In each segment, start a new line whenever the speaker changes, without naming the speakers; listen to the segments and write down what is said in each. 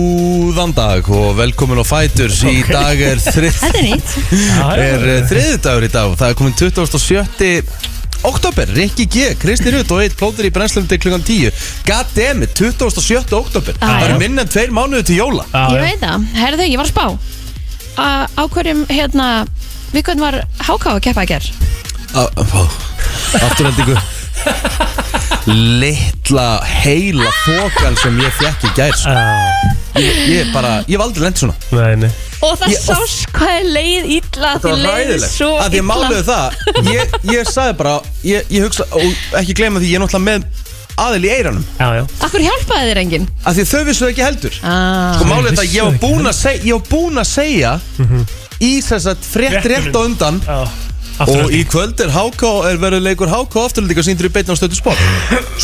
Góðan dag og velkomin á Fætur Í dag er, þrið,
Þetta er nýtt
er eh, þriði dagur í dag Það er komin 27. oktober Rikki G, Kristi Rutt og eitt plótur í brennslum til klukkan 10 God damn it, 27. oktober
Ah,
Það
já.
er minna en tveir mánuði til jóla
Ég veit það, herðu, ég var að spá A- Á hverjum, hérna Við hvernig var háká að keppa að ger
Ah, Afturhendingu Littla heila þokan sem ég fekk í gær sko. ég, ég bara, ég hef aldrei lent svona
Nei, nei
Og það
Ég-
sást hvað er leið illa
Það
Því
var
leið
hræðilegt
svo
Af Því að máluðu það Ég, ég sagði bara ég, ég hugsa Og ekki gleyma því Ég er náttúrulega með aðil í eiranum
Já, já
Akkur hjálpaði þér enginn
Af því þau vissu það ekki heldur
ah.
Sko máluðu
Þau
það Ég
vissu það
var
ekki
búinn að segja Ég var búinn að segja Í þess að frétt
Fréttunum.
rétt á undan
Já
Og í
Afturhalding.
kvöld er HK Er verið leikur HK afturlíka Sýndur í beitna á stötu sport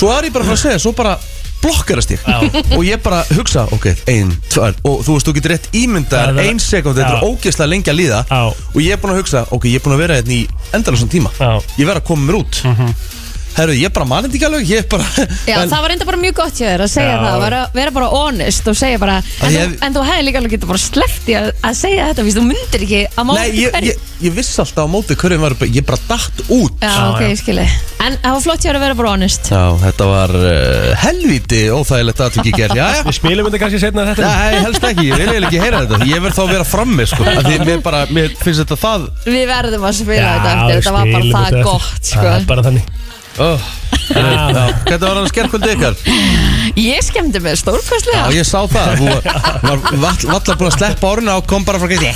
Svo er ég bara frá að segja Svo bara blokkarast ég
Já.
og ég bara hugsa, ok, ein, tvær og þú veist, þú getur rétt ímyndaðar
Það er-
ein sekund, þetta er
Já.
ógeðslega lengi að líða
Já.
og ég er búinn að hugsa, ok, ég er búinn að vera hérna í endalusan tíma
Já. Mhm.
ég verð að koma mér út herru, ég bara mani þetta ekki alveg ég bara,
Já,
en,
það var enda bara mjög gott hjá þér að segja
Já.
það vera, vera bara honest og segja bara En,
ég-
þú, en þú hefði líka alveg getur bara sleppt í að, að segja þetta Víst, þú myndir ekki að mála
nei, ég, ég, ég vissi alltaf á móti hverjum var, ég bara datt út
Já,
Já,
ok,
já.
ég skilji En það var flott hjá þér að vera bara honest
Já, þetta var uh, helviti óþægilegt aðtökk í gerð, já, já
Við spilum þetta kannski setna þetta
Nei, helst ekki, ég vil eiginlega ekki heyra þetta Ég verð þá að vera frammi, sko af Því mér bara, mér finnst þetta það
Við verðum að spila
Já,
þetta eftir
við
Þetta var bara
spilum
það
þetta
gott,
eftir.
sko
Það er bara þannig
oh.
Já,
Hvernig var hann skerkvöldi ykkar?
Ég skemmti mig
Já,
stórkvæslega
ég sá það Þú var var vall- valla búin að sleppa orðinu og kom bara frá gæti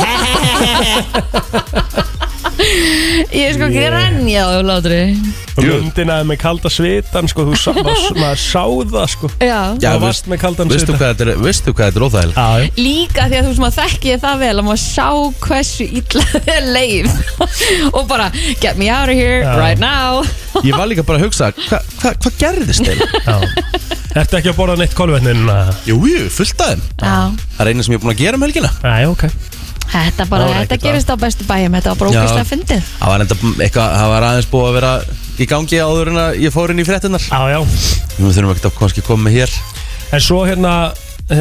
Ég sko ekki rennjaði úr látri
Og myndinaði með kalda svitan, sko Þú sá, maður, maður sá það, sko
Já
Já,
Þú varst með kaldan
veistu
svita.
hvað þetta er, veistu hvað þetta er óþægilegt?
Já, já
Líka því að þú veist maður þekki ég það vel að maður sá hversu illa leið og bara get me out of here
Já.
right now
Ég var líka bara að hugsa, hvað hva, hva gerðist þeim?
Já Ertu ekki að borða neitt kolvetnin?
Jú, jú, fullt af þeim
Já,
Það er eina sem ég er búin að gera um helgina
Nei, ok
þetta bara,
Það var
þetta
ekkert
gerist á bestu bæjum þetta var bara
Já.
ógæslega fyndið
Það var, enda, eitthvað, það var aðeins búið að vera í gangi áður en að ég fór inn í fréttinnar
Já, já
Nú þurfum við ekki að kannski koma með hér
En svo hérna uh,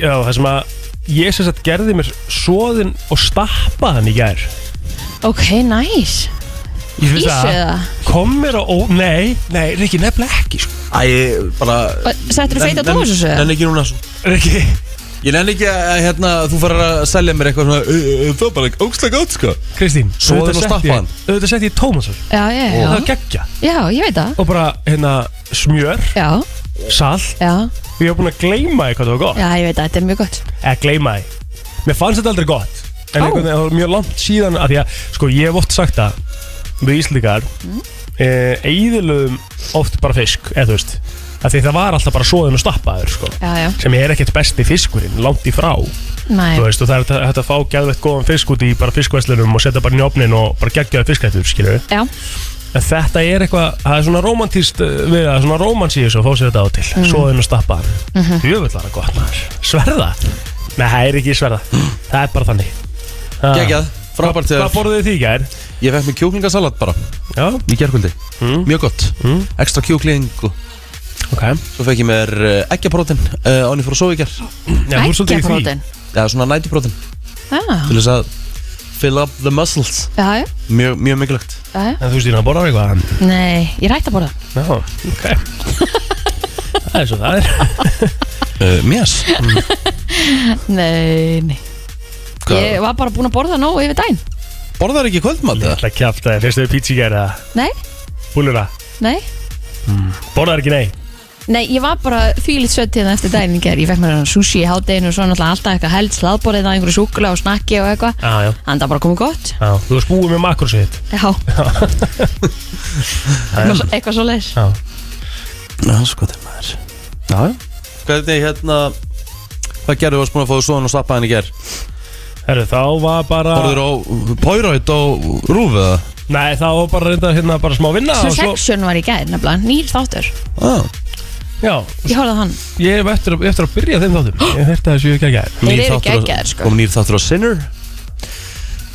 Já, það sem að Ég sem sagt gerði mér svoðin og stappaði hann í gær
Ok, nice
Ég
Ísu eða?
Kom mér á ó... Nei, nei, Rikki, nefnilega ekki sko.
Æ, ég bara
Settur þú feita tómasessu?
Nenni ekki núna svo
Rikki
Ég nenni ekki að hérna, þú farir að selja mér eitthvað svona "Ö, ö, Það var bara ógslag átt sko
Kristín
Soðinn og
auðvitað setti
stappaði
ég-
hann.
Auðvitað setti ég Tómasar
Já, já,
Það var
já,
geggja
já, ég veit það
Og bara hérna smjör,
Já,
salt
já,
Og ég var búinn að gleyma eitthvað það var gott
já, ég veit það, þetta er mjög gott
Eða Eh, gleyma því Mér fannst þetta aldrei gott En
Ó.
einhvern veginn, það var mjög langt síðan að Því að, sko, ég hef oft sagt það Við Íslendingar mm. Eðilum oft bara fisk Eða þú veist að Því það var alltaf bara soðin og stappaður, sko
Já, já,
sem er ekkert besti fiskurinn, langt í frá
næ,
þú veist, og það er hægt- hægt að fá gæðveitt góðan fisk út í bara fiskvæslunum og setja bara inn í opnin og bara geggjaði fiskættur, skilju
já,
en þetta er eitthvað, það er svona romantíst uh, við það, svona romans í þessu að fá sér þetta á til mm. soðin og stappa hann mm -hmm. jöfnvöldara gott maður, sverða nei, það er ekki sverða, það er bara þannig Ha.
Gekkjað, frábært
Hvað- hvað
þegar
borðuðu þið í gær?
Ég fekk mér kjúklingasalat bara
já,
í gerkvöldi
Mm.
Mjög gott,
Mm.
ekstra kjúkling og
ok
Svo fekk ég mér ekkjaprótin uh, án ég fór að sofa í ger
já, þú ert svolítið í því.
Eggjaprótein.
eða svona nætuprótin
Já,
til þess að fill up the muscles
já, já,
mjög, mjög mikilvægt
já, já
en þú stýrna að borða eitthvað
Nei, ég er hægt að borða
já, ok það er svo það er Mm.
uh, Mjöss
Nei, nei Ég var bara búin að borða nógu yfir daginn
Borðar ekki kvöldmat eða?
það kjátt að fyrstu við pítsi í gær eða
Nei,
búluna
nei
borðar ekki nei
Nei, ég var bara þvílít sött hérna eftir daginn í gerð Ég fekk mér hann sushi í hádeginu og svo náttúrulega alltaf eitthvað held Slaðborðið það einhverju súkula og snakki og eitthvað
já, já
Þannig það bara komið gott
Já, þú varst búið með makrósið þitt
Já, eitthvað svo leis
Já,
Ná, sko þeim maður
já
Hvernig hérna Hvað gerðu varst búin að fá svoðan og stappa henni í ger?
Herru, þá var bara
Borður á Pöyraut og Rúf eða?
Nei, þá var bara reynda hérna bara smá vinna og
Succession var í gerð nefnilega, nýr þáttur
Ah.
Já,
Ég horfði á hann
ég hef eftir, eftir að byrja þeim þáttum Ég þurfti að þessu ekki að gæða
Þeir
Nýr
eru
þáttur á-
geggjaðir, sko.
Kom nýr þáttur á Sinner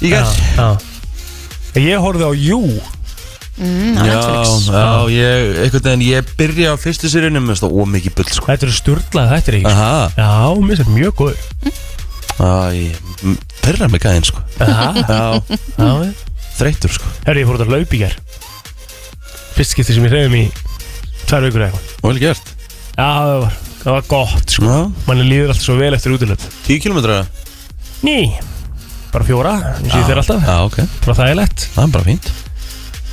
Í ger
Já, já Ég horfði á Jú
mm, á
Já,
Netflix
já, ég, einhvern veginn, ég byrja á fyrstu sérunum og ómikið bull, sko
Þetta eru styrlað, þetta er ekki
Aha,
Já, mér finnst þetta mjög góður
æ, m- pyrra mig gæðin, sko
Já,
Já,
já
þreytur, sko
Herri, ég fór út að laupa í ger Fyrst skipti sem ég reyðum í tvær vikur eða eitthvað
Vel gert
Já, það var, það var gott sko.
Já,
Manni líður alltaf svo vel eftir útilöð
tíu kilometra
Ný, bara fjóra, eins og ég þeir alltaf
Já, ok,
Bara þægilegt,
það er bara fínt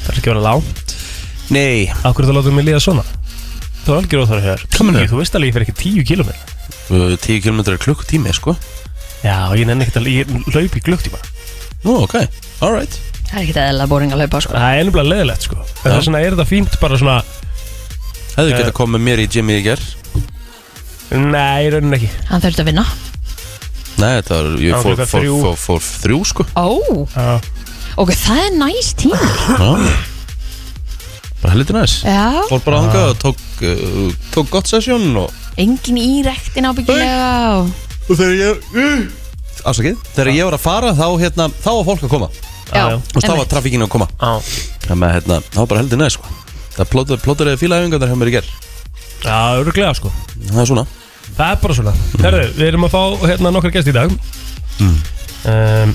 það er ekki að vera langt
Nei,
Akkur það látum mig líða svona Það var algjör óþára hér
Hvað meinarðu?
Þú veist alveg ég fer ekki tíu kilómetra
uh, tíu kilometra er klukkutími, sko
Já, ég nenni ekkert að ég laup í glögt í maður
Nú, ok, alright
Það er ekki eðla boring að laupa sko.
Það er ennumlega leðilegt sko En
Já.
þess vegna er þetta fínt bara svona
Hefðu
Já.
getað komið með mér í gymið í ger
Nei, raunin ekki
Hann þurfti að vinna
Nei, þetta var,
Já,
ég fór,
klukkan
fór,
þrjú.
fór, fór þrjú, sko
Ó,
Já,
ok, það er næst tími
Já Bara heldur næs
Já,
Fór bara hangað og tók, uh, tók gott sessjón og
engin í rektin ábyggilega og...
Og þegar ég uh, Afsakið Þegar ég var að fara þá hérna Þá var fólk að koma Þú
Já, já.
veist þá var
einmitt.
trafíkinu að koma
já,
Þannig að hérna Þá var bara heldur næði sko Það plótur, plótur eða fílaæfingar hjá mér í ger
já, örglega sko
Það er svona
Það er bara svona Herru, við erum að fá hérna nokkar gæst í dag mm.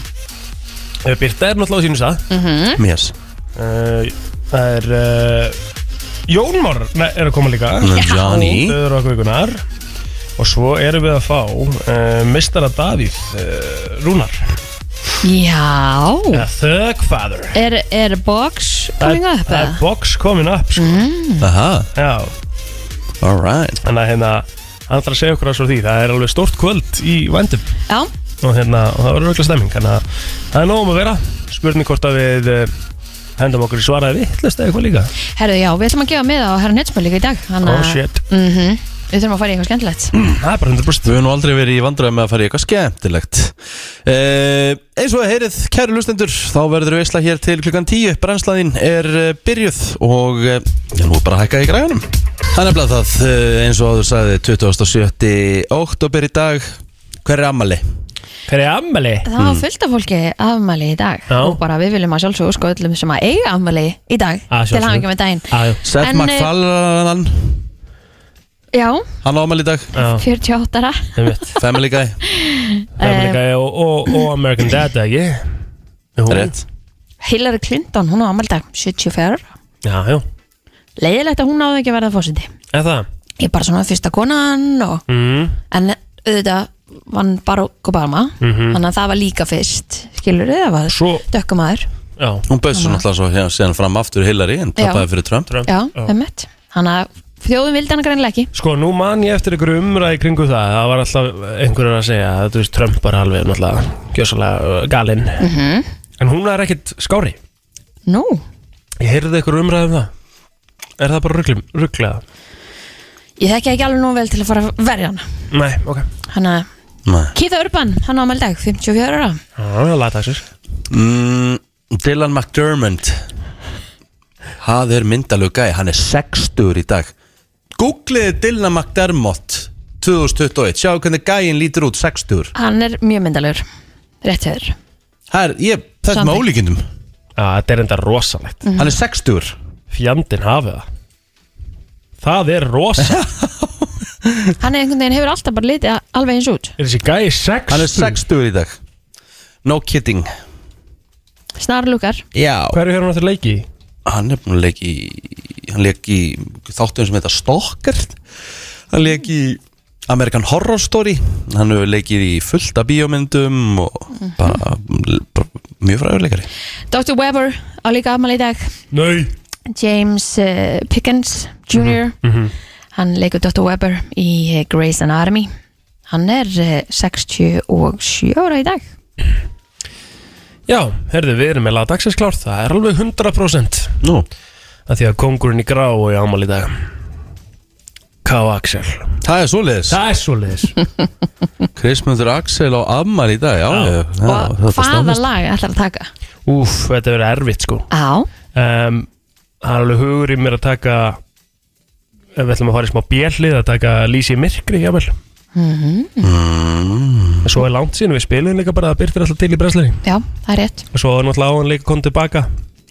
um, Birta er náttúrulega á sínu stað
Mhm.
Mhm.
Mér
uh, Það er uh, Jón Már nei, er að koma líka
Johnny
Þau eru okkur vikunar Og svo erum við að fá uh, Mistara Davíð uh, Rúnar
Já
ja, Thugfather
Er, er box coming
Það-
up?
Það
eða? Mm.
er box coming up sko.
Aha
Já,
Alright
þannig að hérna Hann ætlar að segja okkur að svo því Það er alveg stórt kvöld í vendum
Já,
og, hérna, og það verður auðvitað stemming þannig að það er nógum að vera spurning hvort að við eh, hendum okkur í svaraði vittlust eða eitthvað líka
herðu, já, við ætlum að gefa með á herra Netsmjör líka í dag hann
oh
að-
shit, Mm.
Mhm. Við þurfum að fara í eitthvað skemmtilegt
það er bara 100%
Við höfum nú aldrei verið í vandræði með að fara í eitthvað skemmtilegt eh, Eins og að heyrið, kæru lustendur Þá verður við veisla hér til klukkan 10 Brennslaðin er eh, byrjuð Og eh, já, nú er bara að hækka í græðunum Það er nefnilega það, eh, eins og áður sagði 27. oktober í dag Hver er ammali?
hver er ammali?
Það var fullt af fólki afmæli í dag
Mm. Já.
og bara við viljum að sjálfsögðu sko öllum sem að eiga afmæli í dag
Að
til
sjálfsögðu.
hafa ekki með daginn
Ah,
Seth
En, eh,
MacFarlane
Já,
Hann á ammali í dag
Já,
48 ára Eh,
það veit
Family Guy,
Það er líka Eh, og, og, og American Dad, eða ekki? Jú.
rétt
Hillary Clinton, hún á afmæli í dag 74 ára
Já, já,
Leiðilegt að hún náði ekki að verða fósiti
eða það
Ég er bara svona fyrsta konan og...
mm,
en auðvitað vann Barack Obama þannig að það var líka fyrst skilur þið, það var
Mhm. Svo-
dökkumæður
Já,
Hún bauð svo náttúrulega svo hérna síðan fram aftur Hillary En
Já.
tapaði fyrir Trump
Trump
já, ummitt, þannig að þjóðum vildi hann greinlega ekki
Sko, nú man ég eftir einhverju umræði kringu það Það var alltaf einhverjur að segja að, Þú veist, Trump var alveg náttúrulega Gjössalega galinn
Mhm.
En hún er ekkit skári
nú,
Ég heyrði eitthvað umræðum það Er það bara rugglim, rugglega?
ég þekki ekki alveg nú vel til að fara að verja hann
Nei, ok
hann að
Nei.
Keith Urban, hann á meldag, 54 ára
Það er lata þessir
mm, Dylan McDermott Það er myndalög gæ Hann er 60 í dag Googliði Dylan McDermott 2021, sjáu hvernig gæin lítur út 60
hann er mjög myndalegur rétt hefur,
Her, ég, Þetta er með
Samþykkt.
ólíkindum
Já, þetta er enda rosalegt
Hann er 60
Fjandinn hafið það Það er rosa
hann er einhvern veginn hefur alltaf bara litið a- alveg eins út
Er þessi gæi 60?
Hann er 60 í dag No kidding
snarlúkar,
Já,
Hverju hefur hann aftur leiki í?
hann er búin að leik í Hann leik í þáttum sem heita Stokkert Hann leik í American Horror Story Hann hefur leikið í fullta bíómyndum og bara, bara mjög fræðurleikari
Dr. Weber á líka afmæli í dag
Nei
James uh, Pickens Jr.
Mhm.
hann leikur Dr. Weber í eh, Grey's Anatomy hann er uh, 67 ára í dag
Já, herðu, við erum með laða dagsins klárt Það er alveg 100%
Nú,
Það því að kongurinn í grá og í ámál í dag K. Axel
það er svoleiðis
Það er svoleiðis
Kristmundur Axel á Ammar í dag Já,
Já.
já, já
og
þetta
hvaða
staðfest.
lag ætlar að taka?
Úf, þetta verður erfitt sko
á,
um, Það er alveg hugur í mér að taka ef Við ætlum að fara í smá bjellið að taka Lísi í myrkri, jável
Mm-hmm.
mm,
En svo er langt síðan við spilum líka bara að Byrtir alltaf til í brensleiri
já, það er rétt
Og svo er náttúrulega á hann líka kom tilbaka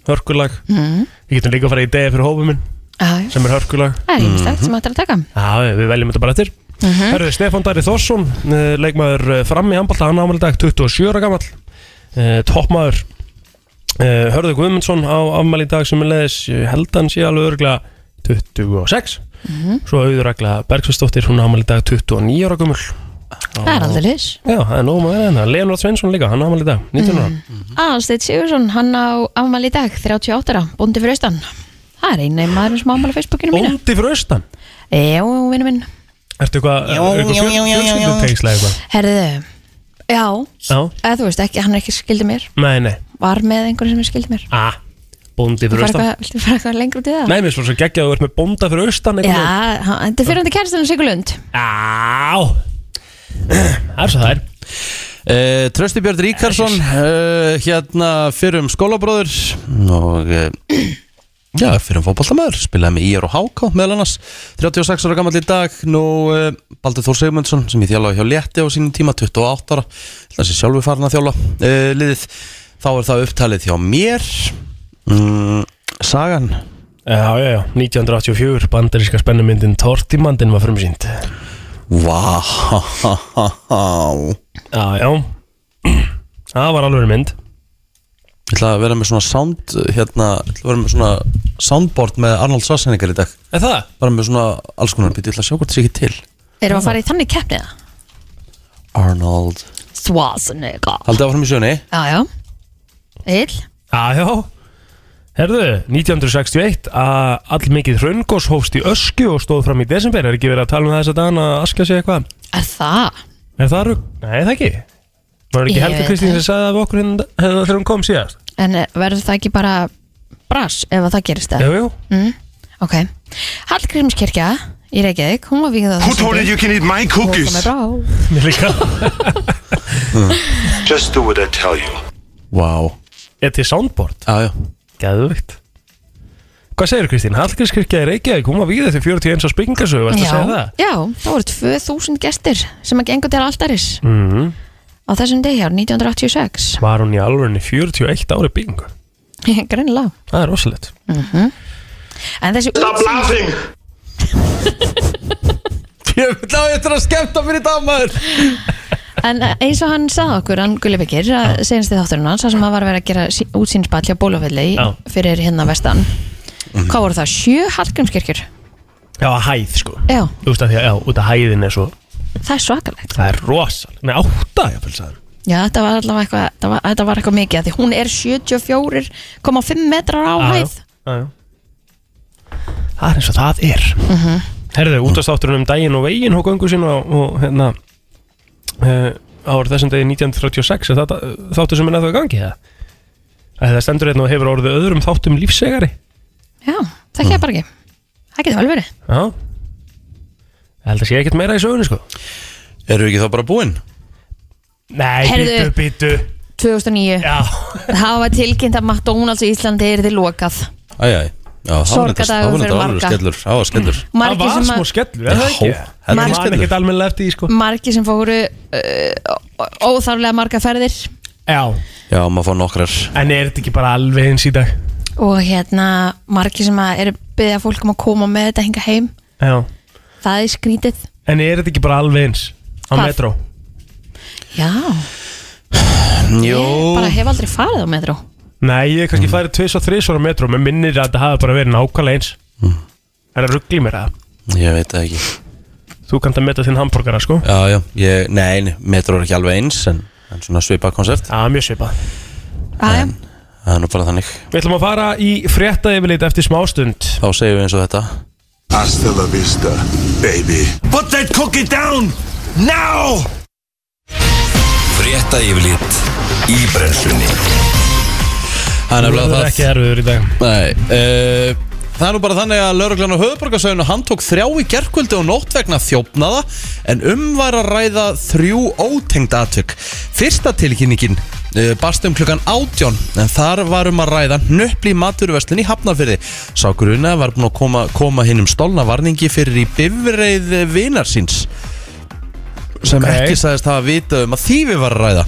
hörkulag
Mhm.
Við getum líka að fara í degi fyrir hófuminn
Já, já.
sem Mhm. er hörkulag
Það er einhverstætt sem hægt er að taka
Já, við veljum þetta bara eftir
Mhm.
Herðu, Stefán Dari Þorsson, eh, leikmaður eh, fram í handbalta, hann ámæli dag 27 ára gamall eh, Toppmaður eh, Hörðu Guðmundsson á afmæli í dag sem er leðis, ég held að hann sé alveg örgla 26
Mhm.
Svo auður regla Bergsvistóttir, hún ámæli dag 29 ára gummul
Það er aldrei lýs
Já, það er nógum að vera hérna, Leonard Sveinsson líka, hann ámæli í dag, 19
Mm.
ára
Aðalsteit Sigursson, hann á afmæli í dag 38 ára, bóndi fyrir austan Það er einu maður sem á afmæli á Facebookinu mínu
Óndi fyrir austan
Já, vinnu minn
Ertu eitthvað, eitthvað fjölskyldutengsla eitthvað?
Herðu, já,
Já,
eða þú veist ekki, hann er ekki skildið mér
nei, nei
Var með einhverjum sem er skildið mér
A, bóndi fyrir
Fara
austan
eitthvað- Viltu fara eitthvað lengur út í það?
Nei, mér finnst bara svo geggja að þú ert með bónda fyrir austan
Já,
einhvern veginn.
hann- þetta er fyrir hann til kæristinu Sigur Lund
Á Það er svo það er
Uh, Trösti Björn Ríkarsson uh, hérna fyrir um skólabróður og
eh,
uh, já, fyrir um fótballtamöður spilaði með IR og HK meðal annars 36 ára gammal í dag nú uh, Baldur Þór Sigmundsson sem ég þjálfaði hjá Létti á sínum tíma 28 ára þessi sjálfur farin að þjálfa uh, liðið þá er það upptalið hjá mér mm, Sagan
Já, já, já, 1984, bandaríska spennumyndin Tortimandin var frumsýnd Já,
Vá Ég
já Það var alveg mynd
ætla að vera með svona sound hérna, ég ætla að vera með svona soundboard með Arnold Schwarzenegger í dag
Er það?
bara með svona alls konar býti, ég ætla að sjá hvort það sé ekki til
Erum við að fara í þannig keppnið það?
Arnold
Svasnega
Haldið áfram í sjöni
Já, já Egil
Já, já Herðu, 1961 að allmikið hraungos hófst í ösku og stóð fram í desember Er ekki verið að tala um það þess að dana að askja sig eitthvað?
Er það?
Er það rugg? Nei, það ekki Var
Ég
ekki Helga
veit
Kristín
það.
sem sagði það við okkur hérna hérna þegar hún kom síðast?
En eh, verður það ekki bara bras ef að það gerist það?
Jú, jú
Mm, ok. Hallgrímskirkja í Reykjavík, hún var vikið á
Who told you you can eat my cookies?
Hún kom með brá.
Mér líka
Just do what I tell you.
Vá
Er til soundboard?
Já, já
Gæðvikt Hvað segir Kristín? Hallgrímskirkja í Reykjavík, hún var við þetta 41 á springarsögu, varst að segja
Já,
það?
já, það voru 2000 gestir sem að gengur til altaris
Mhm.
á þessum degi ár 1986.
Var hún í alvörunni 41 ári byggingu?
Greinlega.
Það er rosalegt
Mhm. En þessi útsýn,
laughing!
Ég vil á ég að skemmta fyrir damaður
en eh, eins og hann sagði okkur, hann Gulli Byggir, að segjast þið þátturinn hans, þar sem hann var að vera að gera sí- útsýnsball hjá Bólofilli
Já.
fyrir hérna vestan. Hvað voru það? Sjö Hallgrímskirkjur?
Já, að hæð sko
Já,
Þú veist að því að, já, út af hæðin er svo
það er svakalegt.
Það er rosalegt Nei, átta, ég fylgst að
Já, þetta var allavega eitthvað, þetta var, þetta var eitthvað mikið af því hún er 74,5 metrar á hæð
já, já. Það er eins og það er Herðu, útastátturinn um daginn og veginn og göngu sín og, og hérna uh, ára þessum degi 1936 er þetta eh, þáttur sem er að þau gangi það? Það stendur hérna og hefur orðið öðrum þáttum lífsegari
Já, það ekki bara ekki Það getur vel verið
Já Ég held að sé ekkert meira í sögunni sko
Eru við ekki þá bara búin?
Nei,
Heyrðu.
bítu, bítu
2009,
Já
það var tilkynnt að McDonalds í Íslandi er þið lokað
Æjæj Já, það var þetta
Sorgardagur fyrir
alveg
marga.
skellur Það var skellur
Það
margir
var
sem,
smá
að,
skellur, er það Mm. ekki?
Já, heldur
Ég
skellur.
man ekkert almennilega eftir því sko
margir sem fóru uh, óþarflega marga ferðir
Já
Já, maður fá nokkrar
En er þetta ekki bara alveg eins í dag?
og hérna margir sem að eru byggja fólk um að koma með þetta hinga heim
Já
það er skrítið
En er þetta ekki bara alveg eins? Á
Hvað?
metró?
Já,
Jó
ég bara hef aldrei farið á metro
Nei, ég
Mm.
hef kannski farið tvis og þris ára metró Mér minnir að þetta hafi bara verið nákvæmlega eins
Mm.
Er það ruggli mér að?
Ég veit það ekki
Þú kannt að meta þinn hambúrgara sko
Já, já ég, Nein, metro er ekki alveg eins En, en svona svipa koncept
Já, mjög svipað
Æ,
Það er nú bara þannig
Við ætlum að fara í frétta yfirleita eftir smástund
Þá segjum við eins og þetta
Hasta la vista, baby. Put that cookie down! Now!
Frétta yfirlit í brennslunni
Það er
Það
nefnilega
er
það
ekki erfiður í dag
Nei, uh, það er nú bara þannig að lauruglan á höfuborgarsöðinu handtók þrjá í gerkvöldi og nótt vegna þjófnaða en um var að ræða þrjú ótengd atvök. Fyrsta tilkynningin uh, barst um klukkan átjón en þar var um að ræða nöppli maturverslun í Hafnarfyrði. Sá gruna var búin að koma, koma hinn um stolna varningi fyrir í bifreið vinar síns sem
Ok.
ekki sagðist hafa vitað um að þýfi var að ræða.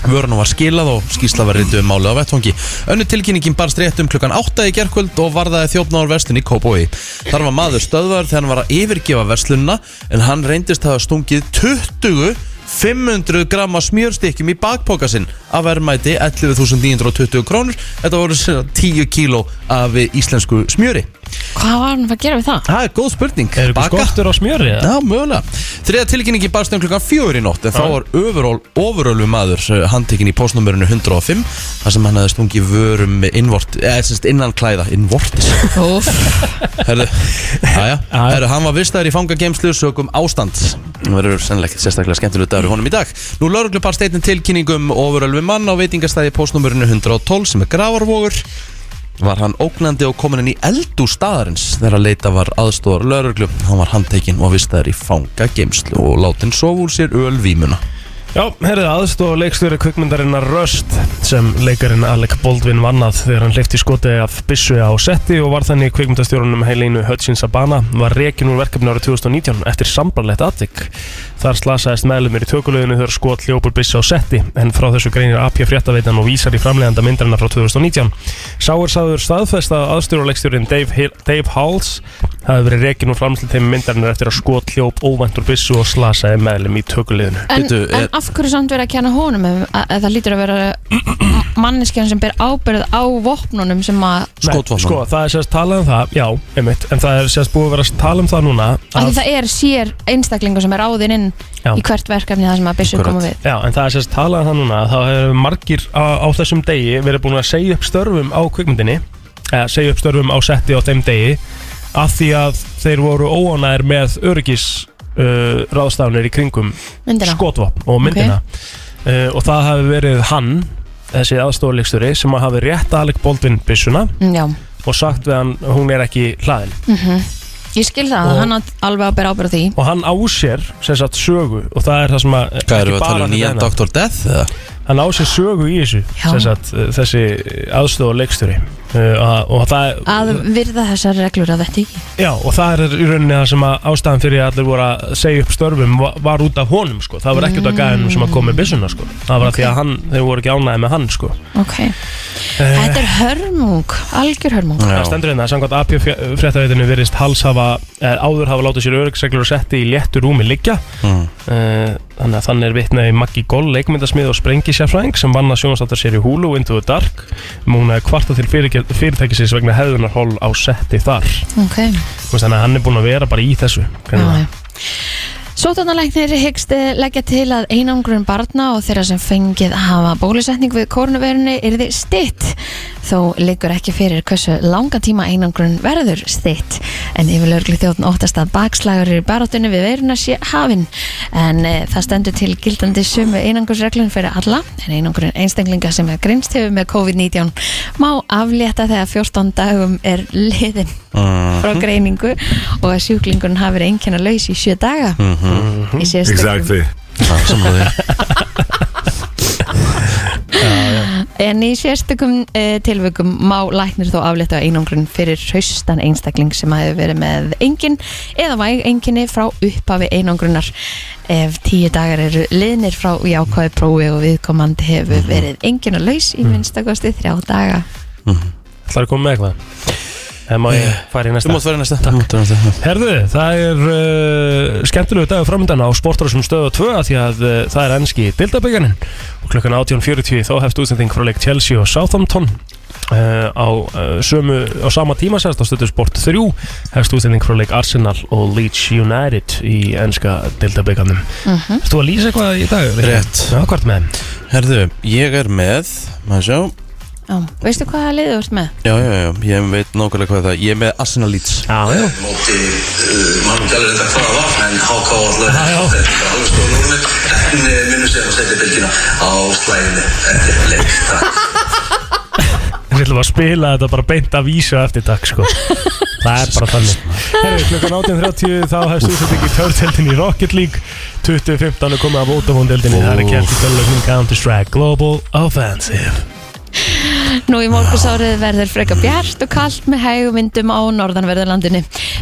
Vörunum var skilað og skýrsla var reyndu um málið á vettvangi. Önnu tilkynningin barst rétt um klukkan 8 í gerkvöld og varðaði þjófnáður verslun í Kópói. Þar var maður stöðvar þegar hann var að yfirgefa verslunna en hann reyndist að hafa stungið 20 500 gramma smjörstykkjum í bakpoka sinn af verðmæti 11.920 krónur. Þetta voru sem sagt 10 kíló af íslensku smjöri.
Hvað var hann að fara að gera við það?
Það er góð spurning.
Er ykkur
Baka?
skortur á smjöri? eða?
Já, mögulega. Þriða tilkynningi barst um klukkan fjögur í nótt en þá var öfuról, ofurölu maður eh, handtekinn í postnumörinu 105 þar sem hann hefði stungið vörum með innvort, eða semst innan klæða, innvortis.
Úf,
Herðu, aðja, herðu, hann var vistaður í fangagemslu sögum ástand. Það verður sennilega ekkert sérstaklega skemmtilega dagur í honum í dag. Nú lauruglu barst einnig tilkynningum ofurölvi mann á veitingastæði postnumörinu 112 sem er gravarvogur. Var hann ógnandi og kominn inn í eldu staðarins þegar að leita var aðstóðar lauruglu. Hann var handtekinn og vistaður í fangagemslu og látin sof úr sér ölvímuna.
Já, heyrðu aðstofa leikstjóri kvikmyndarinnar Röst sem leikarinn Alec Baldwin vannað þegar hann leifti skoti af byssu á setti og var þannig kvikmyndastjórunum Helínu Hutchins Abana var rekin úr verkefni árið 2019 eftir sambarlegt aðtik. Þar slasaðist meðlumir í tökulöðinu þegar skot hljópur byssu á setti en frá þessu greinir AP fréttaveitan og vísar í framleganda myndarinnar frá 2019. Sáur sagður staðfest að aðstjóra leikstjórin Dave, Hill- Dave Halls hafi verið rekin úr framleganda myndarinnar eftir að skot hljóp óvendur byssu og slasaði meðlum í tökulöðinu.
en,
Bíddu,
en
er-
af hverju samt verið að kenna honum um að, að það lítur að vera manneskjan sem ber ábyrð á vopnunum sem að
Nei,
Skotvopnum.
Sko, það er sérst talað um það, já, einmitt En það er sérst búið að vera að tala um það núna
af því
að,
það er sér einstaklingu sem er áðinn inn
Já.
í hvert verkefni það sem að byssu
Akkurat.
koma við
Já, en það er sérst talað um það núna að Það hefur margir á, á þessum degi verið búin að segja upp störfum á kvikmyndinni eða segja upp störfum á setti á þeim degi af því að þeir voru óanæðir með öryggis uh, ráðstafnir í kringum
myndina
skotvopn og myndina uh, og það hafi verið hann þessi aðstofleiksturi sem að hafi rétt Alec Baldwin byssuna
Mm, Já, Mhm.
og sagt við hann hún er ekki hlaðin
ég skil það,
Og-
hann átt alveg að bera ábyrð á því
og hann á sér sem sagt sögu og það er það sem að
Hvað eru
ekki
við að
bara
tala um
þetta
nýjan
eina.
Dr. Death? Eða?
hann á sér sögu í þessu
Já.
sem sagt, eh, þessi aðstofa leikstjóri uh, og, það,
að virða þessar reglur að þetta ekki
já, og það er í rauninni það sem að ástæðan fyrir að allir voru að segja upp störfum va- var út af honum sko. það var ekki út af gæðinum sem að kom með byssuna sko. það var okay. því að hann, þau voru ekki ánæði með hann sko.
Ok, þetta er hörmung, algjör hörmung
Það stendur hérna, samkvæmt AP fréttaveitinu virðist hals hafa, er, áður hafa látið sér öryggsreglur og setti í léttu rúmi liggja
Mm.
Eh, þannig að þannig er vitnaði Maggi Goll, leikmyndasmið og sprengisjafræðing sem vann að sjónastáttasér sér í Hulu Into the Dark múnaði kvarta til fyrirge- fyrirtækisins vegna hefðunarhól á setti þar
Ok,
Þú veist, þannig að hann er búin að vera bara í þessu
Já,
greinilega.
já. Sótarnalæknir hyggst eh, leggja til að einangrun barna og þeirra sem fengið hafa bólusetning við kórnuverunni yrði stitt þó liggur ekki fyrir hversu langa tíma einangrun verður stitt en yfirlörgli þjóðn óttast að bakslagur í barátunni við veruna sé hafin en e, það stendur til gildandi sumu einangursreglun fyrir alla en einangrun einstaklinga sem er grinst hefur með COVID-19 má aflétta þegar 14 dagum er liðin frá
Mhm.
greiningu og að sjúklingurinn hafi verið einkenna laus í sjö daga mm -hmm. í sérstökum
Það er Mhm. sammála því.
en í sérstökum uh, tilvökum má læknir þó aflétta einangrun fyrir hraustan einstakling sem hafi verið með engin eða væg enginni frá upphafi einangrunar ef tíu dagar eru liðnir frá jákvæði prófi og viðkomandi hefur verið enginna laus í minnstakosti þrjá daga
Það er komið með eitthvað Það má ég fara í
Þú
næsta
mátt vera næsta. Þú mátt vera næsta.
Herðu, það er uh, skemmtilegu dagur framöndan á sportrásum stöðu 2 af því að uh, það er ennski dildabækjanin og klukkan 18.40 þá hefst útsending frá leik Chelsea og Southampton uh, á, uh, sömu, á sama tíma sérst á stöðu sport 3 hefst útsending frá leik Arsenal og Leeds United í ennska dildabækjanum mm
Mhm.
-hmm. Þú að lýsa eitthvað í dag? Rikki?
Rétt.
Já, hvort með þeim?
Herðu, ég er með, maður sjá,
Já. Veistu hvaða liðið þú ert með?
já, já, já, ég veit nákvæmlega hvað það er, ég er með Arsenal Leeds.
Já, já
móti,
eh,
uh, mann gælir þetta hvað það var en HK allar
Já, já.
þetta er alveg stóð núna en uh, minnum sér að setja bylgina á slæðinu eftir leik takk
Við ætlum að spila þetta bara beint af vísu eftir takk sko Það er bara þannig Herri, klukkan 18.30 þá hefst útsetting í tördeldin í Rocket League 2015 er komið af Vodafone deldinni Það er kælt í tölulegnum Counter Strike Global Offensive
Nú í morgunsárið verður freka bjart og kalt með hægum vindum á norðanverðarlandinu.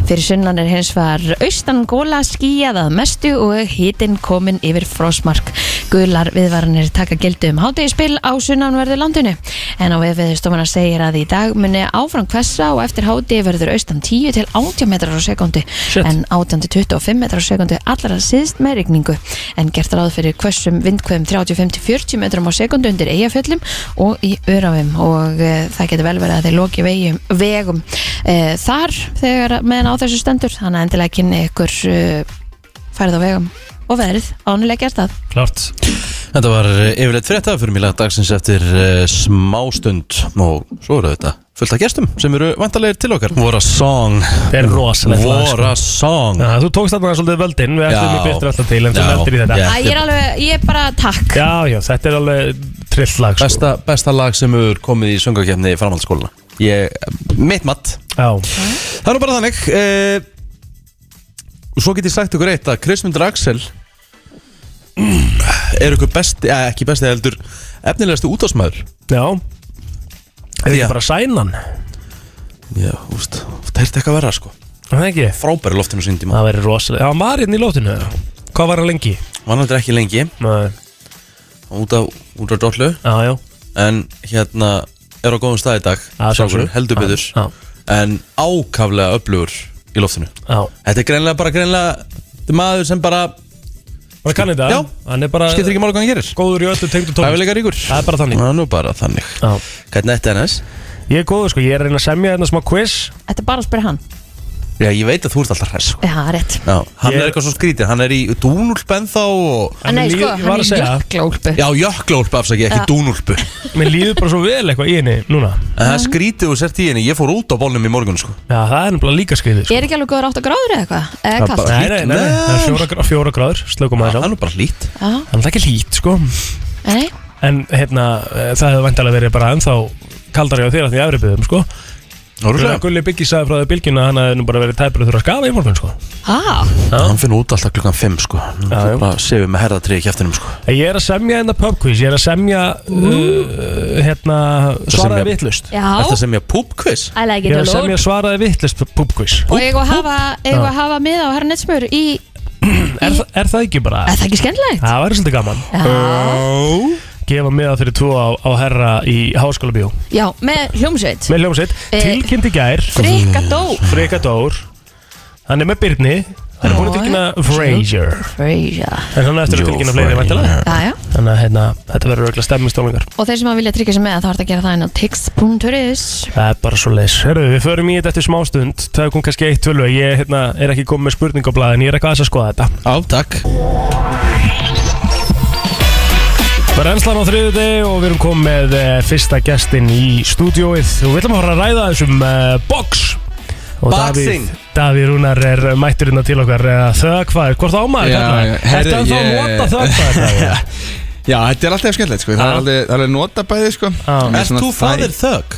Fyrir sunnan er hins vegar austan góla skíjað að mestu og hitinn komin yfir frosmark. Gular viðvaranir taka gildu um hátegispil á sunnanverðu landinu. En á vefiðstofana segir að í dag muni áfram hvessa og eftir hátegi verður austan 10 til 80 metrar á sekundu
Shit.
en 18 til 25 metrar á sekundu allra síðst með rigningu. En gert ráð fyrir hvessum vindkveðum 35 til 40 metrum á sekundu undir eigafjöllum og í örafum og e, það getur vel verið að þeir loki vegum, vegum e, þar þegar meðan á þessu stendur þannig að endilega kynni ykkur e, færið á vegum og verið ánulega gert það.
Klart
Þetta var eh, yfirleitt frétta fyrir mjög dagsins eftir uh, smástund og svo eru þetta fullt af gestum sem eru vantarlegir til okkar Vora song
Það er rosalegt lag, sko.
Vora song
Já, þú tókst þarna svolítið völdin, við ætlum
Já.
við byrtir alltaf til en þú
Já.
lendir í þetta
Já.
Æ, ég er alveg, ég er bara takk.
Já, já, þetta er alveg trilllag sko.
besta, besta lag sem hefur komið í söngakefni framhaldsskóluna Ég, mitt mat
Já,
Það er nú bara þannig eh, Og svo get ég sagt ykkur eitt að Krismundur Axel er ykkur besti, eh, ekki besti heldur efnilegasti útásmaður
já Er
Já.
þetta bara sænan?
Já, úst, það er eitthvað verra sko
Það er ekki
Frábæri loftinu sinni tíma
Það verður rosalega Já, maður hérna í lótinu eða? Hvað var það lengi?
Var náttúrulega ekki lengi
Nei.
út af, út af dollu
Já, já
En hérna er á góðum stað í dag
Já, sjálfsögðu.
strákurinn, heldur betur
Já,
En ákaflega öflugur í loftinu
já
Þetta er greinlega bara greinlega Þetta er maður sem bara
Bara kanni þetta
Já.
Hann er bara
skiptir ekki mála hvað hann gerir
Góður í öllu tengdu tónlist
Hæfileika ríkur
Það er bara þannig.
Það er nú bara þannig
Já
Hvernig þetta er næst?
Ég er góður sko Ég er að reyna að semja hérna smá quiz
Þetta er bara að spyrja hann.
Já, ég veit að þú ert alltaf hress sko.
Já, rétt.
Já, hann
Ég-
er eitthvað svo skrítið Hann er í dúnúlp ennþá og...
En
mér
nei,
líður-
sko,
ég
hann
var
er
að
í
segja-
jöklólpu.
Já, jöklólp afsaki, ekki dúnúlpu
Mér líður bara svo vel eitthvað í henni núna
En það er skrítið og sért í henni Ég fór út á bólnum í morgun sko.
Já, það er nefnilega líka skriðið sko.
Er ekki alveg góður átt að gráður eða eitthvað?
Já,
Eða kallt?
bara-
Nei, nei, nei, nei, það er fjóra, grá- fjóra gráður Slökum
Það
aðeins á
er nú bara hlýtt
Já,
Þannig að ekki lít sko
nei,
En hérna, eh, það hefði vantilega verið bara ennþá kaldari á þér að því aðri byggðum sko
Ótrúlega.
Gulli Byggi sagði frá því bylginu að hann hefði nú bara verið tæpur að þurfa að skafa í morgun sko
á,
Hann finnur út alltaf klukkan 5 sko Hann
Já, já.
bara sefur með herðatrið í kjæftinum sko
En Ég er að semja hérna pub quiz, ég er að semja uh, hérna svaraði
semja-
vittlust
Þetta
já,
sem ég púbkviss
I like
Ég
it
er
a
að
lot
semja svaraði vittlust pub quiz
Og eigum að hafa, eigum að hafa miða á herrnetsmur í,
er, þa- er það ekki bara?
er það ekki skemmtilegt?
Það væri svolítið gaman Gefa miða fyrir tvo á, á herra í háskóla bíó
Já, með hljómsveit
Með hljómsveit,
Eh,
tilkynnt í gær
Frikka dó
Freyka Dór Hann er með Byrni Hann er búin að tilkynna Frasier
Freyja
En hann er eftir að tilkynna fleiri væntalega
Jæja,
Þannig að hérna, þetta verður auðvitað stemmingstólingar
og þeir sem að vilja tryggja sig með þá er það að gera það inn á tix.is
Það er bara svo leis Herru, við förum í þetta eftir smástund Það kom kannski eitt tvölu Ég hérna, er ekki komið með spurningablaðin Ég er eitthvað aðeins að skoða þetta
Á, takk
Brennslan á þriðu deg og við erum komið með eh, fyrsta gestin í stúdióið og við ætlum að fara að ræða þessum uh, box og
Boxing.
Davíð, Davíð Rúnar er mætturinn til okkar uh, þögfæður, hvort á maður
Já,
kallar
já,
það?
herri,
Þetta er þá
ég-
móta þögfæður
Já, þetta er alltaf skemmtilegt sko. það,
Já.
er alveg, það er alveg nota bæði sko.
Já.
Ég er
Ert
svona
þú fadir
þæg-
þögg?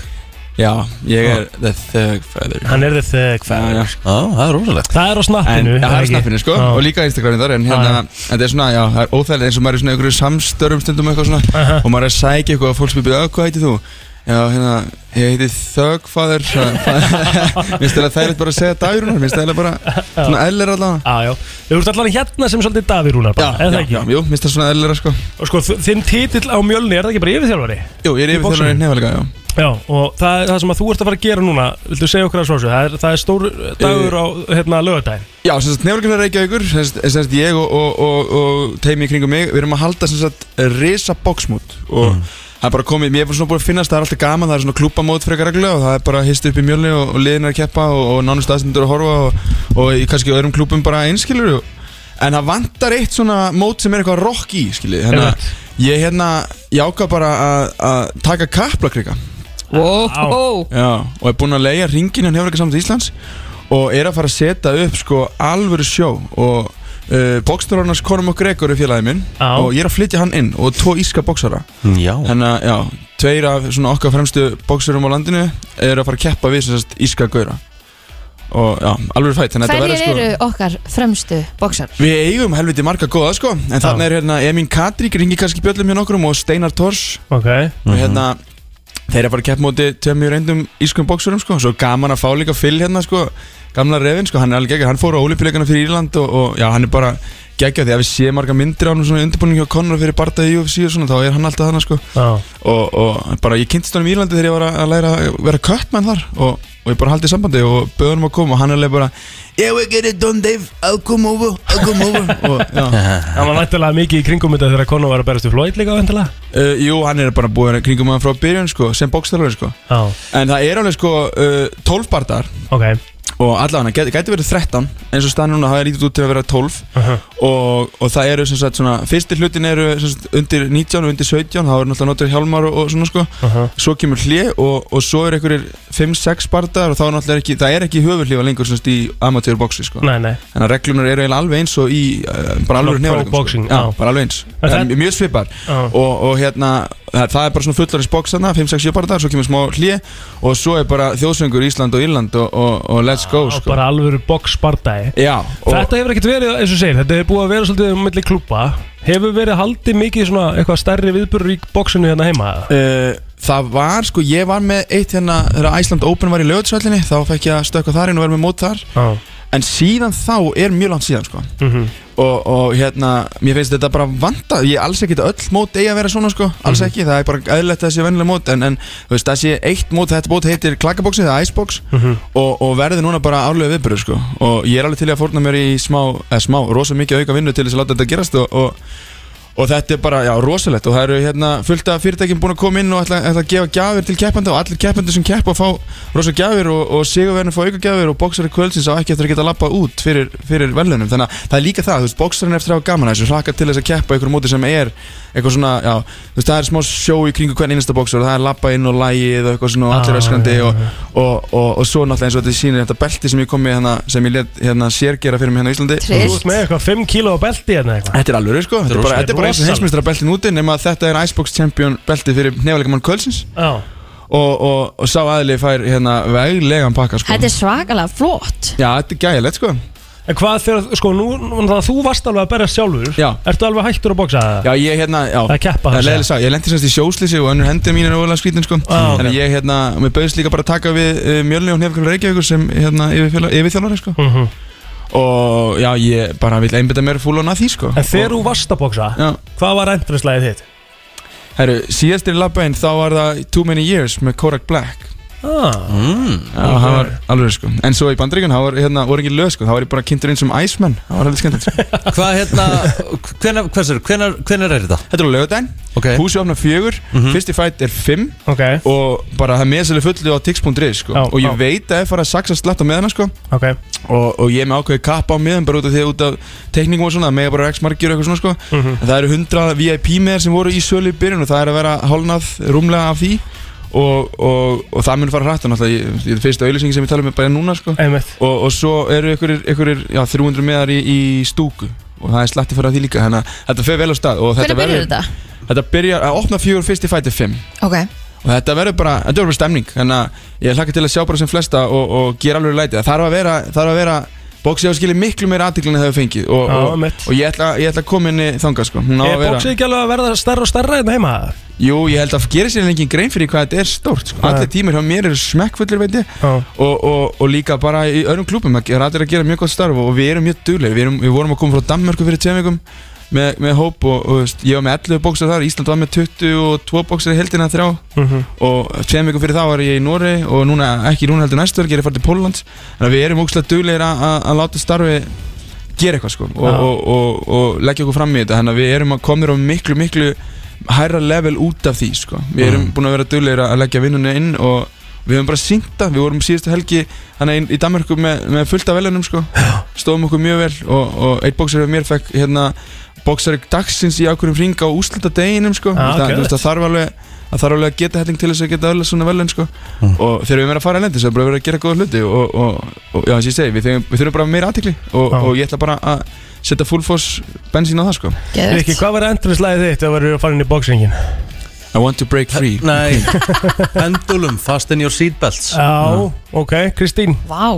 Já, ég er the thug father
Hann er þið
Já,
þögfæður
já.
Já, það er rosalegt
Það er á
En
snappinu
já, það
ekki?
er snappinu sko
Já.
Og líka Instagramin þar En hérna en þetta er svona Já, það er óþægilegt eins og maður er svona í einhverju samstörfum stundum eitthvað svona
Aha.
Og maður er að sækja eitthvað Og fólk spyrir "Já, Hvað heitir þú? Já, hérna Ég heiti Thug Father svona- Mér finnst þetta þægilegt bara að segja dagrunar Mér finnst þetta bara Svona eðlir allavega
Já, já, þú ert allan hérna sem svolítið Davíð Rúnar bara, eða
já,
ekki?
já, jú, mér finnst þetta svona eðlera sko
Og sko, þ- þinn titill á mjölni, er það ekki bara yfirþjálfari?
Jú, ég er yfir
boxinu?
þjálfari nefnilega, já
Já, og það, það sem að þú ert að fara að gera núna, viltu segja okkur að svo þessu, það er, það er stór dagur á hérna lögadaginn.
Já, sem sagt, nefnilega Reykjavíkur, sem sagt, sem sagt ég og, og, og, og teimi í kringum mig, við erum að halda sem sagt risa boxmót og það er bara komið, mér er bara svona búin að finnast, það er alltaf gaman, það er svona klúpamót frekar reglulega og það er bara hist upp í mjölni og, og liðin er að keppa og, og nánust aðstendur að horfa og, og í kannski öðrum klúpum bara einskilur en það vantar eitt svona mót sem er eitthvað rock í, skiljið, þannig
Einmitt.
að ég hérna, ég ákvað bara að, að taka kaplakrika
Wow
Já, og er búinn að leiða ringin hann hefur ekki samt Íslands og er að fara að setja upp sko alvöru sjó og uh, bóksturarnas Cormac Gregor er félagið minn
Já.
og ég er að flytja hann inn og tvo íska bóksara
Já
þannig að já, tveir af svona okkar fremstu bóksurum á landinu eru að fara að keppa við sem sagt íska gauðra og já, alvöru fætt þannig að þetta
Hverjir
verður sko
eru okkar fremstu bóksar?
Við eigum helviti marga góða sko En
Mhm.
þarna er hérna Emin Katrík ringi kannski bjöllum hjá nokkrum Og Steinar Tors
Ok,
og hérna Þeir eru bara að keppa móti tveim mjög reyndum ískum bóksurum sko Svo gaman að fá líka fyll hérna sko Gamla Revin sko, hann er alveg geggjur Hann fór á olimpíuleikana fyrir Írland og, og já, hann er bara geggjur Því að við séum marga myndir á hann svona undirbúning hjá Conor fyrir barða í UFC og svona Þá er hann alltaf þannig sko
Já,
og, og bara ég kynntist honum í Írlandi þegar ég var að læra að vera köttmenn þar og, og ég bara haldið sambandi og böði honum að koma og hann er alveg bara Yeah we get it done Dave, I'll come over, I'll come over og, já.
hann Mhm. var nættilega mikið í kringum þetta þegar Conor var að berast við Floyd líka væntanlega.
uh, Jú, hann er bara búin kringum hann frá byrjun sko, sem bókstalari sko
Já,
en það er alveg sko uh, 12 bardar
ok
og allavega gæti, gæti verið 13 eins og staðan núna það er lítið út til að vera 12
Mhm.
og, og það eru sem sagt svona fyrsti hlutin eru sem sagt, undir 19 og undir 17 þá eru náttúrulega notur hjálmar og, og svona sko
Aha.
svo kemur hlið og, og svo eru einhverjir 5-6 bardar og þá er náttúrulega ekki það er ekki höfurhlífa lengur sem sagt í amatörboksi sko
Nei, nei,
þannig að reglunar eru eiginlega alveg eins og í uh, bara alveg
Pro
nefnilegum
boxing,
sko.
já.
já, bara alveg eins
En það-
En mjög svipar
Já.
og, og hérna það, það er bara svona fullarins boks þarna 5-6-7 bardar, svo kemur smá hlið og svo er bara þjóðsöngur Ísland og Írland og, og, og let's go
á
sko.
bara alvöru boxbardagi
Já, og,
Þetta hefur ekkert verið, eins og segir, þetta hefur búið að vera svolítið um milli klúpa Hefur verið haldið mikið svona eitthvað stærri viðburður í boxinu hérna heima? eða?
Uh, það var, sko, ég var með eitt hérna þegar Æsland Open var í lögutsvöllinni þá fekk ég að stökka þar inn og vera með mót þar
Já,
en síðan þá er mjög langt síðan, sko
mhm,
og, og hérna, mér finnst þetta bara vanda ég er alls ekkit öll mót eigi að vera svona sko
Mhm.
alls ekki, það er bara eðlilegt að það sé vennilega mót en, en þú veist, það sé eitt mót, þetta mót heitir klakkaboksi, það er icebox
Mhm.
og, og verður núna bara árlega viðbyrður sko og ég er alveg til í að fórna mér í smá, eða smá rosa mikið auka vinnu til þess að láta þetta gerast og, og Og þetta er bara, já, rosalegt og það eru hérna fullt af fyrirtækjum búin að koma inn og ætla, ætla að gefa gjafir til keppanda og allir keppandi sem keppa fá rosa gjafir og, og sigurverðin fá auka gjafir og bóksari kvöldsins á ekki eftir að geta lappa út fyrir, fyrir verðlunum þannig að það er líka það, þú veist, bóksarinn eftir að hafa gaman að þessu hlaka til þess að keppa ykkur móti sem er eitthvað svona, já, þú veist, það er smá sjó í kringu hvern einasta bóksar og það er lappa inn og lægið og eitthvað svona og allir
Ah,
öskrandi
já,
og, og, og, og svo náttúrulega eins og þetta sýnir þetta belti sem ég kom með hérna, sem ég let hérna sérgera fyrir mig hérna á Íslandi
Þú
Trillt.
ert með eitthvað 5 kíló á belti hérna eitthvað
Þetta er alveg, sko, þetta er bara,
rosa-
þetta er bara eins og
rosalegt.
heimsmeistra beltin úti nema að þetta er Icebox Champion belti fyrir nefnilegumann Kölsins
Já,
og, og, og sá aðli fær hérna veglegan pakka, sko
Þetta er svakalega flott
Já, þetta er gægilegt, sko
en hvað þegar, sko, nú, nú þannig að þú varst alveg að berjast sjálfur
Já.
Ertu alveg hættur að boxa það?
Já, ég hérna, já
Það er keppa,
Það
hann
er leiðilega
segja.
sá, ég lendi semst í sjóslýsi og önnur hendur mín er ólega skrítin, sko
Á, Ah, ok.
Þannig að ég hérna, mér bauðist líka bara að taka við uh, Mjölni og Hnefnum Reykjavíkur sem hérna yfirþjálfari, sko
Mhm.
Og já, ég bara vil einbytta mér fúlan að því, sko
En þegar þú varst að boxa,
Já,
hvað var endurinslæðið þitt?
herru, síðastir labbein þá var það Too Many Years með Korak Black
Ah,
Mm.
Já, það var alveg sko En svo í bandaríkun, það var hérna, voru ekki lög sko Það var ég bara kynntur inn sem Iceman Það var alveg skemmt sko.
Hvað hérna, hvenar, hversir, hvenar, hvenar er þetta?
Þetta var lögadaginn,
Ok, Mhm.
húsi opna fjögur Fyrsti fætt er fimm
ok,
Og bara það er meðsæli fullu á tix.is sko
Já,
Og ég
já.
veit að það er farið að saksa slatt á meðana sko
ok
og, og ég er með ákveði kappa á miðan bara út af því að út af tekningum og svona það mega bara x margir og eitthvað svona sko en það eru 100 VIP meðar sem voru í sölu í byrjun og það er að vera hálnað rúmlega af því og, og, og það mun fara hrætt og náttúrulega ég, ég er fyrsta auðlýsing sem ég tala með bara núna sko
Einmitt
og, og svo eru einhverjir, einhverjir já, 300 meðar í, í stúku og það er slatti fyrir að því líka þannig að þetta fer vel á stað og
Hvernig
þetta
byrjar
verður
þetta?
þetta byrjar að opna fjögur fyrst í fæti 5
Ok,
og þetta verður bara, þetta verður bara stemning þannig að ég hlakka til að sjá bara sem flesta og, og gera alveg læti, það þarf að vera, þarf að vera bóksið á skilja miklu meira aðtiklun en það hefur fengið og,
Já,
og,
einmitt.
og ég, ætla, ég ætla að koma inn í þanga sko. Hún á
Er
að vera-
boxið ekki alveg að verða stærra og stærra hérna heima?
Jú, ég held að gera sér engin grein fyrir hvað þetta er stórt sko. Allir tímar hjá mér eru smekkfullir veit ég
Já.
og, og, og líka bara í öðrum klúpum Það er allir að gera mjög gott starf og við erum mjög duglegir Við, erum, við vorum að koma frá Danmörku fyrir tveim vikum með, með hóp og, og veist, ég var með 11 bóksar þar Ísland var með 22 bóksar í heldina þrjá
Mhm.
og tveim vikum fyrir þá var ég í Nóri og núna ekki núna heldur næstu verk ég er að fara til Pólland Þannig að við erum ógslag duglegir að- að að láta starfi gera eitthvað sko og,
Já.
og, og, og leggja okkur fram í þetta þannig að við erum að komir á miklu miklu hærra level út af því sko við erum
Mm.
búin að vera duglegir að leggja vinnunni inn og við höfum bara sýnta, við vorum síðustu helgi þannig í Danmarku með, með fullta velunum sko, stóðum okkur mjög vel og, og eitt bóksari af mér fekk hérna bóksari dagsins í ákveðum ring á úslita deginum sko, það,
Ah, geðveikt.
þú veist, það þarf alveg að þarf alveg að geta helling til þess að geta öll svona velun sko
Mm.
og þegar við erum að fara elendis það er bara verið að gera góða hluti og, og, og já, eins og ég segi, við, þurfum- við þurfum bara meira aðtikli og,
Já.
og ég ætla bara að setja full force bensín á það sko
Rikki,
geðvægt
hvað var endurinslæðið þitt að verður að fara inn í boxingin?
I want to break free
nei, pendulum, fast in your seatbelts
Já, ok, Kristín,
Vá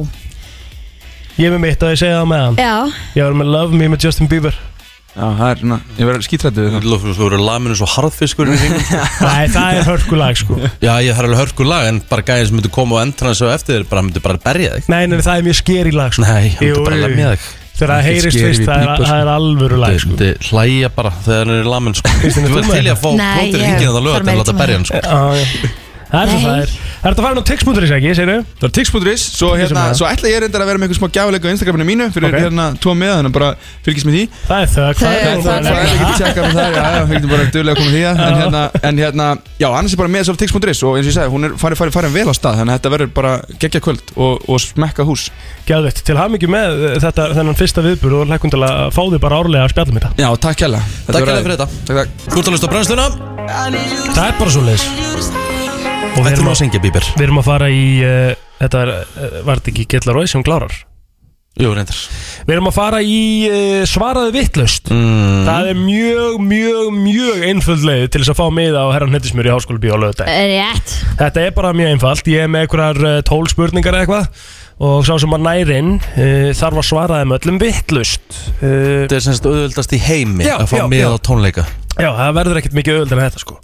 ég er með mitt og ég segja það með hann
Já,
Ég var með Love Me með Justin Bieber
Já, það er svona, ég verður skítrættu við það
Þú eru laminu svo harðfiskur í hringum, sko.
Nei, það er hörkulag sko
Já, ég þarf alveg hörku lag En bara gæðin sem myndi koma á endurna svo eftir þér Bara myndi bara berja þig
Nei, nei, það er mjög skeri lag sko
Nei, hann
Jú,
myndi bara
jú, jú.
lemja þig
Þegar það
Ekki
heyrist
scary
fyrst, það
people,
er,
sko.
það er alvöru lag sko
Myndi hlæja bara þegar hann er í lamin sko.
Kristín,
Þú
ert
verður
þú
til í
með
að fá
Nei,
plótir
ég-
hringin að það lög
þarf
Til að
meira
láta
tíma.
berja hann sko.
Já, já. Það er svo
Nei.
það er Það er þetta að fara inn á tix.is ekki, segir þau?
Það er tix.is, svo, hérna,
það.
svo ætla ég reyndar að vera með einhver smá gjáleika á Instagraminu mínu fyrir
Ok.
hérna tvo með, þannig að bara fylgist með því
Það er þögg
Það er
Það er
þögn.
það, ég geti tjekkað með það, já, já, við getum bara dögulega að koma því að en
Já.
hérna, en hérna, já, annars er bara með svo tix.is og eins og ég sagði, hún er farið, farið, farið vel á stað þannig að þetta verður bara geggja kvöld og, og smekka hús
Gæðvitt, til hamingi með uh, þetta, þennan fyrsta viðbúr og hlækkum til að fá þig bara árlega að spjalla um þetta
Já, takk kjalla
Takk hérlega fyrir þetta
Takk, takk
Þú ert að hlusta á brennsluna
Það er bara svo leis Og við
Þetta
erum,
má
að,
syngja bíber
við erum að fara í uh, Þetta er, uh, var þetta ekki Gillar Rói sem klárar
Jú, reyndar
Við erum að fara í uh, svaraði vittlust
mm.
Það er mjög, mjög, mjög einföld leið til þess að fá miða á herran hettismur í háskóla bíó lögutæg
Eh,
Rétt
Þetta er bara mjög einfalt, ég er með einhverjar tól spurningar eða eitthvað og sá sem að nærinn uh, þarf að svara þeim öllum vittlust uh,
Þetta er semst auðvöldast í heimi
Já,
Að fá
já, já.
miða á tónleika
Já, það verður ekkert mikið auðvöld en þetta sko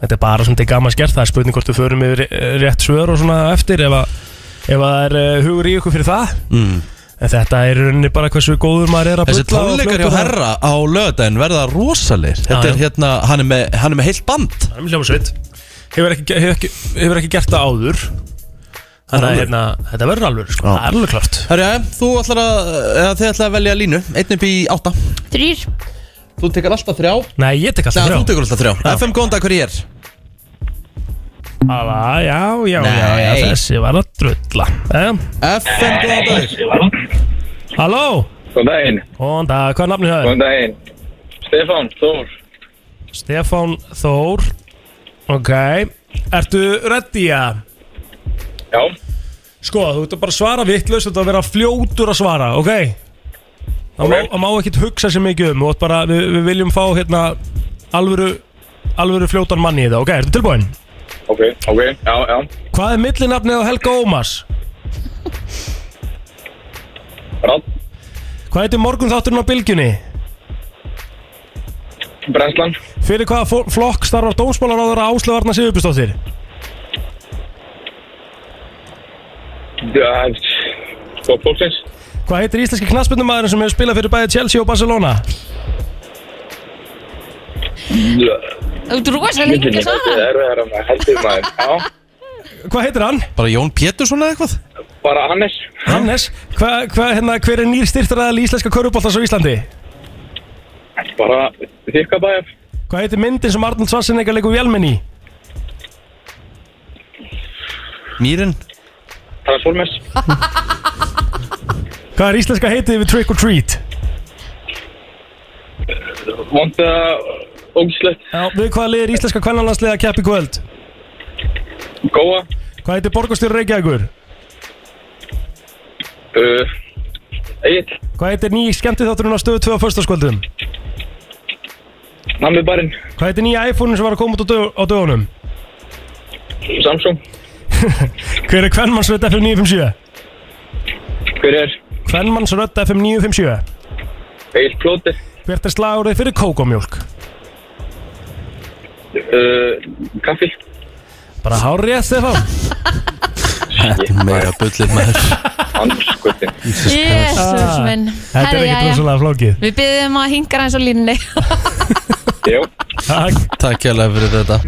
Þetta er bara svona til gaman skert Það er spurning hvort við förum yfir eh, rétt svör og svona eftir ef, að, ef að það er eh, hugur í ykkur fyrir það
mm.
En þetta er í rauninni bara hversu góður maður er að
Þessi
bulla og
tónleikar
fljótur
hjá
að-
herra á löðdæn verða rosalir Þetta
Já,
er
já.
hérna, hann er með, hann er með heilt band
Það er mjög hljómsveit hefur ekki, hefur, ekki, hefur ekki gert það áður Þannig að
alveg.
hérna, þetta verður alveg sko.
Já.
Það er alveg klart
Herra, já, þú ætlar að, eða þið ætlar að velja línu Einn upp í átta
Þrýr
Þú tekur alltaf þrjá Nei,
Nei, ég tek alltaf
þú
þrjá
tekur alltaf þrjá FM, góðan dag, hver ég er?
Alla, Já, já, já, já,
Nei.
þessi var að drulla eh?
FM, góðan dag
Halló,
Góðan daginn,
góðan dag, hvað er nafnið það?
góðan daginn. Stefán, Þór,
Stefán Þór Ok, ertu ready að?
já,
Sko, þú ert að bara svara vittlaust, þú ert að vera fljótur að svara, ok? Það má,
Ok.
það má ekkert hugsa sér mikið um, þú ert bara, við, við viljum fá hérna alvöru, alvöru fljótan manni í það, ok? Ertu tilbúin?
ok, ok, já, já,
Hvað er millinafnið á Helga Ómars?
rann,
Hvað heitir morgun þátturinn á Bilgjunni?
brennslan,
Fyrir hvaða fó- flokk starfar dómsmálaráður að áslöfarna Sigurbjörnsdóttir?
já, sko, fólksins,
Hvað heitir íslenski knassbundumæðurinn sem hefur spilað fyrir bæði Chelsea og Barcelona?
já,
Þú ert rosa lengi að
það
svara
er það er maður, heldur maður, já,
Hvað heitir hann?
Bara Jón Pétursson eða eitthvað?
bara Hannes,
Hannes. Hva, hva, hérna, hver er nýr styrtaraðal íslenska körubóltans á Íslandi?
bara þykkabæjar,
Hvað heitir myndin sem Arnold Schwarzenegger leikur vélmenni í?
Mýrin?
Transformers,
Hvað er íslenska heitið við trick or treat?
vonda, ógislegt,
Já, við hvað liðir íslenska kvennalanslega kepp í kvöld?
góa,
Hvað heitir borgarstjóri Reykjavíkur?
uh, Egil,
Hvað heitir ný skemmtiþátturinn á stöðu 2 á förstaskvöldum?
Nammi barinn,
Hvað heitir nýja iPhone-in sem var að koma út á, dög á dögunum?
Samsung,
Hver er kvennmannsrödd FM 957?
hver er,
Kvennmannsrödd FM 957
Egil Plóti,
Hvert er slagurðið fyrir kókomjólk?
uh, kaffi,
Bara hárið rétt, Stefán
Þetta er meira bullið maður
anskotin,
Jésus minn
Ah, Þetta er
Herri,
ekkert
jæja.
rosalega flókið
Við byrðum að hinga hans á línni
já,
Takk
Takk hérlega fyrir þetta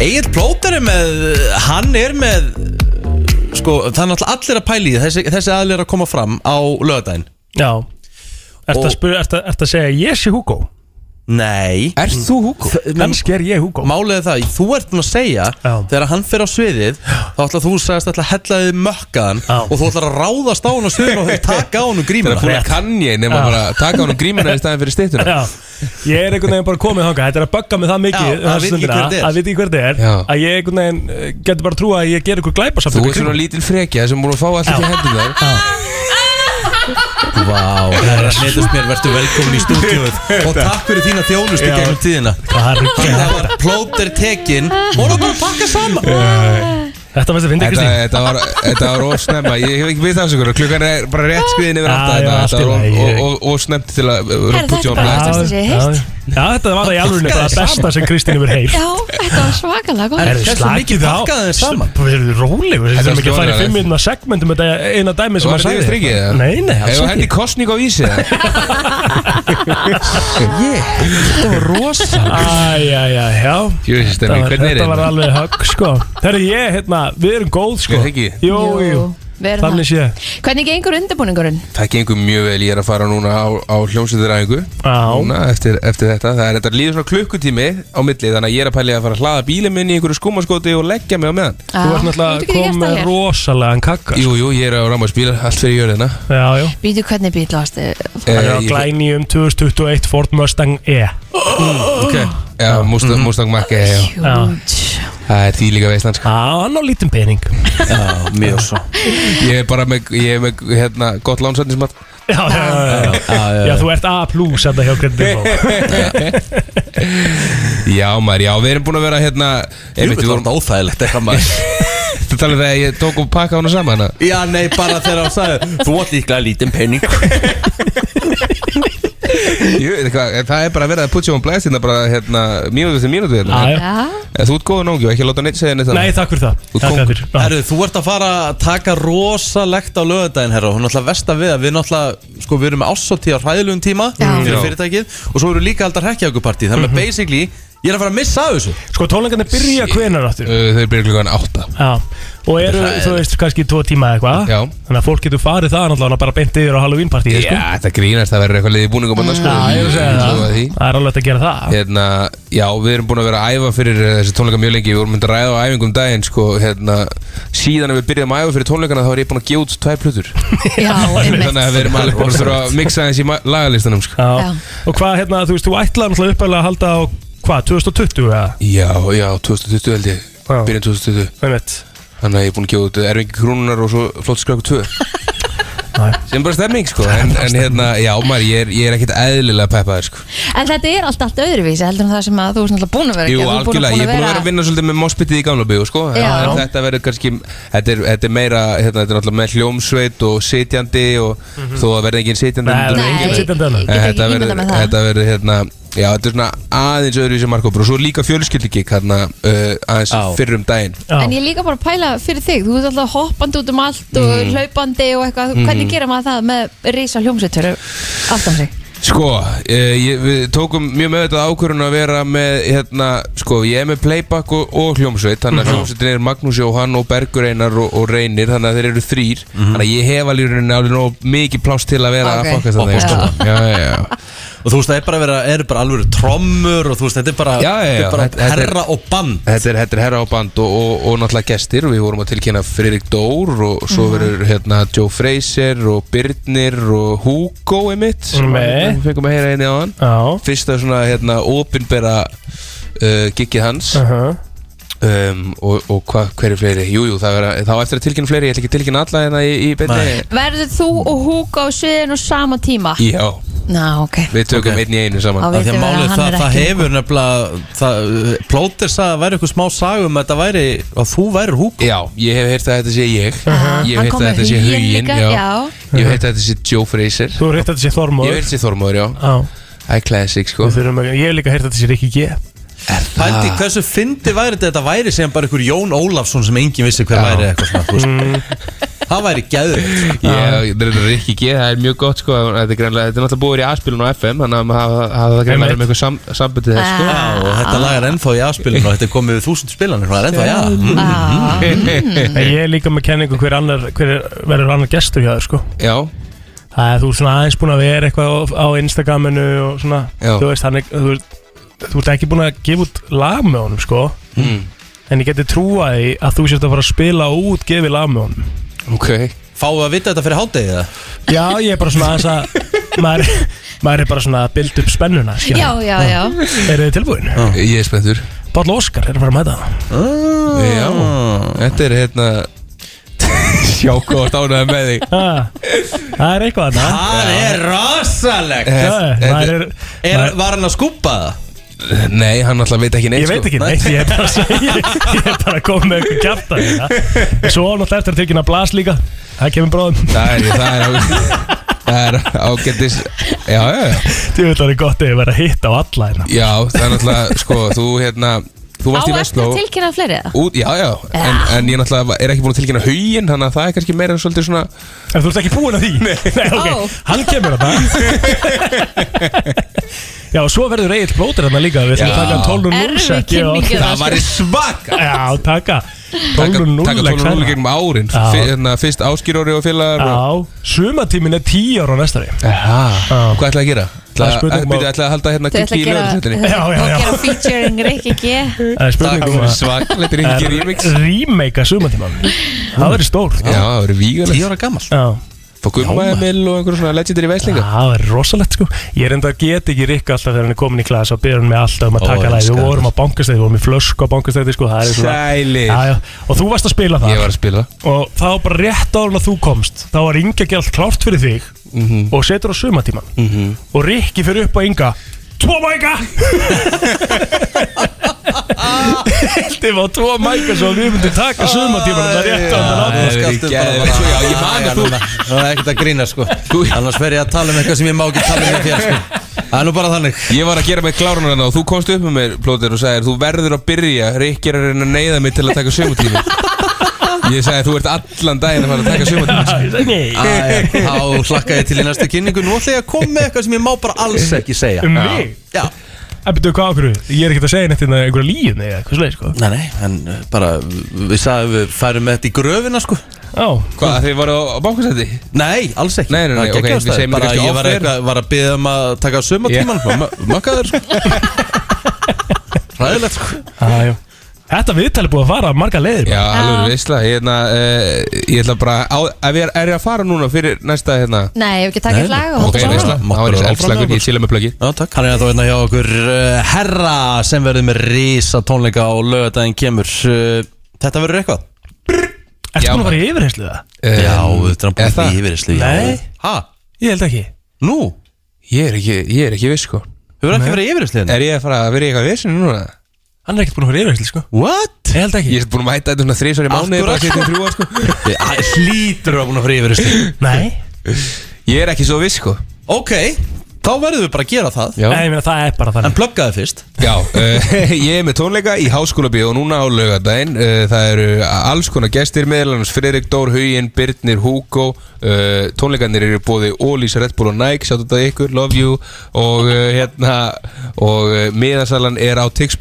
Egil Plóter er með Hann er með Sko, það er náttúrulega allir að pæli þessi, þessi aðlir er að koma fram á löðdæn
Já
Og-
Ertu að, spyr, ertu, ertu að segja ég sé Hugo?
Nei
Er þú Hugo?
Kannski er ég Hugo
Málið er það, þú ert búin að segja
Já.
Þegar hann fer á sviðið Þá ætlar þú sagðist ætla að hella þið mökkaðan
Já.
Og þú ætlar að ráðast á hann og sviðin Og taka á hann og gríma
Þetta er
hann
Rétt.
Kann ég nema
Já.
bara taka honum grímina í staðin fyrir styttuna
Já, ég er einhvern veginn bara komið þangað Þetta er að bögga mig það mikið
Já, að
þessa
vita ekki
stundina,
hver þetta er.
að vita ekki hver þetta er
Já.
Að ég einhvern veginn eh, getur bara trúa að ég ger einhver glæpa samt
Þú ert svona lítil frekja sem búin að fá allt ekki hendur þar
Vá, herra, neytast mér, verður velkomin í stúdíuð Og takk fyrir þína þjónustu
Já.
gegnum tíðina
Það er ekki
Það var plóter tekin Og hann var bara að pakka saman
Þetta finnst að finna
Þetta,
Kristín
þetta var, þetta var ósnemma, ég hef ekki við það sigur Klukkan er bara rétt skriðin yfir
Já,
átta
já,
þetta, þetta
allt í
var
lagi,
ó-
ég-
ó- ó- ósnemmt til að uh,
Herra,
put you on
þetta er bara-
blast.
Þetta er
já,
heilt.
já, þetta var það í alveg bara það besta sem Kristín hefur heilt
Já, þetta var svakalega gott
Er-
Herðu,
hversu mikið pakkaðu þeir saman?
Við erum róleg, við
Þetta
erum ekki að fara í
skoðar
fimm minna segmentum um Þetta er eina dæmi sem
Var þetta
að sagði
yfir strikið, eða?
Nei, nei, alls
Hefur henni
ekki
kostning á vísi eða?
Þetta var rosa
Æ, já, já, já
Jú,
Þetta
stemmi,
var-
hvernig er
Þetta var
þetta?
alveg högg, sko Herru, ég, hérna, við erum góð, sko
Er það ekki?
Jú, jú,
við erum
þannig
það.
sé
Hvernig gengur undirbúningurinn?
Það gengur mjög vel, ég er að fara núna á, á hljómsveiturræðingu
Já,
Núna eftir, eftir þetta, það er þetta líður svona klukkutími á milli Þannig að ég er að pæli að fara að hlaða bílinn minn í einhverju skúmaskoti og leggja mig á meðan
Já,
þú ert náttúrulega
getur ekki
kom
gert það
með
hér.
rosalegan kakka
Jú, jú, ég er á rámaðsbíl, allt fyrir jörðina
Já, já
Býtu hvernig bíl ástu
Eh,
Það er á glæni um 2021 Ford Mustang E
Mm,
mm, Ok, já,
Mhm.
Mustang, Mustang Mach-E, já
Hjúnt
Það er því líka sko. veistlansk
Já, hann á lítinn pening
Mjög svo
Ég er bara með, ég er með hérna, gott lánsetnismat
Já, já, já, já. Já, þú ert A plus þetta hjá Grindinfo
Já maður, já, við erum búin að vera hérna einmitt,
Þetta
við
var
vorum
þetta óþægilegt eitthvað maður
að tala um það að ég tók og pakka hana saman hana.
Já, nei, bara þegar hann sagði Þú átt líklega lítinn penning
Jú, veit hvað, en það er bara verið að putja um blæst hérna bara hérna, mínútu til mínútu hérna
Já, já.
Já,
En Þú ert góður nógi og ekki láta neitt segja neitt
Nei,
annað.
takk fyrir það
Þú
Takk
kóngur.
fyrir Já.
Herru, þú ert að fara að taka rosalegt á lögadaginn, herru Hún er alltaf versta við að við náttúrulega Sko, við erum með ásóti á hræðilegum tíma
Já.
Fyrir
Já. Mhm.
fyrirtækið Og svo eru líka aldar hekkjagupartí Þannig að basically, ég er að fara að missa af þessu
Sko, tónleikarnir byrja hvenar áttur
Uh, Þau byrja klukkan átta
Já, og eru, þú veist, kannski tvo tíma eða eitthvað
Já.
Þannig að fólk getur farið það náttúrulega bara beint yfir á Halloween partíi, sko
Já, það grínast, það verður eitthvað liðið búningum annars, sko.
Já, ég er að segja
Ég lofa
það
því.
Það er alveg hægt að gera það
Hérna, já, við erum búin að vera að æfa fyrir uh, þessi tónleika mjög lengi Við vorum myndið að ræða á æfingum daginn, sko hérna, Síðan að við byrjum að æfa fyrir tónleikana þá er ég búin að gefa út tvær plutur
já, einmitt
Þannig að við erum alveg búin að þurfa að mixa þessi lagalistanum sko.
Já.
Já.
Og hvað, hérna, þú veist, þú ætlaði náttúrulega uppalega að halda á, hvað, 2020 eða?
Já, já, 2020 held ég
Já.
Byrjun 2020
Einmitt
Þannig að ég er búin að gefa út eh, Erfingi Krúnunar og svo Flótt skröku 2
Já.
Sem bara stemming sko En, en hérna, já maður, ég er, ég er ekkit eðlilega peppaður sko
En þetta er allt, allt öðruvísi heldur en það sem að þú er náttúrulega búin að vera að
Jú,
gera. Þú
algjörlega, ég er búin að vera að vinna svolítið með mospitið í gamla byggu sko En-
Já.
En þetta verður kannski, þetta er, þetta er meira, hérna, þetta er náttúrulega með hljómsveit og sitjandi Og þó að verði engin sitjandi
Nei,
myndur-
nei,
Mhm. Nei,
Enginn
ég
sitjandi
get
hana.
ekki
En Eh, þetta
ímynda
verður,
með það
þetta verður, hérna Já, þetta er svona aðeins öðruvísi markópur og svo líka fjölskyldugik hérna uh, aðeins
Já.
fyrrum daginn
Já.
En ég er líka bara að pæla fyrir þig Þú ert alltaf hoppandi út um allt og
Mm.
hlaupandi og eitthvað Hvernig gera maður það með reysa hljómsveitur aftan sig?
Sko, eh, ég, við tókum mjög meðvitað ákvörðun að vera með, hérna, sko, ég er með playback og, og hljómsveit, þannig
Mhm.
að hljómsveitin er Magnús Jóhann og Bergur Einar og, og Reynir, þannig að þeir eru þrýr,
Mhm.
þannig að ég hef alveg í rauninni alveg nóg mikið pláss til að vera
Ok.
að fokast
Upp á
þannig. Já, já, já.
Og þú veist, það er bara að vera, er bara alveg trommur Og þú veist, þetta er bara,
Já, já, já,
þetta er bara
þetta- þetta er-
herra og bann
Þetta er, þetta er herra á band og, og, og náttúrulega gestir, við vorum að tilkynna Fririk Dór og svo verður, hérna, Joe Fraser og Birnir og Hugo emitt,
Mm.
Nei.
við fengum að heyra einni á hann.
Já.
Fyrsta svona, hérna, opinbera uh, giggið hans.
Uh-huh.
um, og, og hva, hver er fleiri jújú, jú, það vera, þá á eftir að tilkynna fleiri ég ætla ekki að tilkynna alla hérna í, í beinni
Nei.
Verður þú og Hugo á sviðinu sama tíma?
já,
Ná, ok
við tökum
Ok.
einn í einu saman
Á
Af því að
Vitum við að
málið
hann
það,
er
það
ekki-
hefur nefnilega það, Plóter sagði að það væri eitthvað smá sagum að þetta væri, að þú væri húk
já, ég hef heyrt að þetta sé ég ég hef
Hann
heyrt
kom
að
með
þetta sé
Huginn
huginn
líka,
já.
já.
ég
Mm.
hef heyrt að þetta sé Joe Fraser
Þú hefur heyrt að þetta sé
ég
Þormóður
hef heyrt að þetta sé Þormóður, já
Já,
það er classic sko
við þurfum að, ég hef líka heyrt að þetta sé Rikki G Ah.
Pældi, hversu fyndi væri þetta þetta væri sem bara einhver Jón Ólafsson sem enginn vissi hver væri eitthvað svona, þú veist
Mm.
Það væri sko. gæður
ég það er ekki ekki, það er mjög gott sko en þetta er greinlega, þetta er náttúrulega búið í aðspilun á FM þannig að maður hafa- hafa það greinlega
Einmitt.
verið með eitthvað sam, sambundið þess sko
Ah.
og þetta lag er ennþá í afspilinu og þetta er komið við þúsund spilanir það er ennþá, já, Mm.
Mm.
Ah,
En ég er líka með kenningu hver annar hver er, verður annar gestur hjá þér sko
já,
Það er þú ert svona aðeins búin að vera eitthvað á, á Instagraminu og svona
Já.
Þú veist, hann er, þú, ert- þú ert ekki búin að gefa út lag með honum sko
Mm.
En ég geti trúa því að þú sért að fara að spila út gefið lag með honum
ok
fáið að vita þetta fyrir hádegið það
Já, ég er bara svona aðeins að maður, maður er bara svona að bilda upp spennuna skilja.
Já, já, já
Er þið tilbúin? Já.
ég er spenntur
Páll Óskar er að fara að mæta það
Ah.
Já, þetta er hérna Sjá hvað stánaði með þig
Ah, Það er eitthvað þarna
það er rosalegt
Já,
Þetta-
maður er,
er,
maður-
var hann að skúpa það?
Nei, hann alltaf veit sko. ekki neitt
Ég veit ekki neitt, ég er bara að segja Ég er bara að koma með eitthvað kjæft að þetta Svo á náttúrulega eftir að tekina blas líka Það kemur bróðum
Það er, það er, á, það er ágættis Já, já, já
Þú veit að það er gott ef ég verið að hitta á alla hérna
Já, það er náttúrulega, sko, þú hérna Þú
Á
varst í
eftir
Vestló
að tilkynna fleiri það
út, Já, já, en, en ég náttúrulega er ekki búin að tilkynna haugin Þannig að það er kannski meira en svolítið svona
En þú ert ekki búin að því? Nei, ok,
Ó.
hann kemur að það Já, og svo verður Egil blótir hérna líka Við ætlum að
Já.
taka hann 12 og 0
Erfið
set ég á-
kynning eða-
Það var í svaka
Já, taka 12
Taka
og 0
taka 12 og 0 gegnum árin
Já.
Fyr- hérna, Fyrst áskýróri og félagar og-
Já, sumatímin er 10 ára á næstari
Aha. Hvað ætlaði að gera?
Það er spurning um að-
Ætlaði að halda hérna
Þau ætla
kikki
að
í
gera,
lögursettinni
Já, já, já.
og gera featuring Rikki G
Það er
Það
spurning um
var
að
svakalegt er ekki remix
Remake að sumatíman Það verður stór
Já, það verður vígalegt
10 ára gammal
Já
Fá gumma
Já, maður.
Emil og einhverjum svona legendary
Já,
væslinga
það er rosalegt sko Ég er enda að geta ekki Rikka alltaf þegar hann er komin í klasa og byrja hann með alltaf um að
Ó,
taka lægi Við
elskar
vorum á bankastæði, við vorum í flösku á bankastæði sko Það er svona
Sælir
Já, já, og þú varst að spila það
Ég var að spila
og þá bara rétt áður en að þú komst þá var Inga gælt klárt fyrir þig
Mhm.
og setur á sumatíman og Rikki fyrir upp á Inga Tvo mæka! Þið var tvo mæka svo að við myndum taka sumatíman og það rétt áður en
já.
að það
hefði
Skaptu bara
geðveikt. Já,
bara-
ég man að
Æ,
þú-
núna- Það er ekkert að grína sko Annars verð ég að tala um eitthvað sem ég má ekki tala um í þér sko Það er nú bara þannig
Ég var að gera með klárunar hérna og þú komst upp með mér plótir og sagðir þú verður að byrja Rikki er að reyna að neyða mig til að taka sömutími Ég sagði þú ert allan daginn að fara að taka sömutími
Ég sagði, Nei,
Æ, Þá hlakka ég til í næstu kynningu Nú ætla ég að koma með eitthvað sem ég má bara alls ekki segja
um mig
Já,
Það byrjuðu hvað okkur við? Ég er ekkert að segja neitt innan einhverja líðin eða eitthvað sleið sko
nei, nei, en uh, bara Við sagðum við færum með þetta í gröfina sko
Já,
Hvað þið voru á, á bankasæti?
Nei, alls ekki
Nei, nei, nei,
Það er
ok,
geggjaður
við segjum
staður.
þetta
bara
kannski
ég var,
off-air.
eitthvað, var að byggja um að taka sumatíman yeah. Mökkaður sko Ræðilegt sko
Ah, já, já Þetta viðtal er búið að fara marga leiðir
Já, alveg veistla Ég, hérna, uh, ég ætla bara á, ef ég er, er ég að fara núna fyrir næsta hérna
Nei, ef ekki taka eitt
Nei,
lag og
Ok,
halda svo
veistla,
áfram.
það
Máttu
var
vera
eins
áfram
eldslægur
með sko.
Ég síla með plöggi
Já, takk Hann er þá hérna hjá okkur uh, herra sem verður með risa tónleika á lögadaginn kemur uh, Þetta verður eitthvað?
Ertu
Já,
búin að fara í yfirheyslu það?
Eh,
Já, þetta er
er
búin
það?
fyrir yfirherslu já.
Nei.
Ha?
Ég held ekki
Nú?
Ég er ekki, ég er ekki viss sko
Hefur ekki verið yfirherslu hérna?
Er ég að fara að vera í eitthvað vissinni núna?
Hann er ekkert búin að fara í yfirheyslu sko
What?
Ég held ekki
Ég er búin að mæta þetta svona þrísvar í mánuði bara
Akkurat.
sitja í þrjú ár, sko.
Hlýtur að búin að fyrir yfirherslu
Nei
Ég er ekki svo viss sko
Ok, þá verðum við bara að gera það
Já.
Nei, ég meina það er bara
En
þannig
pluggaðu fyrst
Já, uh, ég er með tónleika í Háskólabíu og núna á laugardaginn uh, Það eru alls konar gestir meðlanars Friðrik Dór, Huyin, Birnir, Hugo uh, Tónleikanir eru bóði Ólís, Red Bull og Nike Sjáttu þetta ykkur, love you Og uh, hérna Og uh, miðasalan er á tix.is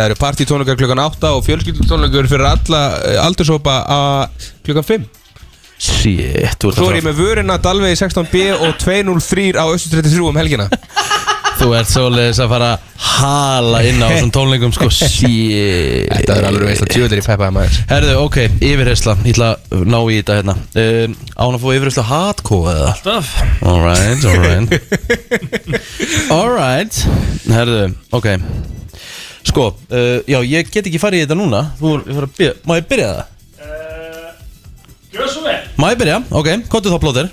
Það eru partítónleikar klukkan 8 og fjölskyldutónleikar fyrir alla uh, aldursópa að klukkan 5
Shit, þú ert
Svo
að
er ég
fara-
með vöruna Dalvegi 16B og 203 á Östu 33 um helgina
Þú ert svoleiðis að fara að hala inn á þessum tónleikum sko Shit
Þetta er alveg veist að tjóður í peppaði maður
Herðu, ok, yfirhersla, ég ætla að ná í þetta hérna um, Án að fá yfirhersla hardcore eða?
Stöf
Alright, alright Alright Herðu, ok Sko, uh, já, ég get ekki farið í þetta núna Þú voru, ég voru að byrja, má ég byrja það?
Gjör svo vel
Má ég byrja, ok, kontu þá plóðir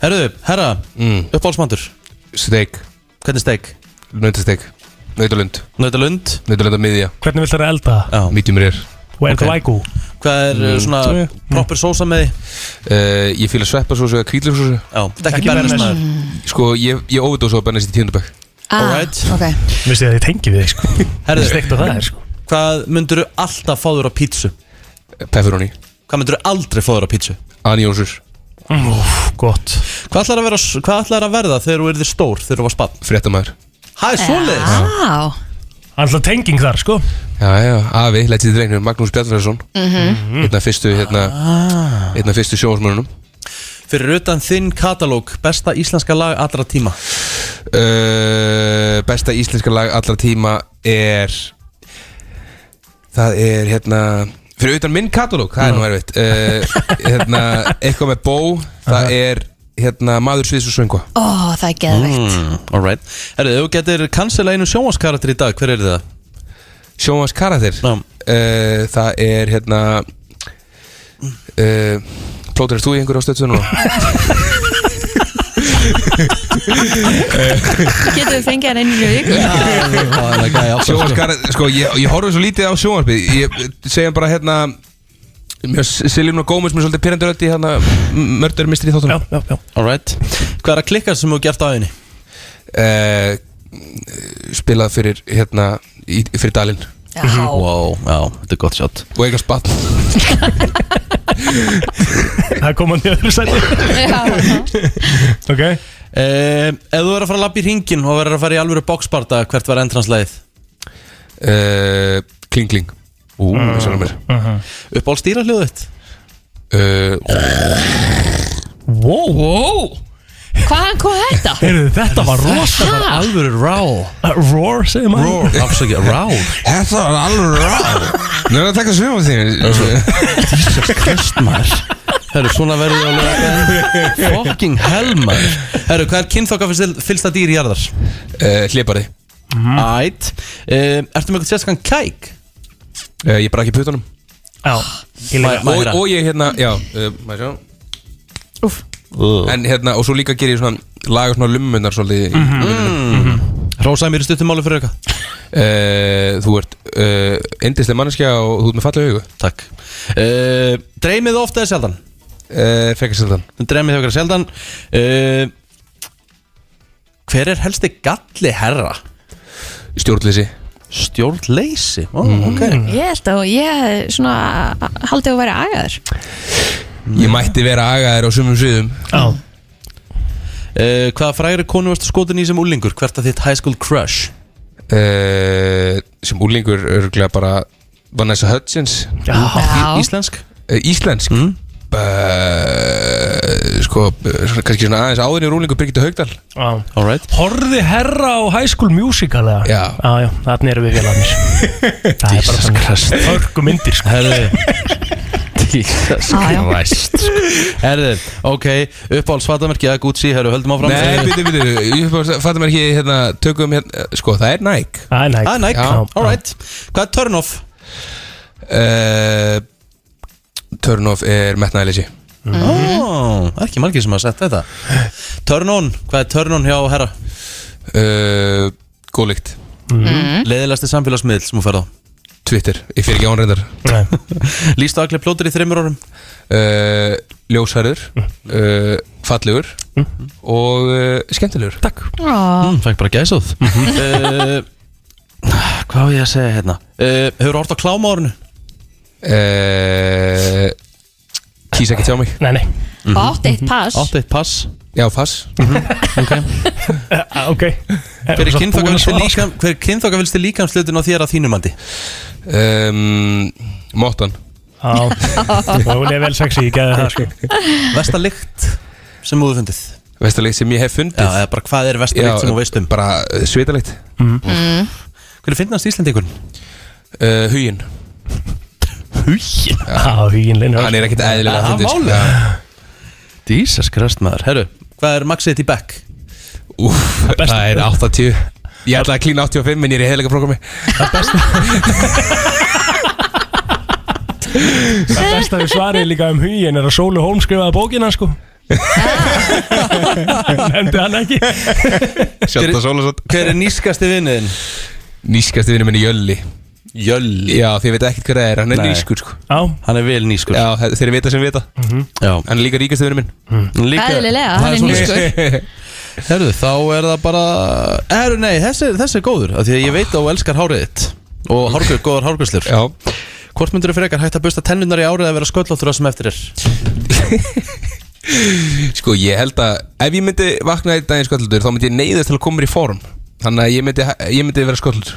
Herðu, herra,
Mm.
uppáhaldsmantur
Steak,
Hvernig steik?
nautasteak, nautalund
Nautalund
Nautalund á miðja,
Hvernig vill það elda það?
Já,
mítjum er
Where
Ok.
do I go?
hvað er mm. svona proper sósa með því?
uh, Ég fýla sveppasósu eða kvíðlöfsósu
Já, þetta er
Ekki
ekki bernis
bernes.
maður
Sko, ég, ég óvita svo að bennast í tíundabæk
Ah,
Alright.
ok.
Vissið þið að ég tengi við þig sko
Herðu,
Steikt á það er sko
hvað myndur þú alltaf fáður á pítsu?
Pepperoni,
Hvað myndur þú aldrei fáður á pítsu?
anjónsur,
Úf, gott
Hvað ætlar að vera, hvað ætlar að verða þegar þú erðir stór þegar þú var spann?
fréttamaður
Það er svoleiðis
Já,
Alltaf tenging þar sko
Já, já, afi, letið drenginu, Magnús Bjarnfæðarsson mm
Mhm.
-hmm. Einna fyrstu, hérna
Ah.
Einna fyrstu sjónsmönunum
Fyrir utan þinn katalóg, besta íslenska lag allra tíma
uh, Besta íslenska lag allra tíma er Það er, hérna Fyrir utan minn katalóg, það er nú erfitt uh, Hérna, eitthvað með bó Það er, hérna, maður sviðs og svöngva
ó, það er geðveikt
mm, Alright Herðu, ef þú getur cancela einu sjónvaskarakter í dag, hver er það?
Sjómas karakter
Já.
Eh, Það er hérna eh, uh, Plóter, er þú í einhverju ástöðsöð núna?
Getum við fengið hann einu viku
Það er að gæja áfram sko.
Sjónvarpsgarð, sko, ég, ég horfði svo lítið á sjónvarpið Ég segja bara hérna Mér Silvínu Gómez mér svolítið pyrrandur öll í hérna Mördur mistri í
Já,
þáttunum
já, já
Alright Hvað er að klikka sem þú hefur gert á henni?
uh, Spilað fyrir hérna í, Fyrir Dalinn
Já,
Wow, já, þetta er gott shot
Og eiga spatt
Það kom hann í öðru sæti
já
Ok
uh, Ef þú verður að fara að labba í ringin og verður að fara í alvöru boxbarta hvert var endranslæðið?
uh, Kling kling Ú,
Ah,
það er mér
Upp ál stýra hljóðu þitt?
uh,
Wow, wow.
Hvaðan kom þetta?
Heyrðu, þetta var rosa
Það var alvöru rál
Roar, segir maður
Roar, afsakið, rál
Þetta var alveg ráð Nú er það að taka sjónvarpið þínu
Kristmar Herru, svona verður ég alveg Fucking hell, maður Herru, hvað er kynþokka fylsta dýr í jarðar?
uh, Hlipari
Ætt uh, Ertu með eitthvað sérstakann kæk?
uh, Ég brak í putunum
Já,
Ah,
ég líka
og,
Mæra.
og ég hérna, já uh, maður sjá
Úff.
En hérna, og svo líka ger ég svona laga svona lummunar svolítið mm
Rósaði mér í stuttum máli fyrir eitthvað
Þú ert uh, endislega manneskja og þú ert með fallega hugu
Takk uh, Dreymið ofta eða sjaldan?
uh, Frekar sjaldan
Dreymið hefur sjaldan uh, Hver er helsti galli herra?
Stjórnleysi Mhm.
Stjórnleysi Ó, ok
Ég held að ég hefði svona haldið að vera agaður
Ég mætti vera agaðir á sumum sviðum
Já,
uh, Hvaða frægri konu varstu skotin í sem úlingur? Hvert að þitt high school crush?
uh, Sem úlingur örgulega bara Vanessa Hudgens
já,
Í-
Já,
Íslensk?
uh, Íslensk mm. Sko, eh, svona- kannski svona aðeins áður í úlingur Birgitta Haugdal
já.
Alright
Horði herra á High School Musical eða? Ah,
Já.
Já, já, þannig erum við félagarnir Það er bara þannig Hörgu myndir sko
Herðu Jesus
Já, já.
Christ sko. Herðu, ok Uppáhalds fatamerki að Gucci Herðu, höldum áfram
Nei, byrju, byrju, ég fattum ekki hérna, tökum hérna, sko, það er Nike
Það er nægt
Ah, Nike,
Já.
alright Hvað er turn off?
uh, Turn off er metnaðilisi
Mm-hmm. Ó, ekki margir sem hafa sett þetta Turn on, hvað er turn on hjá herra?
uh, Góðlíkt
Mm. Leðilegasti samfélagsmiðl sem þú ferð á
Twitter, ég fyrir ekki ánreindar
Lýstu allir plótur í þreymur orðum
uh,
Eh,
Ljósherður uh, Fallegur
Mm.
Og uh, skemmtilegur Takk
Ó,
eh, mm, Fæk bara gæsóð
Mhm.
uh, Hvað á ég að segja hérna? Uh, hefur hort á kláma árinu?
uh,
Eh,
Kýs ekki tjá mig
Nei, nei,
og átti eitt pass
Áttið Mhm. pass Mhm.
Já, fass
Mhm. ah, ok
Hver er kynþokkafylsti
líka?
líkam, hver er kynþokkafyllsti líkamslutin á þér að þínum andi?
um,
Ehm,
Mottan
Já, hún er vel sexy, ég geði það sko
Vesta lykt sem þú hefur fundið
Vestalegt sem ég hef fundið
Já, eða bara hvað er vesta lykt sem þú veist um Mhm.
bara uh, svitalegt
Mhm.
Hver er finnast Íslandingur?
uh, Huginn,
Já, hugin linur
hann er ekkert eðlilega
Það er
fyndinn, sko.
málið. Jesus Christ maður, herru Hvað er maxið í back?
Úff,
besta.
það er 80 Ég ætla að klína 85 en ég er í heilega programmi
Það besta við svarið líka um hugin er að Sólu Hólm skrifaði bókina sko Nefndi hann ekki
Sjötta sólasot
Hver er nýskasti vinniðin?
Nýskasti vinur minni Jölli
Jölli
Já, þið veit ekkert hver það er, hann er
Nei.
nýskur sko
Já,
Hann er vel nýskur
Já, þe- þeir vita sem vita
Já.
Hann er líka ríkasti vinur minn
Líka,
Eðlilega,
það
hann er
svoleiðis.
nýskur
Herru, þá er það bara Herru, nei, þessi, þessi er góður af Því að ég veit að þú elskar hárið þitt Og hárgur, góðar hárgurslur
Já,
Hvort myndur þú frekar hægt að busta tennunar í árið að vera sköllóttur það sem eftir er?
sko ég held að Ef ég myndi vakna í daginn sköldur Þá myndi ég neyðast til að koma mér í form Þannig að ég myndi, ég myndi vera sköldur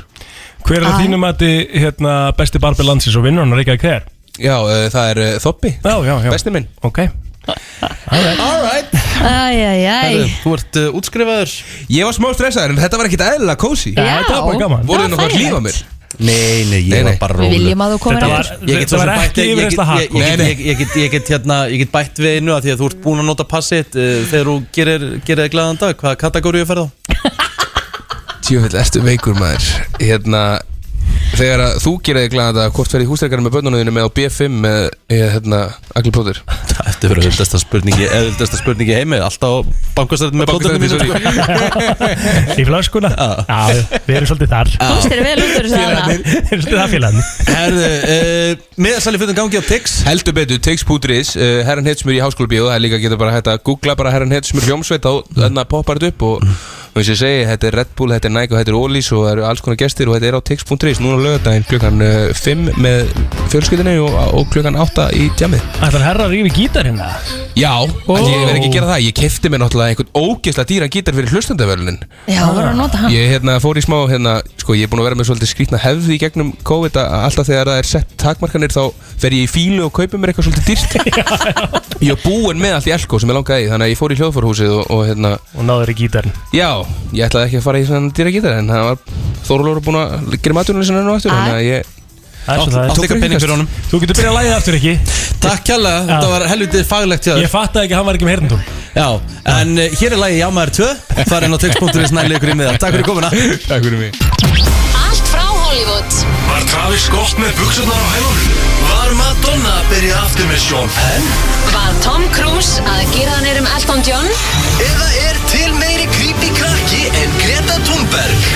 hver er að þínu mati hérna, besti barbi landsins og vinnur hann Ríkjaði hver?
Já, uh, það er uh, Þoppi
Já, já, já
Besti minn
Ok
Alright
Æjæjæj
Herru, þú ert uh, útskrifaður
Ég var smá stressaður en þetta var ekkert eðlilega kósi
Já,
þetta var bara gaman.
Voruð þið nokkuð að
þægilegt.
hlýfa mér?
Nei, nei, ég
Nei, nei.
var bara
Við
rólegur.
viljum að þú komir
Þetta
aftur.
var,
Ég get,
þetta var ekki
ég,
yfirreist
get,
að
ég,
hakko
ég, ég, ég, get, ég, get, hérna, ég get bætt við einu að því að þú ert búin að nota passið uh, þegar þú gerir, gerir þig glæðan dag hvaða kategóriu ferð á?
Tjófell, ertu veikur maður Hérna Þegar að þú gerir þig glæðan þetta Hvort ferði hústækarinn með bönnunum þínu með á B5 með eh, hérna, allir plótur
Þetta verður auðvitaðsta spurningi auðvitaðsta spurningi í heimi Alltaf á bankastræðin með plótunum
Bankastræti,
mínu
sorry.
Í flaskuna Já, við erum svolítið þar
Komst þér vel út úr þessu hana?
Við erum svolítið þar félagarnir
Herðu,
eh,
uh, miðasali fyrir gangi á Tix
Heldur betur, tix.is, uh, herran heitsmur í háskóla bíó Það er líka að geta bara hægt að googla bara herran heitsmur hljómsveit og þarna poppar þetta upp og og eins og ég segi, þetta er Red Bull, þetta er Nike og þetta er Ollís og það eru alls konar gestir og þetta er á tix.is Núna á laugardaginn klukkan uh, 5 með fjölskyldinni og, og klukkan 8 í djamið
Ætlar herra að rífi gítar hérna
Já, en ég verð ekki að gera það Ég kefti mér náttúrulega einhvern ógeðslega dýran gítar fyrir hlustendavölunin
Já, voru að nota hann
Ég hérna, fór í smá, hérna, sko, ég er búin að vera með svolítið skrýtna hefði í gegnum COVID að alltaf þegar það er sett takmarkanir þá fer ég í fílu og kaupi mér eitthvað svolítið dýrt Ég er búinn með allt í elko sem ég langaði í þannig að ég fór í hljóðfórhúsið og, og hérna,
Og náður í gítarn
já, ég ætlaði ekki að fara í svona dýra gítar en það var Þorlóru búinn að gera maturinn sinna enn og aftur þannig að ég,
Það er svo það
Átti
er.
eitthvað pening fyrir honum
Þú getur byrjað að læða aftur ekki
Takk kjalla, þetta var helviti faglegt hjá þér
Ég fattaði ekki að hann var ekki með herndum
Já, en uh, hér er lagi Jámaður 2 Það er enn á Tix.is nælið ykkur í miða Takk fyrir komuna
takk fyrir mig
Allt frá Hollywood
Var Travis gott með buksurnar á hælunum? Var Madonna að byrja aftur með Sean Penn?
Var Tom Cruise að gera hann erum Elton John
Eða er til meiri creepy krakki en Greta Thunberg?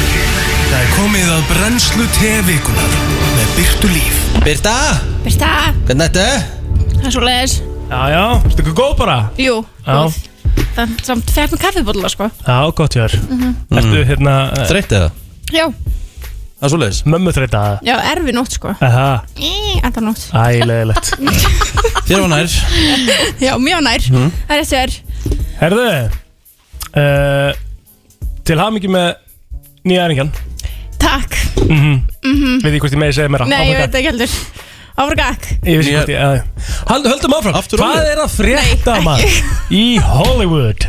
Það er komið að brennslu tevikunar með Byrtu Líf.
Birta,
Birta,
hvernig þetta?
það er svo leiðis
Já, já, veistu hvað góð bara
Jú,
Já.
góð. það samt fekk mér kaffibólla sko
Já, gott hjá þér Ertu hérna eh,
Þreytt eða?
Já,
Mm. Það er svoleiðis
mömmu þreitaða
já, erfi nótt sko
Aha,
Enda nótt
ægilegilegt
Þér var nær
Já, mjög nær, það er þessi er
Herðu uh, Til hamingi með nýja æringjan
Mhm. Takk, Mhm.
Við því hvort ég meði segja mér
nei, ég veit ekki heldur Áfragak,
Ég vissi hvort ég já, já. Hald, Höldum áfram
Aftur
Hvað
orðið.
er að frétta
Nei,
maður Í Hollywood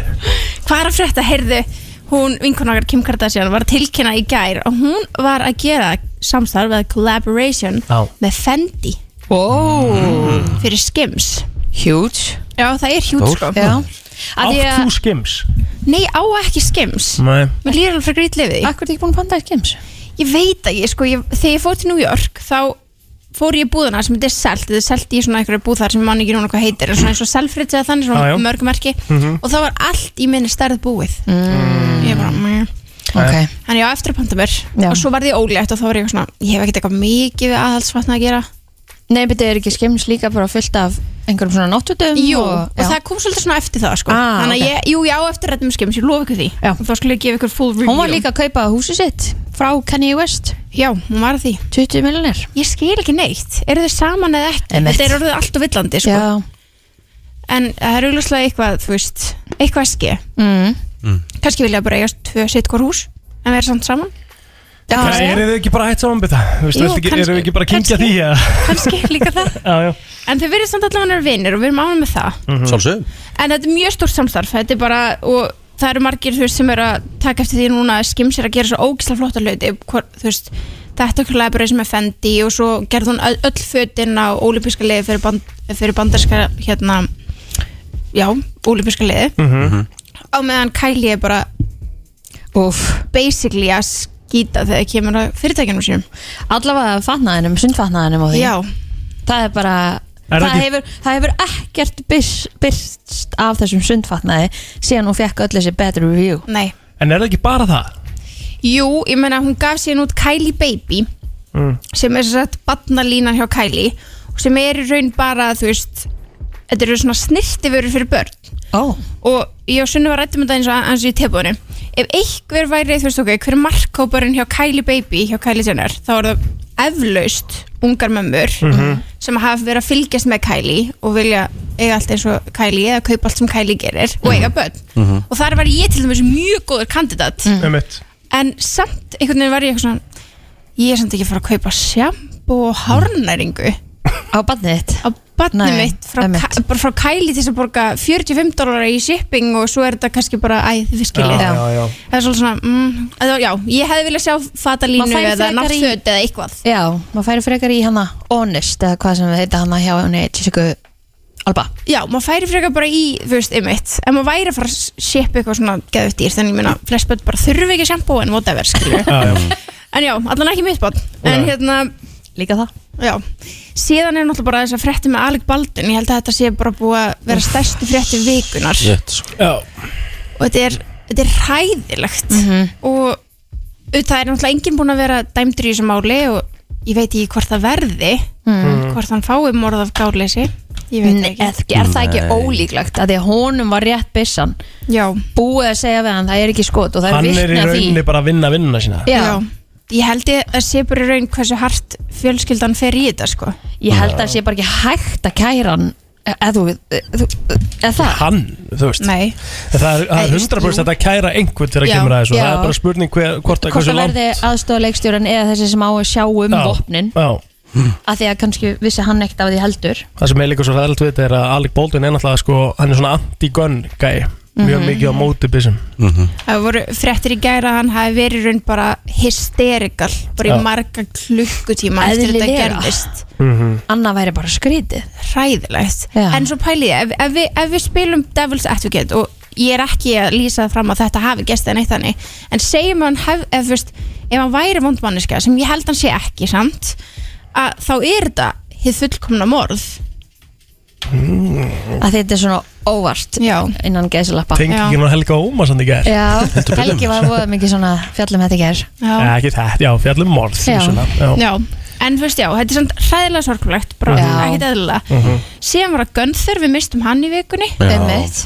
hvað er að frétta, heyrðu Hún, vinkona okkar Kim Kardashian, var að tilkynna í gær og hún var að gera samstarf eða collaboration
Já.
með Fendi
Wow,
fyrir Skims
Mm. huge
Já, það er hjút sko
Já,
Að
Átt
því
þú
að,
skims
nei, á ekki Skims
Nei
Mér líður alveg fyrir grýt lifið í
akkur er ekki búin að panta í skims
Ég veit ekki, sko, ég, þegar ég fór til New York þá fór ég í búðuna sem þetta er selt þetta er selt í svona einhverju búð þar sem mann ekki núna hvað heitir en svona eins og selfridge eða þannig
Ah, Já, Mhm. já.
svona mörgumarki og þá var allt í minni stærð búið
Mm.
ég bara meh.
Ok,
þannig ég á eftir að panta mér
Já.
og svo var ég ólétt og þá var ég eitthvað svona ég hef ekkert eitthvað mikið við aðhaldsvatna að gera
nei, betur er ekki skims líka bara fullt af einhverjum svona náttutum
jú,
og,
og,
já.
það kom svolítið svona eftir það sko.
Ah,
þannig að
ok.
ég, jú, ég á eftir rættum skims, ég lofa ykkur því
Já.
og þá skulle ég gefa ykkur full review
Hún var líka að kaupa húsi sitt frá Kanye West
já, hún var að því
20 miljonir
ég skil ekki neitt, eru þið saman eða ekki
Einmitt.
þetta er orðið allt og villandi sko.
Já,
en það er augljóslega eitthvað, þú veist, eitthvað eski
mm.
kannski vilja bara eiga tvö sitt hvort hús en vera samt saman,
já
Nei, eru þið ekki bara hægt saman við það? Vistu,
Jú,
viltu ekki,
kannski-
eru við ekki bara að kynkja því?
kannski.
eða?
kannski líka það
Já, Mhm. já
en þau verið samt allavega hann er vinnir og við erum ánum með það
Sjálfsög
en þetta er mjög stórt samstarf, þetta er bara og það eru margir þú veist sem eru að taka eftir því núna að skims er að gera svo ógislega flotta hluti hvor, þú veist, þetta kollaboration með Fendi og svo gerði hún öll, öll fötin á ólípiska liði fyrir, band, fyrir bandarska hérna já, ólípiska liði
Mm-hmm.
á meðan Kylie er bara
Úf,
basically að skýta þegar það kemur að fyrirtækjanum sínum
allavega fatnaðinum, sundfatnaðinum og um því
Já,
Það er bara
Er það
það,
ekki-
hefur, það hefur ekkert byrs- byrst af þessum sundfatnaði síðan hún fekk öll þessi better review
nei
En er það ekki bara það?
Jú, ég meina hún gaf síðan út Kylie Baby sem er svo sett batnalínan hjá Kylie og sem er í raun bara, þú veist þetta eru svona snirtiförur fyrir börn
Ó,
og ég og Sunni var rættum þetta eins og eins og í tebúinu ef einhver væri, þú veist ok, hver er markkóparinn hjá Kylie Baby hjá Kylie Jenner, þá er það eflaust ungar mömmur
Mhm.
Mhm.
sem hafa verið að fylgjast með Kylie og vilja eiga allt eins og Kylie eða kaupa allt sem Kylie gerir og eiga börn
Mhm.
og þar var ég til dæmis mjög góður kandidat
Um mitt
en samt einhvern veginn var ég eitthvað svona ég er samt ekki að fara að kaupa sjampo og hárnæringu
á badnið þitt
á barnið
Nei,
mitt frá,
einmitt.
Ka- bara frá Kylie til þess að borga 45 dólarar í shipping og svo er þetta kannski bara æ, þið skiljið
Já.
það
já
það er svolítið svona, mm, að, já, ég hefði viljað sjá
Maður
fatalínu
færi
eða
frekar í-
náttföt eða eitthvað
Já, maður færi frekar í hana Honest eða hvað sem við heita hana hjá henni Jessica Alba
já, maður færi frekar bara í, þú veist, ymmit en maður væri að fara að shippa eitthvað svona geðvægt dýr, þannig ég meina, flest börn bara þurfi ekki sjampo en whatever, skilju
Já, já
en já, allan ekki mitt barn en hérna,
Líka það
já. Síðan er náttúrulega bara þess að frétti með Alec Baldin, ég held að þetta sé bara búið að vera stærstu frétti vikunar
Shit, sko.
og þetta er, þetta er hræðilegt
Mhm.
og uh, það er náttúrulega enginn búin að vera dæmdur í þessu máli og ég veit ekki hvort það verði
Mhm.
hvort hann fái morð af gáleysi ég veit
Nei,
ekki
ekki, er það ekki ólíklegt að því að honum var rétt byssan
Já.
búið að segja við hann, það er ekki skot og það
Hann
er
er í
vitni að því
rauninni bara að vinna vinnuna sína
Já.
Ég held ég að sé bara í raun hversu hart fjölskyldan fer í þetta sko
ég held að það sé bara ekki hægt að kæra hann eða þú, e, eða þú- eða það
Hann, þú veist
Nei
Það er, það
Nei,
er 100% að kæra einhvern fyrir að
Já,
kemur að þessu
já.
Það er bara spurning hver, hvort að
hvort
hversu
það
langt
verði aðstofuleikstjóran eða þessi sem á að sjá um
Já,
vopnin
Já,
að því að kannski vissi hann ekkert af því heldur
það sem er líka svo ræðilegt við þetta er að Alec Baldwin er náttúrulega sko, hann er svona anti-gun gæi Mjög
Mhm.
mikið á móti byssum
Mhm.
Það voru fréttir í gæra að hann hafi verið í raun bara hysterikal bara í
Já.
marga klukkutíma eftir þetta
Eðlilega.
gerðist
Mhm.
annað væri bara skrítið
Hræðilegt En svo pæli ég, ef, ef, við, ef við spilum Devil's Advocate og ég er ekki að lýsa það fram að þetta hafi gestið neitt þannig en segjum að hann hef, ef, þú veist, ef hann væri vondmanniska sem ég held hann sé ekki samt að þá er þetta hið fullkomna morð
Mm.
að þetta er svona óvart Já. innan gæðsilappa
Tengingin var Helga Ómas hann í gær
Já, Helgi var voða mikið svona fjallum þetta ger
Eh, Ekki þetta, já, fjallum morð
Já.
svona,
Já, en þú veist já, þetta er samt hræðilega sorgulegt, bara
Já.
ekkert eðlilega
Mhm.
síðan var að Gunther, við mistum hann í vikunni
Já.
Einmitt.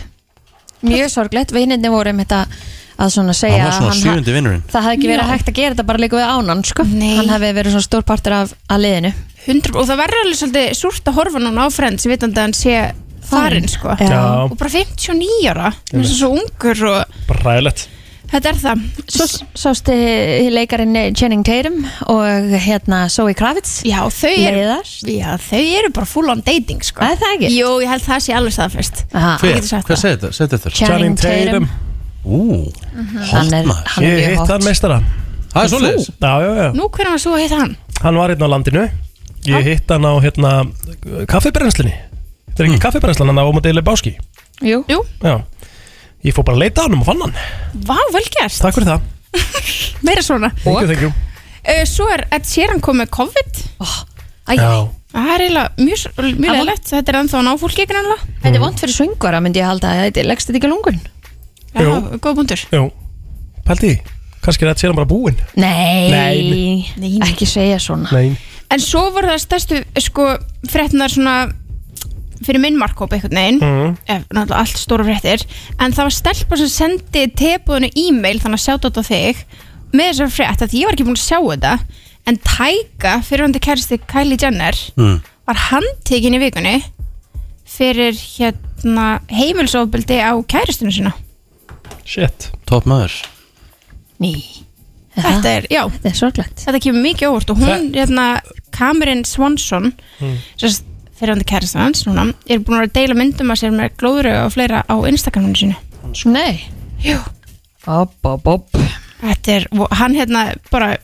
Mjög sorglegt, vinninni voru einmitt að að svona segja
Hann var
að
svona
hann,
sjöundi vinnurinn
það hefði ekki verið
Já.
hægt að gera þetta bara líka við ánan sko. hann hefði verið svona stórpartur af að liðinu
100, og það verður alveg svolítið súrt að horfa núna á Friends vitandi að hann sé farin sko
Já. Já.
og bara 59 ára hann er
Einmitt.
svo ungur og
Bara ræðilegt
þetta er það
Svo sástu leikarinn Channing Tatum og hérna Zoe Kravitz
Já, þau eru-
Leiðast.
já, þau eru bara full on dating sko
Það er það ekki?
Jú, ég held það sé alveg staðfest
Ah,
Hver? Hvað segir þetta? Segir þetta?
Channing Channing Tatum. Tatum.
Ú,
Hann er-
maður.
hann er
Ég
mjög
hitt
hot.
hann meistara
Það er svoleiðis?
Já, já, já
Nú, hvernig var svo að heita hann?
Hann var hérna á landinu
Ah.
Ég hitt hann á hérna kaffibrennslunni Þetta er
Hmm.
ekki kaffibrennslan, hann á Omadeli Báski
Jú,
Jú.
Já Ég fór bara að leita að hann og fann hann
Vá, vel gert
Takk fyrir það
Meira svona
Thank you, thank you
uh, Svo er Ed Sheeran kom með COVID oh,
Já.
Það er eiginlega mjög, mjög leilegt Þetta er ennþá náfólki ekki ennlega
Þetta er vond fyrir svöngvara myndi ég halda að þetta leggst þetta ekki á lungun
Já, góð búndur
Jú, pældi því Kannski er þetta sér hann bara búinn
Nei,
Nei.
ekki segja svona
Nei
En svo voru það stærstu sko, fréttinar svona fyrir minn markkóp einhvern veginn
Mhm.
ef, náttúrulega allt stóru fréttir en það var stelpa sem sendi tebúðinu e-mail þannig að sjá þetta á þig með þessar frétt að ég var ekki búin að sjá þetta en Tæka, fyrir hann til kæristi Kylie Jenner
Mm.
Hmm.
var handtekinn í vikunni fyrir hérna heimilsofbildi á kæristinu sína
Shit
Top maður
Ný
Þetta er, já
Þetta er sorglegt
Þetta kemur mikið óvart og hún, hérna, Cameron Swanson
Mm.
sérst fyrirhandi kærasta hans núna er búin að vera að deila myndum að sér með glóðröð og fleira á Instagraminu sínu
Sko, Nei
Jú
Bob, bob, bob
Þetta er, og hann hérna bara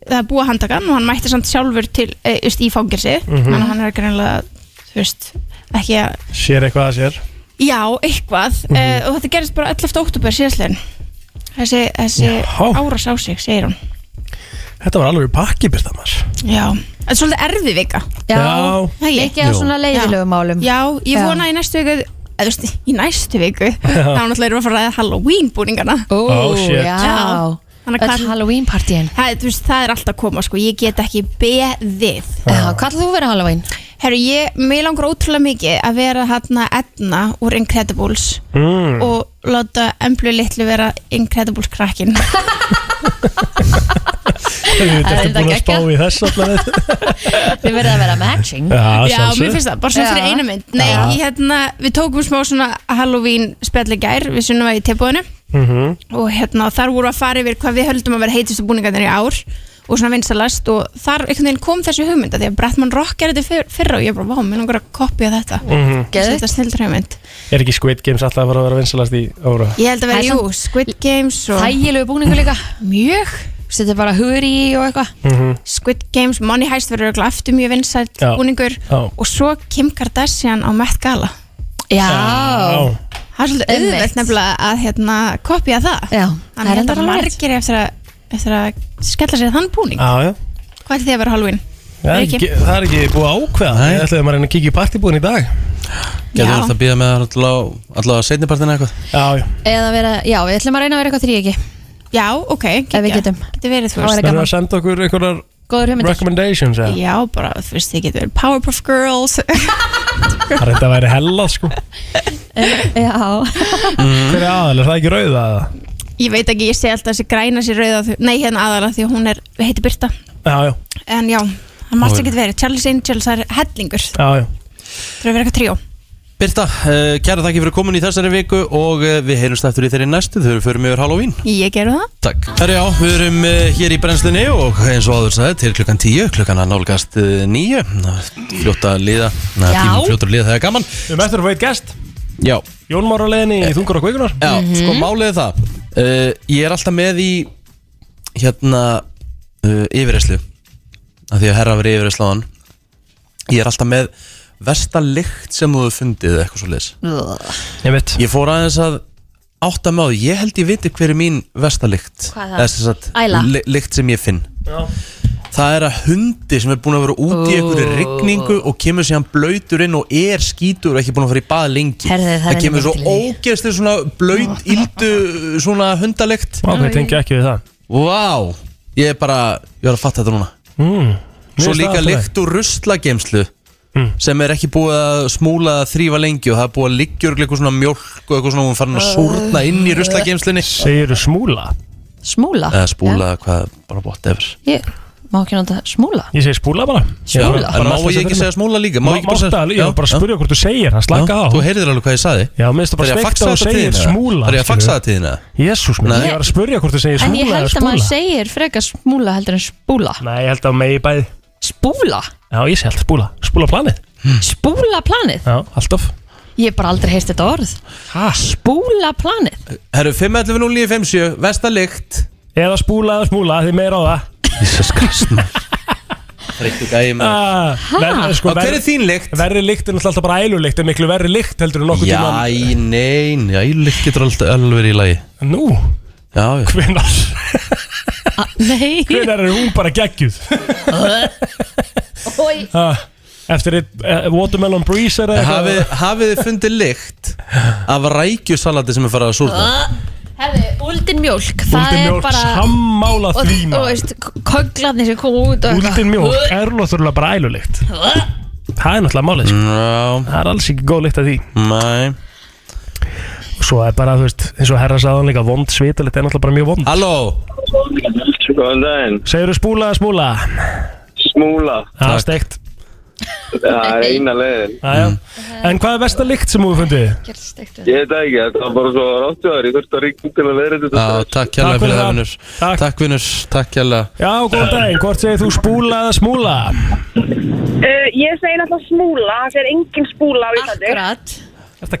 það er búið að handtaka hann og hann mætti samt sjálfur til, e, just, í fangelsi
Mhm.
þannig að hann er greinlega, þú veist ekki að,
Sér eitthvað að sér
já, eitthvað mm
Mhm.
og þetta gerist bara 11. oktober síðastlegin þessi, þessi árás á sig, segir hún
Þetta var alveg pakki byrta maður
Já, þetta er svolítið erfið vika
Já.
Ekki á
Jú.
svona leiðilegum málum
Já, ég
Já.
vona í næstu viku eða þú veist, í næstu viku þá náttúrulega erum við að fara að ræða Halloween búningana
Ó, Oh, shit. já.
Þannig
Öll
að
Halloween partíin
það, þú veist, það er alltaf að koma, sko, ég get ekki beðið
Já, hvað ætlar þú að vera Halloween?
Herru, ég, mig langar ótrúlega mikið að vera hérna Edna úr Incredibles
mm.
og láta Emblu litlu vera Incredibles krakkin
Þetta
Það er
er búin að
þetta
spá í þess allavega
Þið verða að vera matching
Já,
Já,
sjálfsögðu.
mér finnst það, bara svona
Já.
fyrir eina mynd Nei,
Já.
ég, hérna, við tókum smá svona Halloween spjalli í gær, við sunnum að í tilbúðinu
Mhm.
og hérna, þar voru að fara yfir hvað við höldum að vera heitistu búningarnir í ár og svona vinsalast og þar einhvern veginn kom þessi hugmynd að því að Bretman Rock gerði þetta fyr- fyrra og ég bara, vá, mér langar að kopja þetta
Mhm.
Geðveikt. þetta snild hugmynd
Er ekki Squid Games alltaf að fara að vera vinsalast í ára?
ég held að vera, jú, Squid Games og
Þægilegu búningu líka
mjög
Settir bara huri í og eitthvað
Mhm.
Squid Games, Money Heist verður örugglega aftur mjög vinsælt
Já.
búningur
Já.
og svo Kim Kardashian á Met Gala
Já.
Það er svolítið
Einmitt.
auðvelt nefnilega að hérna kopja það
Já,
Þannig
er
að
enda
þetta
alveg
margir eftir að, eftir að skella sér þann búning
Já, já
Hvað er því að vera Halloween?
Ah. Það er ekki, það er ekki búið að ákveða Nei. Ég ætlaði að maður reyna að kíkja í partibúin í dag
Getur þetta að býða með þær allavega allavega setnipartina eitthvað?
Já, já
Eða vera, já, við ætlum að reyna að vera eitthvað þrý ekki
Já, ok,
Ef við getum
Getur verið
Það væri
Það er að
gaman
senda okkur einhverjar
Góður hugmyndir
recommendations eða?
Já, bara, þú veist, þið getur verið Powerpuff Girls
Það er þetta að væri hella sko
Já
Mhm.
Hver er aðal, er það ekki rauða? eða?
Ég veit ekki, ég sé alltaf þessi græna sér rauða því- Nei, hérna aðalega því að hún er, heitir Birta
Já, já,
En já, hann mást ekki verið Charles Angels, það er hellingur Það
já, já
er að vera eitthvað tríó
Birta, uh, kæra þakki fyrir komin í þessari viku og uh, við heyrumst eftir í þeirri næstu þegar við förum yfir Halloween.
Ég geru það
Takk. Herra já, við erum uh, hér í brennslunni og eins og áður sagði til klukkan 10, klukkan að nálgast uh, 9, fljóta að liða, na,
Já.
tímum fljótur að liða þegar gaman.
Við erum eftir að fá eitt gest
Já,
Jón Már á leiðinni í Þungur og Kveikunar
já
Mhm.
sko málið er það, uh, ég er alltaf með í hérna uh, yfirreyslu, af því að herra verið yfirreyslu á hann, ég er alltaf með versta lykt sem þú hefur fundið eða eitthvað svo leiðis.
Ég veit
Ég fór aðeins að átta mig á því, ég held ég viti hver er mín versta lykt
Hvað er það?
Eða sem sagt,
Æla.
ly- lykt sem ég finn
Já.
Það er að hundi sem er búin að vera úti í einhverju rigningu og kemur síðan blöytur inn og er skítur og ekki búin að fara í bað lengi
Herðu, það er
Það kemur
ekki
svo
til því.
ógeðslega svona blöyt, íldu svona hundalykt
Vá, hvað tengi ekki við það
Vá, ég er bara, ég var að fatta þetta núna
mm.
Svo
Mér finnst
líka
það Hmm. alltaf
lykt úr ruslagemslu sem er ekki búið að smúla að þrýfa lengi og það er búið að liggjur eitthvað svona mjölk og eitthvað svona hún farin að súrna inn í ruslagemslinni
leið. Segirðu smúla?
Smúla
Eh.
eða spúla hvað, bara bótt efur
Já. Ég má ekki nota smúla
Ég segi spúla bara
en má ég
alltaf sem
ekki
fyrir
segja smúla líka? Má
Má
ég ekki bara segja
Ég var bara að spyrja hvort þú segir það, slaka á
Já, Þú heyrðir alveg hvað ég saði
Já, minnst það
Það
bara
er að
sveikt
faxa
að þú
þetta
segir
tíðina
smúla
Það er að faxa þetta tíðina
Jésús minn, ég var að spyrja hvort þú segir
En ég
smúla eða
held að
spúla
maður segir frekar smúla heldur en spúla
Nei, ég held að megi bæði
Spúla?
Já, ég segi alltaf spúla Spúla planið
Hmm.
Spúla planið?
Já, alltaf
Ég hef bara aldrei heist þetta orð
Ha?
Spúla planið?
Herru, 511957, versta lykt
Eða spúla eða smúla, því meira á það
Jesus Christ Reyktu gæði maður
ah, verð, sko,
Og hver er
verð,
þín lykt?
Verri lykt er náttúrulega alltaf bara ælulykt En miklu verri lykt heldur en nokkuð
Já,
tíma
í nein, já, í lykt getur alltaf alveg verið í lagi
Nú,
Já, já
hvenar
A, nei
Hvenar er hún bara geggjuð
Oj.
ah, Eftir eitt uh, Watermelon Breeze eða eitthvað?
Hafið hafið þið fundið lykt af rækjusalati sem er farið að súrna?
Ah. Herðu, úldin mjólk Það
Úldin
er
mjólk,
bara
sammála
Og
því
þú
maður.
veist, köglarnir sem kom út og eitthvað.
Úldin mjólk er náttúrulega bara ælulykt Það er náttúrulega málið sko.
Já,
Það er alls ekki góð lykt að því
næ
Svo er bara, þú veist, eins og herra sagðan líka Vond svitalykt er náttúrulega bara mjög vond
Halló,
Góðan daginn.
Segirðu spúla eða smúla?
Smúla.
Það er steikt
Það er eina leiðin.
Aja.
Mm.
En hvað er versta lykt sem þú hefur fundið?
Ég veit það ekki, þetta var bara svo ráttjóðar. Ég þurfti að ríkja til að vera þetta.
Já, takk kjærlega
Takk fyrir
fyrir það
það.
vinnur
Takk.
Takk vinnur, takk kjærlega
Já, góðan daginn, hvort segir þú spúla eða smúla?
Uh, ég segi náttúrulega smúla, það er engin spúla á Íslandi.
Akkurat
Þetta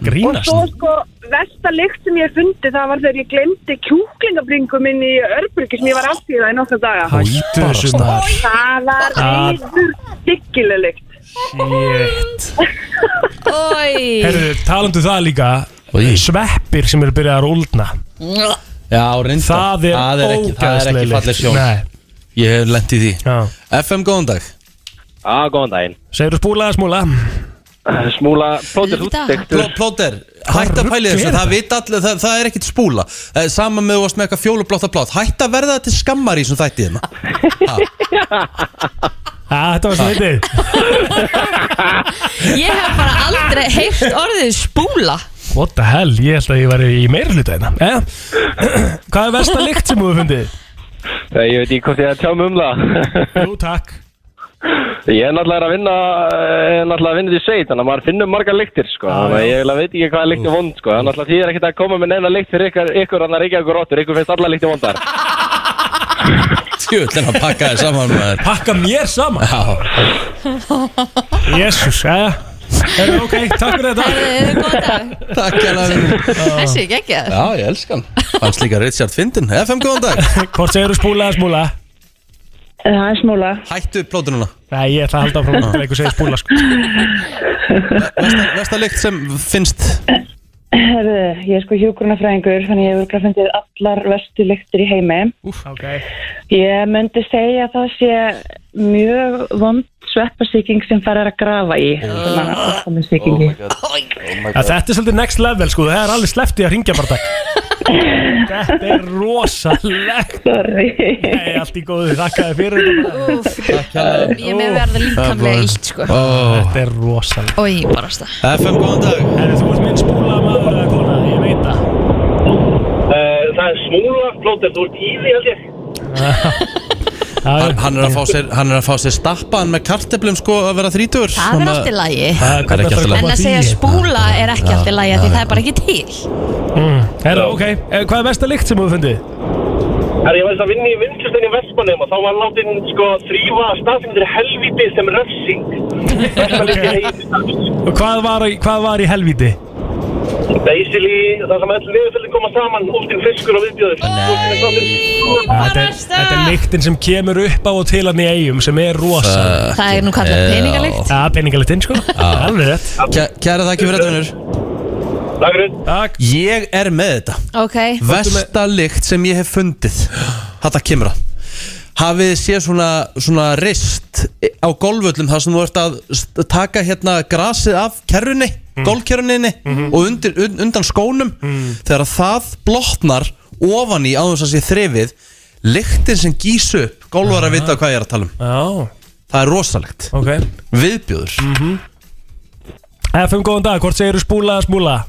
Og svo
grínast
sko, versta lykt sem ég hef fundið það var þegar ég glemdi kjúklingabringum inn í örbyrgi sem ég var allt í það í nokkra daga.
Hættu þessu maður
Það var
Ah.
reyður diggileg lykt.
Shit
Oj.
Herðu, talandu það líka
Oj.
Sveppir sem eru byrjað að rúldna
Já, reynda
Það er,
það er ekki, það er
ógeðsleg
ekki
lykt.
falleg sjón
Nei,
Ég hef lent í því
já
FM, góðan dag
Já, góðan daginn.
Segirðu spúla eða smúla?
Smúla, plótið
Auðvitað.
útdektur.
Pló- Plóter, hætt að
rugl
pæli
er
þessu
þetta?
Það vita allir, það, það er ekkit spúla Eh, Sama með þú varst með eitthvað fjólublátt að blátt Hætt að verða til skammar í þessum þætti hérna. þarna
Mm-hmm.
Æ, þetta var svitið
Ég hef bara aldrei heyrt orðið spúla
What the hell, ég held að ég væri í meira hluta hérna eh? Hvað er versta lykt sem þú hefur fundið?
Ég veit ekki hvort ég er að tjá mig um það.
Jú, takk
Ég er náttúrulega að vinna, ég er náttúrulega að vinna því sveit, þannig að maður finnur margar lyktir, sko. Þannig að ég eiginlega veit ekki hvað lykt er vond, sko. Þannig að því er ekkert að koma með neina lykt fyrir ykkur, ykkur annar ekki okkur róttur, ykkur finnst alla lyktir vondar.
Tjöld en að pakka þér saman maður
Pakka mér saman
Já,
Jésús, eða Er það eh? ok, takk fyrir þetta
Eh, Góðan dag
takk kjærlega vinnur
Þessi ekki ekki
Já, ég elska hann Fannst líka Richard Findin FM, góðan dag
Hvort segirðu spúla eða smúla?
Það er smúla.
Hættu plótununa
Nei, ég ætla að halda áfram að einhver segir spúla sko
Vesta lykt sem finnst
Herðu,
Uh, ég er sko hjúgrunafræðingur, þannig ég hef örugglega fundið allar verstu lyktir í heimi.
Úf, ok.
Ég myndi segja að það sé mjög vond sveppasíking sem farir að grafa í. Oh. Oh
Ja, þetta er svolítið next level sko, það er alveg sleppt í að ringja bara Þetta er rosalegt
Sorry
Nei, allt í góðu, þakka þér fyrir þetta
Úff, Ég er með verða líkamlega illt sko
Þetta er rosalegt
Og ég barast það
FM, góðan dag
Herri, þú ert minn spúla maður eða kona, ég veit það
Eh, Það er smúla, plóter, þú ert í því held ég
Hann, hann, er að fá sér, hann er að fá sér stappan með karteblum sko að vera þrítur
Það er allt í lagi
Það er ekki allt í
En
lagi
að segja spúla er ekki allt í lagi af Því það er bara ekki til
mm. Herra, ok, eh, hvað er mesta lykt sem þú hefur fundið?
Herra, ég veist að vinna í vinnsustinni í Vestmannum og þá var látin sko þrýfa staðfindir helviti sem refsing.
Og hvað var, í- hvað var í helvíti?
Basically, það sem öll liðfjöldi koma saman, últinn fiskur og viðbjöður. Nei!
Þetta er, þetta er lyktin sem kemur upp á og til hann í eigum sem er rosaleg
Það er nú kallað
Já.
peningalykt.
Já, peningalyktinn sko, alveg rétt
Ah. Kæ- Kæra þakki fyrir þetta vinnur
Takk fyrir
Takk
Ég er með þetta
Ok
Vesta lykt sem ég hef fundið Þetta kemur að Hafið þið séð svona, svona rist á golföllum þar sem þú ert að st- taka hérna grasið af kerrunni, mm. golfkerruninni og undir, un, undan skónum þegar það blotnar ofan í áðum þess að sé þrefið lyktin sem gís upp, golfar að vita hvað ég er að tala um
Já.
Það er rosalegt
okay.
Viðbjöður mm
-hmm. FM, góðan dag, hvort segir þú spúla eða smúla?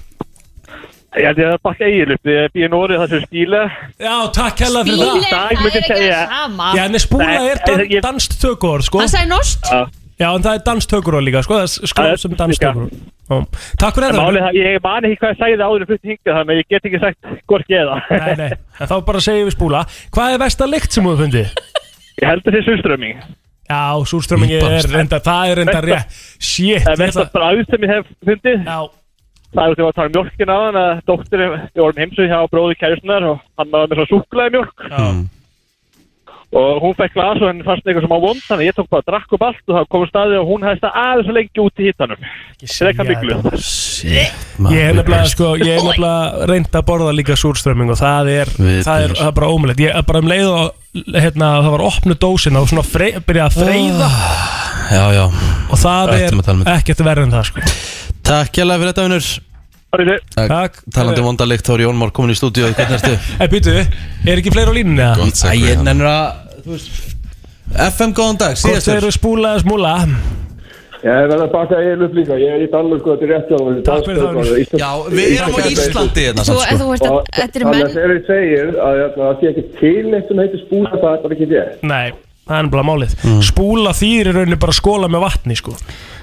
Ég held ég að það er bakka eigin upp, ég býði nórið það sem spíle.
Já, takk hella fyrir það
sama
Já, en spúla er dan, danst tökur, sko
Hann sagði nost
Já, en það er danst tökur líka, sko, það er
Það
skráð
er
sem danst tökur Takk fyrir
En
þetta
málið það, ég man ekki hvað ég sagði það áður en flutt hingað þannig að ég get ekki sagt hvorki eða.
Nei, nei, en þá bara segjum við spúla Hvað er versta lykt sem þú hefur fundið?
Ég held að það sé surströmming.
Já, súrströmmingi
Ég
er
barst.
reynda, það er reynda
Versta-
rétt Shit,
Það er mest að bræð sem ég hef fundið.
Já.
Það er út í að tala um mjölkina á hann að dóttirinn, ég vorum heimsug hjá bróði kærisnar og hann var með svona súklaði mjölk og hún fekk glas og henni fannst eitthvað sem á vond þannig að ég tók bara að drakk upp allt og það komum staðið og hún hefði stað aðeins og lengi út í hittanum. Þrekka miklu.
Ég er nefnilega, sko, ég er nefnilega reynd að borða líka súrströmming og það er,
Við
það er,
byrjum.
það er bara ómulegt Ég er bara um leið og hérna, það var opnu dósin og svona frey, byrja að freyða
Já, já
og það
Ah, Ættum að tala um
er
þetta.
ekkert verð en það sko
Takk hjá fyrir þetta vinnur
Takk.
Talandi vondalikt þá er Jón Már komin í stúdíu Hvernig ertu?
En býtu, er ekki fleiri á línunni eða?
Æ, ég nennir að þú veist, FM góðan dag,
Hvort
síðastur
eru spúla eða smúla?
Ég er verið að baka eigin upp líka, ég er í Danmörku, þetta er rétt hjá það. Takk
fyrir það, Unnur.
Já, við erum á Íslandi hérna,
Þú- samt, sko. þú ert að- þetta eru menn-
Þannig að þegar ég segir að hérna, það sé ekki til neitt sem heitir spúla, það er bara ekki rétt.
Nei, það er nefnilega málið
Mm.
Spúla þýðir í rauninni bara skóla með vatni sko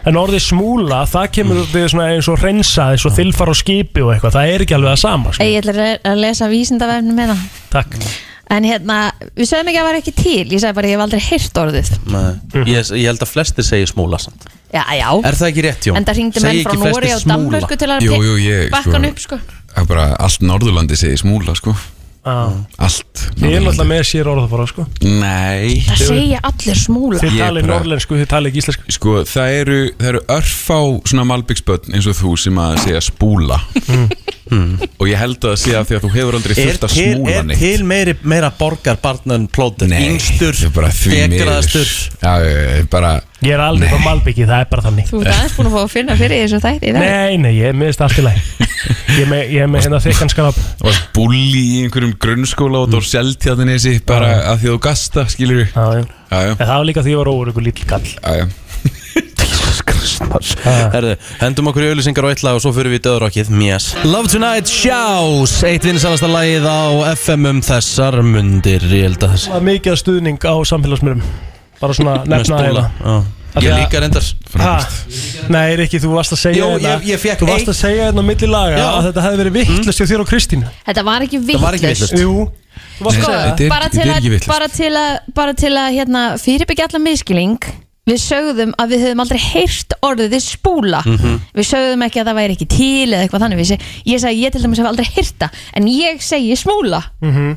En orðið smúla, það kemur mm. svona eins og hreinsa, eins og þilfar á skipi og eitthvað Það er ekki alveg að sama sko
Ei, Ég ætla að le- að lesa vísindavefnum með það
Takk
Mm.
En hérna, við sögum ekki að það var ekki til Ég sagði bara, ég hef aldrei heyrt orðið
Nei, ég, ég held að flesti segir smúla samt
Já, já
Er það ekki rétt, Jón?
En það ringdi menn
Segja
frá
ekki
Nóri
flestir
og
smúla.
Danmörku til að
Jú, jú, ég,
bakkan
sko.
upp sko
Það er bara allt Norðurlandi segi smúla sko
ah.
Allt
Ég er náttúrulega með sér orðafara sko
Nei
Það segja allir smúla
Þið talið Ég bara-
norðlensku, þið talið ekki íslensku
Sko það eru, það eru örfá svona malbyggsbönn eins og þú sem að segja spúla Og ég held að það sé að því að þú hefur aldrei
Er
þurft að
til,
smúla
er
neitt
til meiri, meira borgar barnan plóter Yngstur,
það er bara því
degraðastur
Já, ég er bara
Ég er aldrei frá Malbyggi, það er bara þannig
Þú ert aðeins búin að fá að finna fyrir þessu þætti í dag
Nei, nei, ég miðist allt í læg Ég er með, ég er með hérna þykkan skráp
Og að búli í einhverjum grunnskóla og þú er sjálftíðan þessi bara að því að þú gasta, skilur við
Já, já,
já,
En það var líka því ég var óur ykkur lítill kall
já, já.
Herðu, hendum okkur í auðlýsingar og eitt lag og svo fyrir við í döðrokkið Mjæs Love Tonight Shows Eitt vinsalasta lagið á FM um þessar mundir Ég held að þess
Það var mikið af stuðning á samfélagsmyndum Bara svona
Með
nefna hérna.
spúla,
Af því
Ég
að-
líka reyndar
Ha? Nei, Rikki, þú varst að segja
Jú,
hérna-
ég- ég fékk
Þú varst að
eitt-
segja hérna á milli laga
Já.
að þetta hefði verið vittlust hjá þér og Kristínu
Þetta var ekki vittlust
Jú, þú varst
Sko,
að segja það.
bara til að, bara til að, bara til að hérna, fyrirbyggja allan miskilning Við sögðum að við höfum aldrei heyrt orðið spúla
Mhm.
Við sögðum ekki að það væri ekki til eða eitthvað þannig Við seg, Ég sagði ég til dæmis hef aldrei heyrt það En ég segi smúla
Mhm.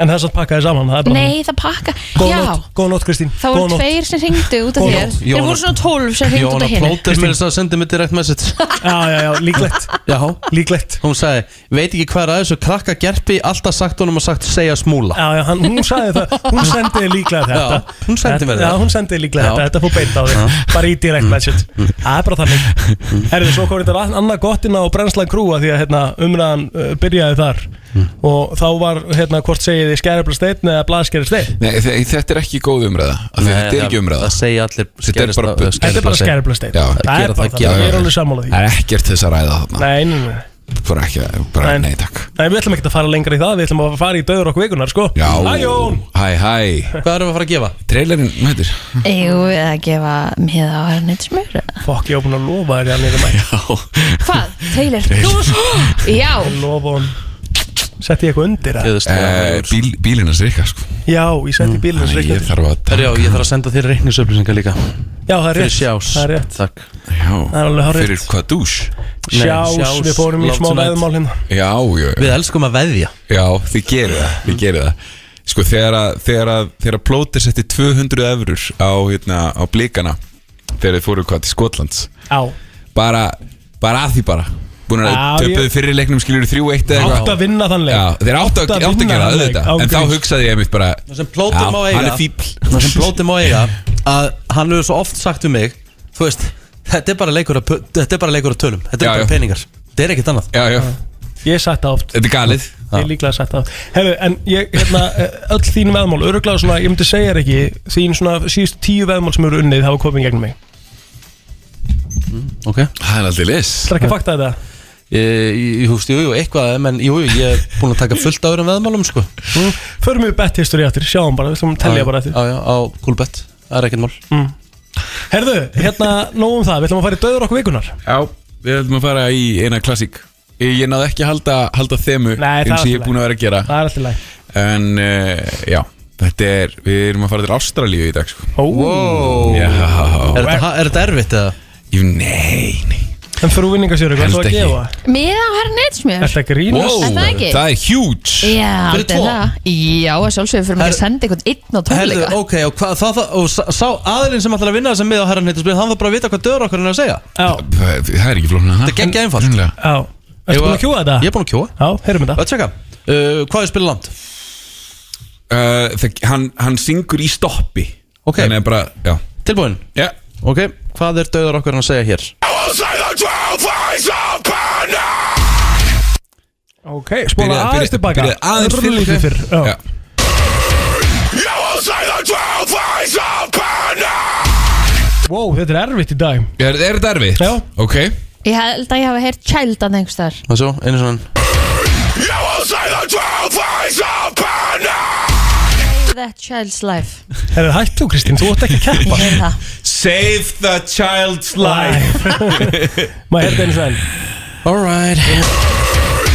En þess að pakka þið saman það er bara
Nei, það pakka
Góð
Já,
nótt, góð nótt Kristín
það
Góð
voru
nótt.
tveir sem ringdu út af
Góða
þér
nótt.
Þeir
Jóhanna-
voru svona tólf sem ringdu út af hinu
Plóter með þess að senda mér direkt message
Já, já, já, líklegt
Já,
líklegt
Hún sagði, veit ekki hvað er aðeins og krakka gerpi alltaf sagt honum að sagt segja smúla
Já, já, hann, hún sagði það, hún sendi þér líklega þetta
Já, hún sendi mér
þetta Já,
það.
hún sendi þér líklega
Já.
þetta, þetta fór beint á þig Bara í direkt message Það er bara þannig
Mm-hmm.
Herðu, svo kom þetta annað gottin á Brennslan Krúa Því að hérna, umræðan uh, byrjaði þar Og þá var, hérna, hvort segið þið Skerabla steinn eða blaskerri steinn
Nei, þe- þetta er ekki góð umræða af því
Nei,
Þetta er ekki
það-
umræða
það segja allir
Þetta er bara bull.
Þetta er bara skerabla steinn
Já,
Það er bara þannig, ég er alveg sammála því
Það er ekkert þess að ræða þarna
Nei, nei, nei
Bara ekki, bara nei takk
Nei, við ætlum ekki að fara lengra í það, við ætlum að fara í döður okkur vikunar, sko
Já,
Hæ, Jón
hæ, hæ
Hvað erum við að fara að gefa?
Trailerinn, hvað heitir?
Jú, eða gefa miða á hann eitt smjör
Fokk, ég á búin að lofa þér að nýra mæ
Já
Hvað? Trailer? Já
Lofa hún Sett ég eitthvað undir það?
Eh, bíl- Bílinn hans Rikka sko
Já, ég setti bílinn hans
Þannig
Rikka
Ég þarf að
Herra, já, ég þarf að senda þér reikningsöflýsingar líka
Já, það er
Fyrir
rétt.
sjás
Það er rétt.
Takk
Já,
Það er alveg hárrétt.
fyrir hvað dús?
Nei, Sjás, sjás, við fórum í love smá tonight. veðmál hérna.
Já, já, já
Við elskum að veðja
Já, þið gerir það, þið gerir það Sko, þegar að, þegar að, þegar að plóti setti 200 eurur á, hérna, á blíkana Þegar þið fóru hvað til Skotlands
Já
Bara, bara að því bara Búin að
Já,
töpuðu
ég-
fyrir leiknum skilur 3-1 eða
Átt að vinna þann leik
Já, þeir áttu að, áttu að gera það auðvitað En þá hugsaði ég einmitt bara
Það sem plótið má eiga
Hann er fíbl
Það sem plótið má eiga Að hann hefur svo oft sagt við mig Þú veist, þetta er bara leikur að, pu- þetta er bara leikur að tölum Þetta er
Já,
bara
já.
peningar Þetta er ekkert annað
Já, já
Ég sett það oft
Þetta er galið
Ég er líklega sett það oft Hefðu, en ég, hérna, eh, öll þín veðmál Öruglega svona, ég myndi segja þér ekki Þín svona síðustu tíu veðmál sem eru unnið hafa komið í gegnum mig
Ok
Það er aldrei lis
Það er ekki að fakta þetta
Ég húst, jú, jú, eitthvað menn, jú, jú, ég er búin að taka fullt áður um veðmálum sko.
mm. Förum við bett history aftur, sjáum bara, við ætlum að tellja bara eftir
Já, já, á gulbett, það er ekkert mál
mm. Herðu, hérna, nóg um það, við ætlum að fara í döður okkur vikunar
Já, við höfum að fara í eina klassík Ég náði ekki að halda, halda þemu
Nei, það
eins
er
og
allt
ég
í
er
lagi.
búin að vera að gera
Það er alltaf læg
En uh, já, þetta er, við erum að fara til Ástralíu í dag sko.
Ó. Wow.
Já
Er þetta- er þetta erfitt eða?
Jú, nei, nei
En fyrir vinningasjöru, hvað er
Held
það að
ekki.
gefa?
Miða á hann eitt smjör
Ertu að grínast?
Er það ekki?
það er huge
Já,
Fyrir
þetta er
tvo?
það Já, að sjálfsögur fyrir mig að senda einhvern einn á
Herðu,
tónleika
ok, og, hvað, það, það, og sá, sá aðilinn sem ætlar að vinna þess að miða á herran hittarspil Hann þarf bara að vita hvað döður okkur hann er að segja
Já,
Það það er ekki flóknir
Þetta er geggja einfalt.
já Ertu búin að kjúa þetta?
Ég er búin að kjóa
Já, heyrum þetta
Að tjekka, uh, hvað er spilað langt?
uh, hann, hann syngur í stoppi
Ok.
Þannig að bara, já
Tilbúin?
Já
Ok, hvað er döður okkur hann að segja hér?
Ok, spóla
Byrjaðu-
aðeins
byrjaðu-
tilbaka
byrjaðu aðeins
Rúlla
fyrr,
lítið
ok?
fyrr Já,
Já.
wow, þetta er erfitt í dag
Er, er þetta erfitt?
Já.
Ok
Ég held að ég hafi heyrt Childan einhvers þar
Það svo, einu svona
Save that child's life
Herðu, hættu Kristín, þú ætti ekki að
Ég
keppa
heyr það
Save the child's
Life Maður heyrði einu svein
Alright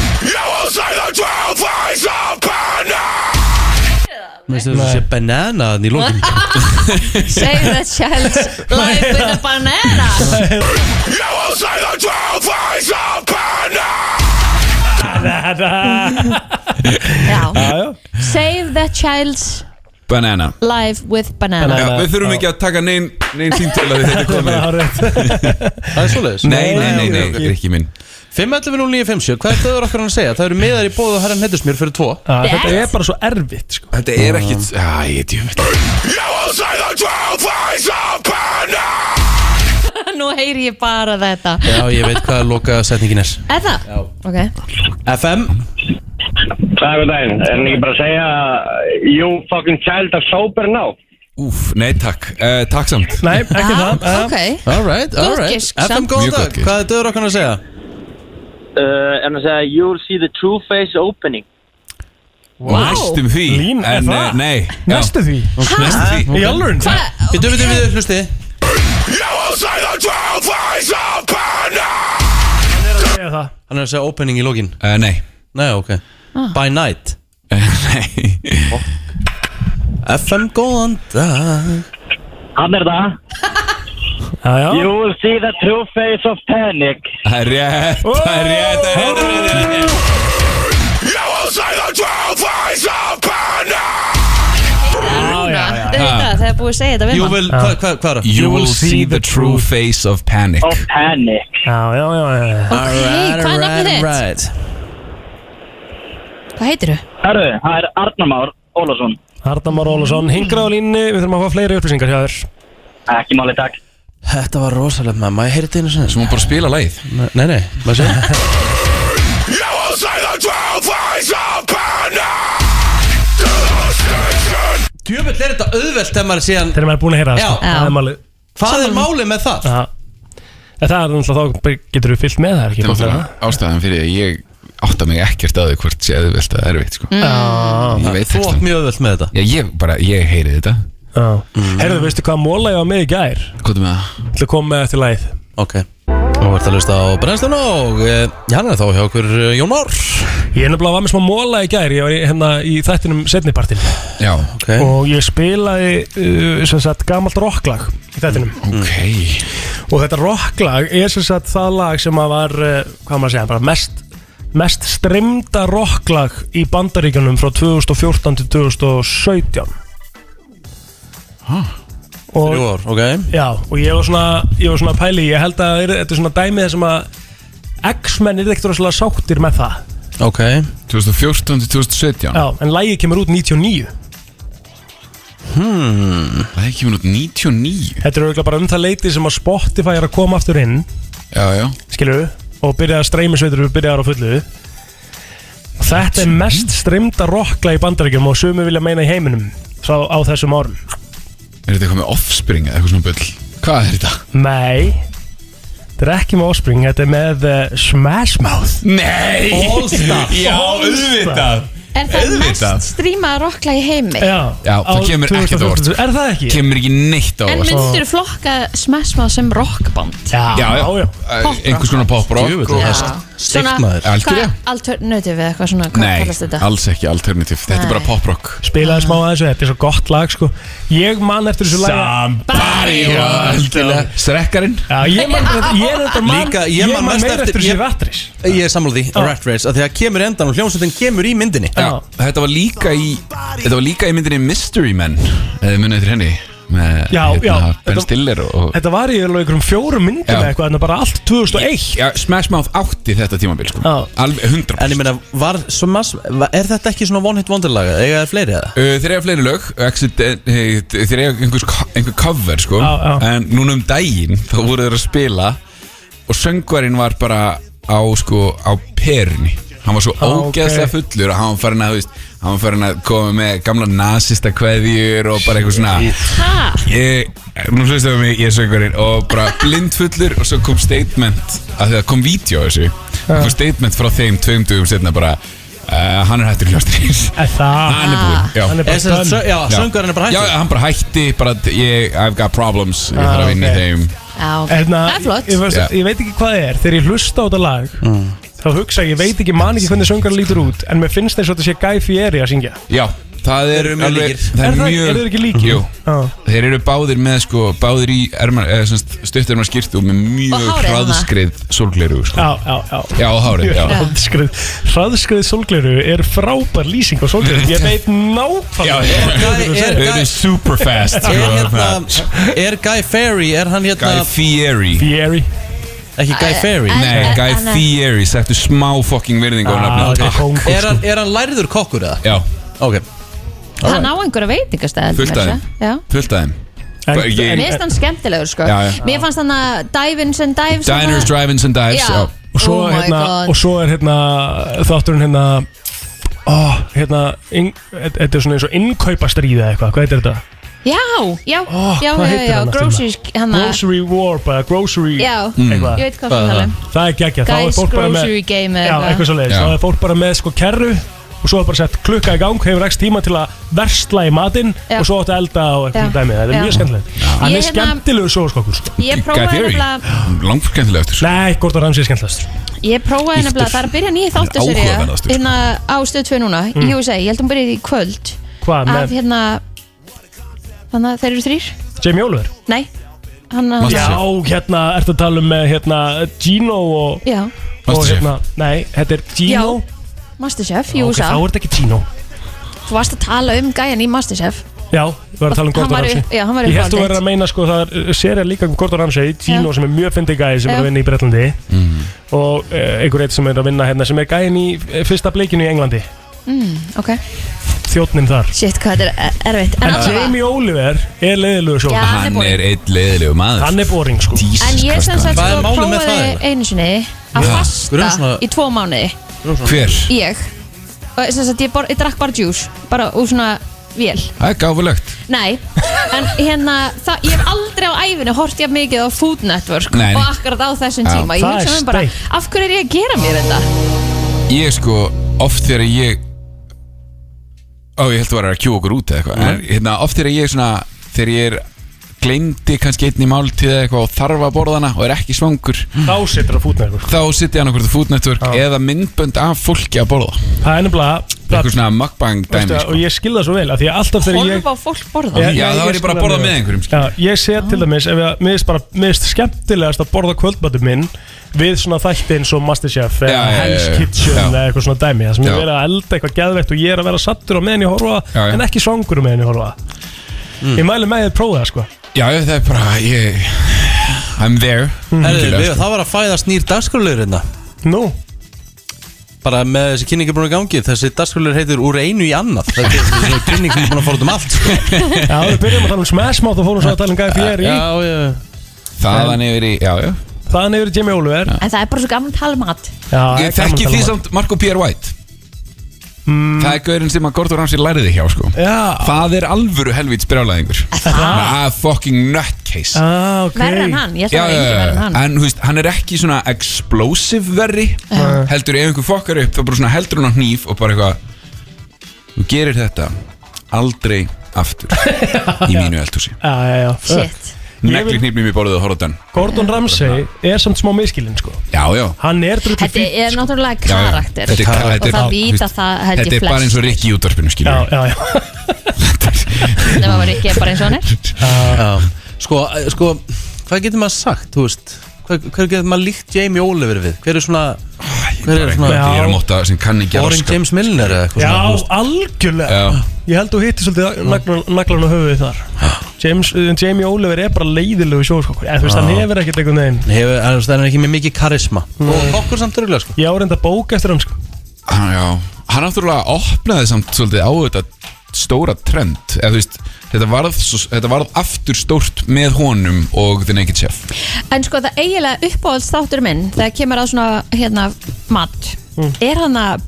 Mér finnst þetta sé banana þannig í lókin
Save that child's life with a banana Já
Já, já
Save that child's
Banana
life with
Já,
banana
við þurfum ekki að taka neinn nein síntil að þetta er komið
Það er rétt
Það er svoleiðis
Nei, nei, nei, nei, þetta er ekki minn
5.11.09.50, hvað er döður okkur hann að segja? Það eru miðar í bóðu herran hittarspil fyrir tvo
Já, Þetta er bara svo erfitt sko.
Þetta er ekkit, já, ég djúmið
Nú heyri ég bara þetta
Já, ég veit hvað loka setningin er
Er það? Já Ok
FM
Það er daginn, er hann ekki bara að segja You fucking child are sober now
Úf, nei takk, uh, takk samt
Nei, ekki
Já,
það já.
ok
Alright,
Góð
alright
gisk,
FM
samt.
góðan
Mjög góð
dag,
gisk.
hvað er döður okkur hann að segja?
uh, en að segja you'll see the true face opening
Næstum því
Lín, er
en,
það?
eh, Nei, já.
Næstu því
Næstum því
Í alvörun
Við döfum við við hlusti
Segja það.
Hann er að segja opening í lókin
uh, Nei,
Nei, ok By night
Eh, nei
FM góðan dag
Hann er það
Já, já
You will see the true face of panic
Það er rétt, það er rétt, það er rétt, það er rétt, það er rétt
I will say the true face of
búið að segja þetta við
You
mann.
will, hvað hva, hva er það?
You will see the true face of panic
Of panic
Já, já, já, já, já.
Ok, hvað er nafnið þitt? Hvað heitir þú?
Herðu, það er Arnamár Ólafsson
Arnamar Ólafsson, hingra á línni, við þurfum að fá fleiri upplýsingar hjá þér
Ekki máli, takk
Þetta var rosalega maður, maður heyrði þetta einu sinni
Sem hún bara spila lagið
Nei, nei, maður sé
You will see the true face of panic
Djöfull er þetta auðvelt þegar maður síðan
Þegar maður er búin að heyra það,
Já.
sko. það er málið
Hvað er málið með það?
Já. En Það er náttúrulega, þá getur við fyllt með það er ekki bara það.
Ástæðan fyrir því að ég átta mig ekkert að því hvort sé auðvelt að erfitt
Mm.
sko.
Já.
Ég veit
Þú átt mjög auðvelt með þetta Mm.
Já, ég bara, ég heyri þetta
Herðu, veistu hvað móla ég var með í gær?
Hvað er með það?
Þú kom með eftir læð
Ok, og verður að hlusta á brennslun og eh, já, hann er þá hjá okkur eh, Jón Már
Ég er nefnilega var með smá móla í gær Ég var í, hérna í þættinum setnipartin
Já,
ok
Og ég spilaði uh, sem sagt gamalt rocklag í þættinum
Ok
Mm.
Og þetta rocklag er sem sagt það lag sem að var uh, Hvað maður að segja, bara mest Mest streymda rocklag í bandaríkjunum frá 2014 til 2017 Og-
Þrjú ár, ok
Já, og ég var svona, ég var svona pæli Ég held að þetta er svona dæmið sem að X-menn er ekkert rosalega sáttir með það
Ok
2014 til 2017
Já, en lægi kemur út 99
hmm. Það er kemur út 99
Þetta er auðvitað bara um það leiti sem að Spotify er að koma aftur inn
Já, já
Skilur Og byrja að streymi sveitur og byrja á fullu Þetta er mest streymda rockla í bandaríkjum Og sömu vilja meina í heiminum Sá á þessum árum
Er þetta eitthvað með offspring eða eitthvað svona bull? Hvað er þetta?
Nei Þetta er ekki með Offspring, þetta er með uh, Smash Mouth
Nei
All Star.
Já,
All Star.
auðvitað
Er það
Auðvitað.
mest strímaða rocklag í heimi?
Já,
Já, það
Á
kemur ekkert á óvart
2014. Er það ekki?
Kemur ekki neitt á
En
óvart
myndur flokka smessmað sem rockband?
Já,
já, já,
Poprock.
einhvers konar poprock
Djöfull,
og-
það er
Svona,
Algjörlega.
hvað, alternative eða eitthvað svona, hvað
Nei,
kallast þetta?
alls ekki alternativ Þetta er
Nei.
bara poprock
Spilaði smá aðeins og þetta er svo gott lag sko Ég man eftir þessu lagi
Strekkarinn
Já, ég man, ég er þetta man
Líka, ég man mest
meira
eftir-
eftir þessu
ég-
vatris
Ég er sammála því, Rat Race, að því að kemur í endan og hljómsveitin kemur í myndinni
Já, þetta var líka í Þetta var líka í myndinni Mystery Men Eða munið eftir henni Með hérna
Já, já,
Ben
þetta-
Stiller og
Þetta var í alveg einhverjum fjórum myndum
Já.
eða eitthvað, en bara allt 2001
Já, Smash Mouth átti þetta tímabil sko
Já.
Alveg 100%
En ég meina, var, svo mass, va- er þetta ekki svona one hit wonder laga? Eða er fleiri eða?
Uh, þeir eiga fleiri lög, accident- eh, þeir eiga einhvers, einhver cover sko
Já, já.
En núna um daginn þá voru þeir að spila Og söngvarinn var bara á sko á perni Hann var svo
Ah, ok.
ógeðslega fullur og hann var farin að, þú veist, hann var farin að koma með gamla nasista kveðjur og bara eitthvað svona
Ha?
Ég, nú hlustaðu mig, ég er söngurinn og bara blindfullur og svo kom statement að það kom vídeo af þessu það
Ah.
kom statement frá þeim tveim dugum setna bara uh, hann er hættur hljóstrís
Er það? Ah.
hann er búinn, já
Hann er bara
Er sem sagt
done.
sö- Já, söngurinn er bara
já,
hættur
hann bara hætti, bara ég, I've got problems ég þarf
Ah,
að vinna í
ok.
þeim
Já,
Erna,
það er flott
ég, veist,
Já. Mm.
ég veit ekki hvað það er, þegar ég hlusta á þetta lag Þá hugsa ég, ég veit ekki, man ekki hvernig söngar lítur út En mér finnst eins og þetta sé Guy Fieri að syngja
já, það er
eru mjög
alveg-
líkir.
það
Er
er
það- eru þeir
mjög
ekki líkir?
Jú.
Já.
þeir eru báðir með sko, báðir í eh, stuttarmar skýrtu og með mjög
Og hárið hérna? þarna.
hraðskrið sólgleru sko.
Já, já, já
já, og hárið, já
Ah. Hraðskrið, hraðskrið sólgleru er frábær lýsing á sólgleru Ég veit
Já,
nákvæmlega
já.
Guy-
Þau
er
eru
Guy-
super fast sko,
Er hérna, er Guy Ferry, er hann
Guy
hérna,
Fieri
Fieri
ekki Guy Ferry?
Nei, Guy Fieri, sættu smá fucking virðing á
Ah,
nafnum
þetta er kóngur,
Er
sko.
hann, er hann læriður kokkur eða?
Já,
Ok,
Hann á einhverja veitingastæð
Fullt af þeim. fullt af þeim
En-
Bara ég-
en-
Mér finnst hann skemmtilegur sko
Já, já.
Mér fannst hann að Divins and Dives
Diners, Drive-ins and Dives
Já.
já.
og svo,
Oh my
hérna,
God.
og svo er hérna þátturinn hérna ó, hérna inn- þetta þetta er svona eins og innkaupastríð eða eitthvað, hvað heitir þetta?
Já, já,
Ó,
já,
Oh, hvað
já,
heitir
já,
hann aftur
grocery hann að-
Grocery War, bara grocery
Já,
eitthvað.
ég veit hvað það tala um
það er geggja, þá er
Guys
fólk bara með
grocery game
já,
eða
eitthvað svo leiðis,
Já.
þá er fólk bara með sko kerru og svo er bara sett klukka í gang, hefur ekki tíma til að versla í matinn
Já.
og svo áttu að elda og
Já.
eitthvað dæmi, þetta
Já.
er mjög skemmtilegt hann
Ég
er
hérna-
skemmtilegu sjóskokkur sko.
Ég prófaði nefnilega
Langt skemmtilega eftir sko.
nei, hvort að ramsi er skemmtilegast
Ég prófaði
Ístur.
nefnilega, það er að byrja nýja þáttuserja
Áhugaverðastur, sko.
hérna á stöð 2 núna
Mm.
Jú, ég segi, ég held að hún byrja í kvöld
hvað,
af
með
hérna þannig að þeir eru þrýr
Jamie Oliver?
Nei, hann að
Master-
já, hérna, ertu að tala um með hérna Gino og
Já,
og
Masterchef.
hérna, nei, þetta er Gino
Masterchef, jú,
Ok,
sá
þá er þetta ekki Gino
Þú varst að tala um gæjan í Masterchef
Já, Já, við varum að tala um Gordon
Hann var
Ramsay
upp- já, hann var upp
Ég held
á
þú verður
deild.
að meina sko, það er serið líka um Gordon Ramsay Gino
Já.
sem er mjög fyndið gæði sem er
Já.
að vinna í Bretlandi
Mm.
og uh, einhver eitt sem er að vinna hérna sem er gæðin í eh, fyrsta bleikinu í Englandi
mm, ok
þjóttnin þar
Shit, hvað þetta er erfitt En,
En
allavega-
Jamie Oliver er leiðilegu
Já,
sjóknar
hann er Hann boring.
eitt leiðilegu maður
Hann er boring sko
en ég sem sagt
Hvað
sko
er málið með það,
prófaði
eiginlega?
einu sinni að
Já. Við
fasta
erum svona-
í tvo mánuði
Hver?
Ég Og sem sagt, ég, bor, ég drakk bara djús Bara úr svona vél
Það er gáfulegt
Nei, en hérna það, ég hef aldrei á æfinu hort ég mikið á Food Network
Nei, nei.
og akkurat á þessum
Já.
tíma Ég
Það
hugsa
er
mér bara,
steikt.
af hverju er ég að gera mér þetta?
Ég sko, oft þegar ég Ó, ég held að vera að kjú okkur út eða eitthvað
Mm.
En hérna, oft þegar ég er svona Þegar ég er gleymdi kannski einni máltíð eða eitthvað og þarf að borða hana og er ekki svangur
Þá situr það fútnæður
Þá situr hann okkur fútnættvörk eða myndbönd af fólki að borða
Það er nefnilega
Eitthvað svona mukbang
Veistu
dæmi
það,
sko.
og ég skilða svo vel af því að alltaf þegar ég
Horfa á fólk borða
Já, þá er ég bara að borða
skil það
með
mjög
einhverjum, sko.
vel. Já, ég sé til dæmis, ef ég miðist bara miðist skemmtilegast að borða kvöldmatum minn við svona þætti eins og Masterchef eða
Já, já, já,
Hell's
já.
Kitchen
Já.
eða eitthvað svona dæmi það sem ég
Já.
verið að elda eitthvað geðveikt og ég er að vera sattur á meðan ég horfa
Já, já.
en ekki svangur á meðan ég horfa Ég mæli með því að prófa það sko
Já, já, það er bara ég, I'm there
Herri,
Algjörlega,
við,
sko.
það var að fæðast nýr dagskröluður hérna
Nú?
Bara með þessi kynningi búin að gangi Þessi dagskröluður heitir úr einu í annað Þetta er þessi kynningi búin að fóra út um allt sko.
Já, við byrjum að tala um smashmátt og fórum svo að tala um gæði fyrir í
Já, já
Þaðan yfir í, já, já
Þaðan yfir í Jimmy Oliver
En það er bara svo gaman að tala um mat
Já,
Ég þekki
um
því samt Marco Pierre White Það er gaurinn sem að Gordon Ramsay læriði hjá sko
Mm. Já.
Það er alvöru helvíts brjálæðingur Það er fucking nutcase
ah,
Verður en hann, ég ætla
Já, já,
að
já.
vera engin verður en hann
en þú veist, hann er ekki svona explosive verri
Já.
heldur ef einhver fokkar upp þá bara svona heldur hann á hníf og bara eitthvað þú gerir þetta aldrei aftur í mínu eldhúsi
Já, já, já
Shit. negli hnýfnum í borðið og horfðan
Gordon Ramsay er samt smá miskilinn sko
já, já
Hann er drullið
Þetta er náttúrulega
Já, já.
karakter
Þetta er ka-
Og
þetta er-
það vita
þú veist,
það held
Þetta
ég
er bara eins
flest
og Rikki í útvarpinu skilur
Já, já, já
Nefnum að vera ekki bara eins og hann er
Já. Sko, eh, sko, hvað getur maður sagt, þú veist Hver, hver getur maður líkt Jamie Oliver við? Hver er svona Hver er svona
Ah, Ég er að móta sem kann ekki að
Orange
raska.
James Milner eða eitthvað svona,
Já,
þú veist.
algjörlega
Já.
Ég held þú hittir svolítið naglan- naglan á höfuðið þar James, uh, Jamie Oliver er bara leiðilegu sjóskokkur En þú
Já.
veist, hann hefur ekkert einhvern veginn
Hann hefur- hann- Það er ekki með mikið karisma Og kokkur samt örgulega sko
Ég á reynda bók eftir hann sko
Ah, Já, hann náttúrulega opnaði samt svolítið á þetta stóra trend eða þú veist, þetta varð, svo- þetta varð aftur stórt með honum og The Naked Chef
En sko það eiginlega uppáhalds þáttur minn Þegar kemur á svona hérna mat
Mm.
Er hann að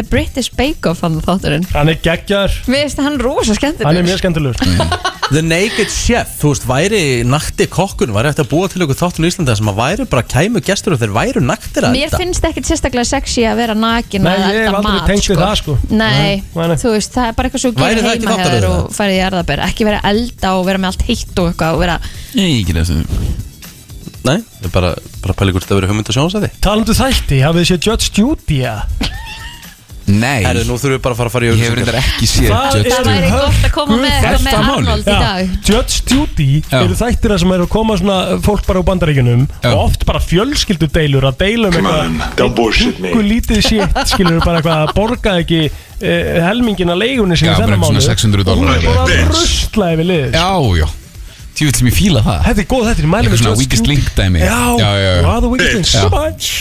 a British Bake Off hann þátturinn
Hann er geggjar
Mér finnst hann rosa skemmtilegur
skemmtilegur
Mm.
The Naked Chef, þú veist, væri nakti kokkun, væri eftir að búa til ykkur þáttun í Íslanda sem að væri bara kæmu gestur og þeir væru naktir að
Mér finnst ekkert sérstaklega sexy að vera nakin
Nei,
að
ég hef
elda
aldrei
mat,
tengt við það, sko.
Nei,
Nei, nei.
þú veist, það er bara eitthvað svo að
Væri
gera
það ekki
heima hjá
þáttaröð
þér
eða?
og farið í jarðabær Ekki vera að elda og vera með allt heitt og eitthvað og vera
Nei, ekki þessu
Nei, það er bara, bara pæli hvort það verið hugmynd að sjónsæði
Talandu þætti, hafið þið séð Judge Judy eða?
Nei
Herru, nú þurfum við bara að fara að fara í auðvitað Ég hef
reyndar ekki
Það væri gott að koma með eitthvað með Arnold í dag
Judge Judy
Já.
eru þættir að sem eru að koma svona fólk bara úr bandaríkjunum og oft bara fjölskyldudeilur að deila um eitthvað
Don't bullshit me.
Hvað lítið shit, skilur bara eitthvað að borga ekki uh, helmingin að leigunni sinni
Já, bara
þennan
eitthvað
mánu
svona 600 dólar
Hún er bara að rusla yfir liðið
Já, já Þú vil sem ég fíla það
Þetta er góð þetta, ég mæli
Eitthvað svona
með Judge
weakest
Judy.
link dæmi
Já,
já, já, já.
Rather Weakest Link,
Já.
so much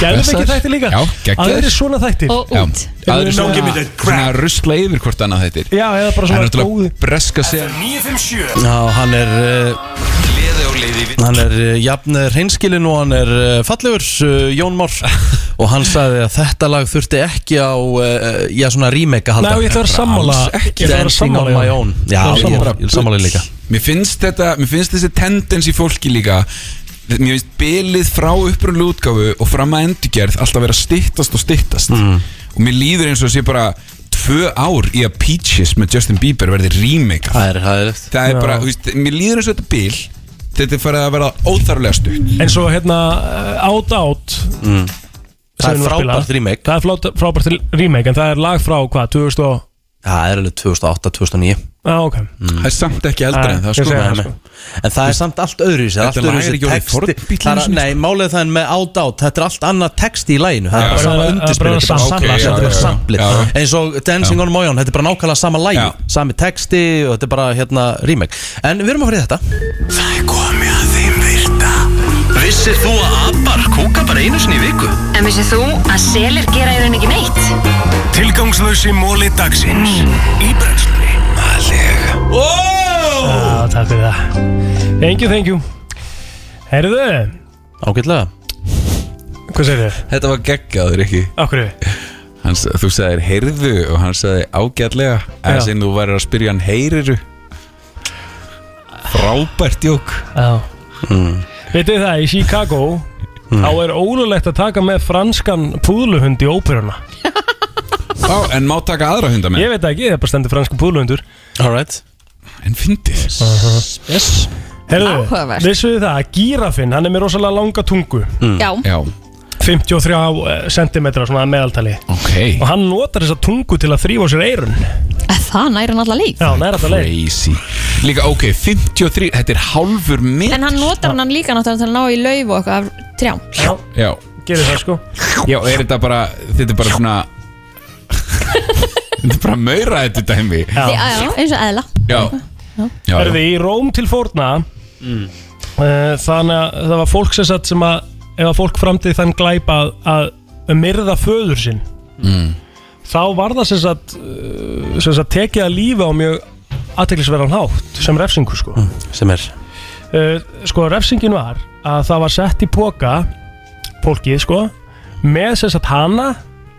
Gæðum
Blessaður.
ekki þætti líka
Já, geggjaður.
Aðrir svona þættir
Já, Aðrir svona, svona rusla yfir hvort annað þættir
Já, eða bara
Það er
svona
náttúrulega breska sér
957
Já, hann er uh,
Gleði og leiði við
Hann er uh, jafn reynskilin og hann er uh, fallegur, uh, Jón Már Og hann sagði að þetta lag þurfti ekki á, uh, já svona remake að halda
Nei, ég ætla að vera sammála. Ég ætla að vera
Dancing on
sammála,
my
já.
own Já,
Ég ætla að
ég
vera
ég er sammála líka
Mér finnst þetta, mér finnst þessi tendens í fólki líka Mér finnst bylið frá upprunlu útgáfu og fram að endurgerð alltaf vera að styttast og styttast
Mm.
og mér líður eins og sé bara tvö ár í að Peaches með Justin Bieber verði remake
Það er hæðilegt
Það er
Já.
bara, þú veist, mér líður eins og þetta byl Þetta er farið að vera óþarflega stutt
En svo hérna uh, Out Out
mm. Það er
sem við erum að spila.
frábært remake
Það er flott, frábært remake En það er lag frá hvað, 2000 og
Það er alveg 2008-2009
Já, ok Ah,
Það
er samt ekki eldra en það, sko.
Nei,
Nei,
nei. En það er samt allt öðruvísi það er
Þetta
allt
lag er
öðruvísi
ekki orðið sko.
texti.
fornbíll
Það er-
einu sinni,
Nei, málið er það er með át át Þetta er allt annað texti í læginu Það
Já.
er bara
Bara-
sama
bara-
undirspil
bara
Þetta er
sama
bara samplið,
lag,
þetta er
já,
bara
já,
samplið.
já.
Eins og Dancing on Mojon Þetta er bara nákvæmlega sama lægi Sami texti og þetta er bara hérna rímek En við erum að fara í þetta
Það er komið að þeim virta Vissir þú að abar kúka bara einu sinni í viku?
En vissið þú að selir gera í raun ekki neitt?
Tilgangslösi móli dagsins Í brennslunni Aðlega
Já, Ah, takk fyrir það Thank you, thank you Herðu
Ágætlega
Hvað segir þér?
Þetta var geggjaður ekki
Akkur
Hans, Þú sagðir heyrðu og hann sagði ágætlega
Já.
En sinn þú værir að spyrja hann heyriru Frábært jók
Já Vitið þið það, í Chicago Þá er ólulegt að taka með franskan púðluhund í óperuna
Á, En má taka aðra hunda með
Ég veit það ekki, það er bara stendur franskan púðluhundur Uh-huh.
Alright
En fyndið
Yes Herðu,
Áhugavert.
vissuðu það að gírafinn, hann er með rosalega langa tungu
Já.
Já
53 cm eh, svona að meðaltali
okay.
Og hann notar þessa tungu til að þrýfa sér eirun
Að Það næri hann allar líf
Já, hann er alltaf leið
Crazy Líka ok, 53, þetta er hálfur minn
En hann notar hann líka náttúrulega til að ná í lauf og eitthvað af trjám
Já
Gerir það sko
Já, er þetta bara, þetta er bara svona Þetta er bara maura þetta dæmi
Því- Já, já, eins og eðla
Já, já, já.
Herði, í Róm til fórna eh, Þannig að það var fólk sem satt sem að Ef að fólk framtíð þann glæpa að, að myrða föður sinn
Mm.
Þá var það sem sagt, eh, sem sagt tekið að lífa á mjög aðteklisverðan hátt sem refsingu sko
Hm, Sem er
uh, sko refsingin var að það var sett í póka fólkið sko með sem sagt hana,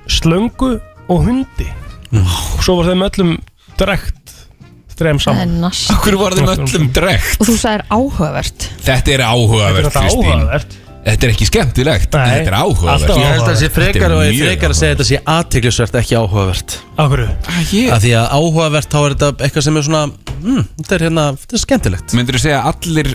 slöngu og hundi
Mm.
og svo var þeim öllum drekt þrem saman
Akkur var þeim öllum drekt
Og þú sagðir áhugavert
Þetta er áhugavert,
Þetta er
Kristín
áhugavert.
Þetta er ekki skemmtilegt en Þetta er áhugavert
Ég held að það sé frekar og
Þetta er
ég
mjög
frekar að segja þetta sé aðteglisvert ekki áhugavert
Akkur
Af því að áhugavert þá er þetta eitthvað sem er svona mm, Þetta er hérna, þetta er skemmtilegt
Myndur þú segja að allir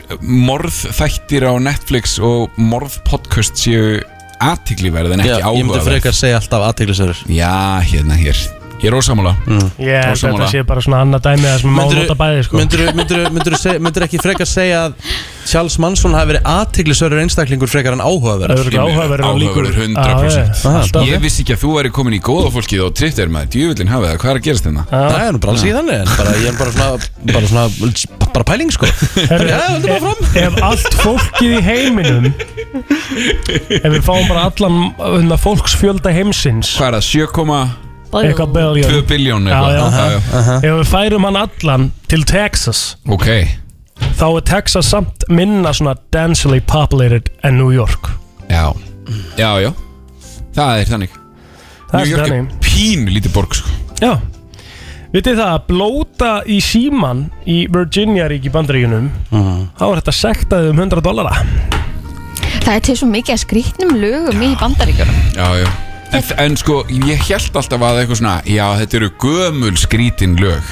morðþættir á Netflix og morðpodcast séu aðtikliverð en ekki
Já, ég myndi
áhugaverð
frekar segja alltaf aðteglisverður
Já, hérna hér Ég er ósamála mm.
Ég held að þetta sé bara svona annað dæmi það sem má
Myndirðu-
nota bæði sko
Myndirðu- myndirðu- myndirðu seg- Myndirðu ekki frekar segja að Charles Manson hafi verið aðteglisverður einstaklingur frekar en áhugaverður
Örugglega áhugaverður og líkur. Ah,
Áhugaverður
Já, já.
100%
Alltaf.
Ég vissi ekki að þú væri komin í góða fólkið og Twitter maður, djúvillin hafið það, hvað er að gerast hérna?
Ah.
Það er nú bara alls í þannig en bara, Ég er bara svona, bara svona bara pæling sko
Herru,
Já, höldum bara
ef, ef allt fólkið í heiminum ef við fáum bara allan hérna, fólksfjölda heimsins
Hvað er það, 7,2
eitthvað biljón
biljón
Já, já.
eitthvað? Já, já.
Ef við færum hann allan til Texas
Ok,
þá er Texas samt minna svona densely populated en New York
já Já, já, það er þannig
Það er
New York er
þannig.
pínu lítið borg sko.
Já Vitið það að blóta í síman í Virginia rík í bandaríkunum
Mm.
þá er þetta sektaðið um 100 dollara
Það er til svo mikið að skrýtnum lögum í bandaríkjörnum
Já, já En, en sko, ég held alltaf að eitthvað svona Já, þetta eru gömul skrítin lög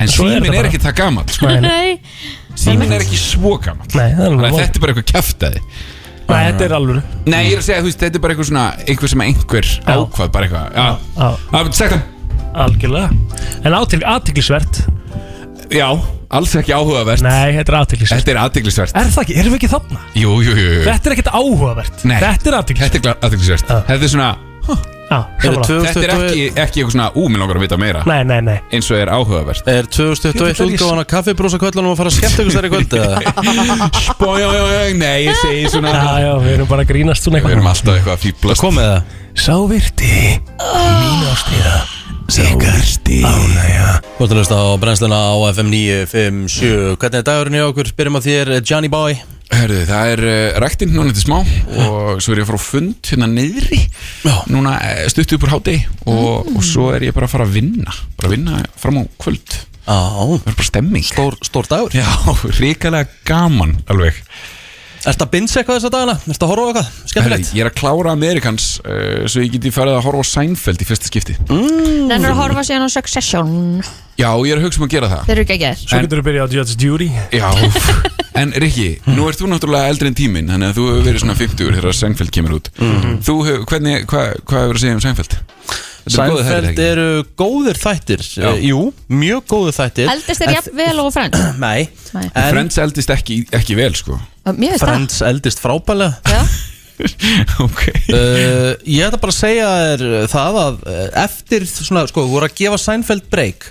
En
Svo er
síminn
þetta
er
bara.
ekki það gammal sko.
Nei
Síminn er ekki svo gammal
Nei, það er alveg
Þannig að
nóg.
þetta er bara eitthvað kjaftaði
Nei, þetta er alvöru
Nei, ég er að segja, þú veist, þetta er bara eitthvað svona Eitthvað sem einhver ákvað, bara eitthvað Já,
Já,
já sagt það
algjörlega En átil, aðtiklisvert
Já, alls ekki áhugavert
Nei, þetta er aðtiklisvert
Þetta er aðtiklisvert
Er það ekki, erum við ekki þarna?
Jú, jú, jú, jú.
Þetta er ekkert áhugavert
Nei.
Þetta er aðtiklisvert
Þetta er aðtiklisvert Þetta er svona
Já,
Þetta
sammála.
er ekki, ekki eitthvað svona Ú, mér langar að vita meira
Nei, nei, nei
Eins og er áhugavert
Er 2021 útgáðan að kaffibrúsa köllunum og fara að skemmta ykkur sér í kvöld eða?
Spói, já, já, já, nei, ég segi svona
Já, já, við erum bara að grínast svona
Við erum alltaf eitthvað að fýblast
Komið það
Sá virti Mín ástríða
Sávirti
Ánægja
Þú ert að hlusta á brennsluna á FM 957 Hvernig er dagurinn í okkur? Byrjum á þér, Johnny Boy
Herðu, það er uh, ræktinn núna til smá og svo er ég að fara á fund hérna niðri núna eh, stutt upp úr hádegi og,
Mm.
og svo er ég bara að fara að vinna bara að vinna fram á kvöld
Á
Það er bara stemming
Stór, stór dagur
Já, ríkalega gaman alveg
Ertu að binsa eitthvað þessa dagana? Ertu að horfa á eitthvað? Skemmtilegt
Herðu, Ég er að klára Amerikans uh, svo ég geti farið að horfa á Seinfeld í fyrsta skipti
Mm.
Nennur að horfa síðan á Succession
Já, ég er að hugsa um að gera það
Þeir eru ekki að gera
Svo getur við byrjað á Judge Judy
Já, en Rikki, nú ert þú náttúrulega eldri en tíminn þannig að þú
Mhm.
hefur verið svona 50 þegar Seinfeld kemur út mm. Þú hefur, hvernig, hvað hva hefur að segja um Seinfeld? Þetta eru góðir þættir,
Sænfeld
ekki?
eru góðir þættir Já. Jú, mjög góðir þættir
Eldist er
En-
jafn vel og frend
Nei
Nei.
Friends eldist ekki, ekki vel sko
Mér veist það
Friends eldist frábælega
Já.
okay. uh, Ég ætla bara að segja þér það að uh, eftir svona, sko, þú voru að gefa Seinfeld break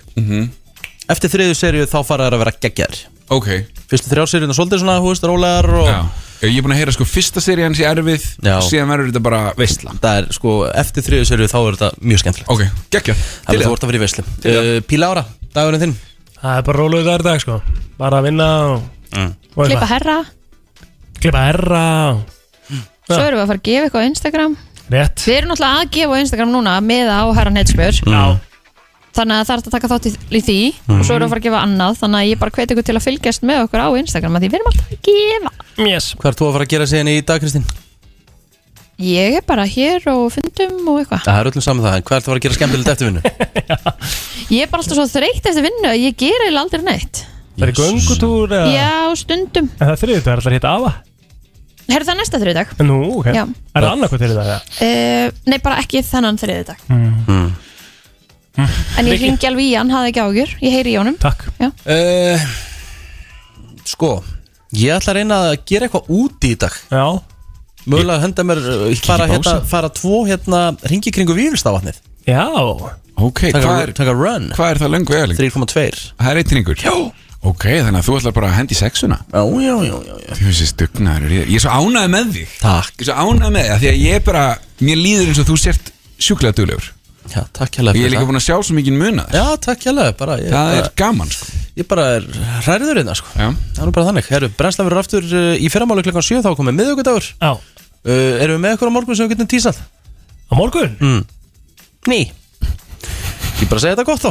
eftir þriðju serju þá fara þær að vera geggjar
Mhm. Ok
Fyrstu þrjár serjuna svolítið svona, hú veist, rólegar og...
Já, ég er búin að heyra sko fyrsta seri hans í erfið
Já.
Síðan verður þetta bara veistla
Það er sko, eftir þriðju serju þá er þetta mjög skemmtilegt
Ok, geggja
Það er þú ert að vera í veislu uh, Píla ára, dagurinn þinn
Það er bara róluðu dagur í dag sko Bara að vinna og,
Mm.
og eitthvað.
Klippa herra
Klippa herra og- Já.
Svo erum við að fara að gefa eitthvað á Instagram
Rétt
Við erum náttúrulega að gefa á Instagram núna með á herran heitspjör
Já.
Þannig að það er hægt að taka þátt í, í því
Mm.
og svo erum við að fara að gefa annað þannig að ég bara hveti ykkur til að fylgjast með okkur á Instagram að því við erum alltaf að gefa
yes.
Hvað er þú að fara að gera síðan í dag, Kristín?
Ég er bara hér og fundum og eitthvað
Það er öllum saman það, en hvað er þú að fara að gera skemmtilegt eftir vinnu?
Ég er bara alltaf svo þreytt eftir vinnu að ég gera eiginlega aldrei neitt
Það er göngutúr eða
Já, stundum
En það er þriðið dagur, það er hitt afa
Herðu það næsta þriðdag?
Nú, ok
Já.
Er það annað hvað þriðið dagur?
Uh, nei, bara ekki þennan þriðdag
Mm.
En ég
Mikið.
ringi alveg í hann, hafði ekki ágjur Ég heyri í honum
Takk
Já.
Uh, sko, ég ætla að reyna að gera eitthvað úti í dag
Já
Mögulega að henda mér uh, fara,
í
hérna,
pásu.
fara tvo hérna ringi kringu vílstavatnið
Já
Ok,
Taka-
hvað er,
taka run
Hvað er það löngu vegaling?
3,2
Það er eitt ringur Já Ok, þannig að þú ætlar bara að hendi sexuna
Já, já, já, já, já.
Þú veist, dugnaður ég, ég er svo ánægð með þig
Takk
Ég er svo ánægð með þig af Því að ég er bara Mér líður eins og þú sért sjúklega duglegur
Já, takk hérlega
Ég
fyrir
er líka
það.
búin að sjá svo mikið muna
Já, takk hérlega, bara ég,
Það er
bara-
gaman sko
Ég bara er hræður hérna, sko
Já
Það er nú bara þannig Herru, brennsla verður aftur uh, í fyrramáli klukkan 7 þá komið miðugudagur
Já
uh, Erum við með ykkur á morgun sem við getum tísað?
Á morgun?
Mm. Ný Ég bara segi þetta gott þá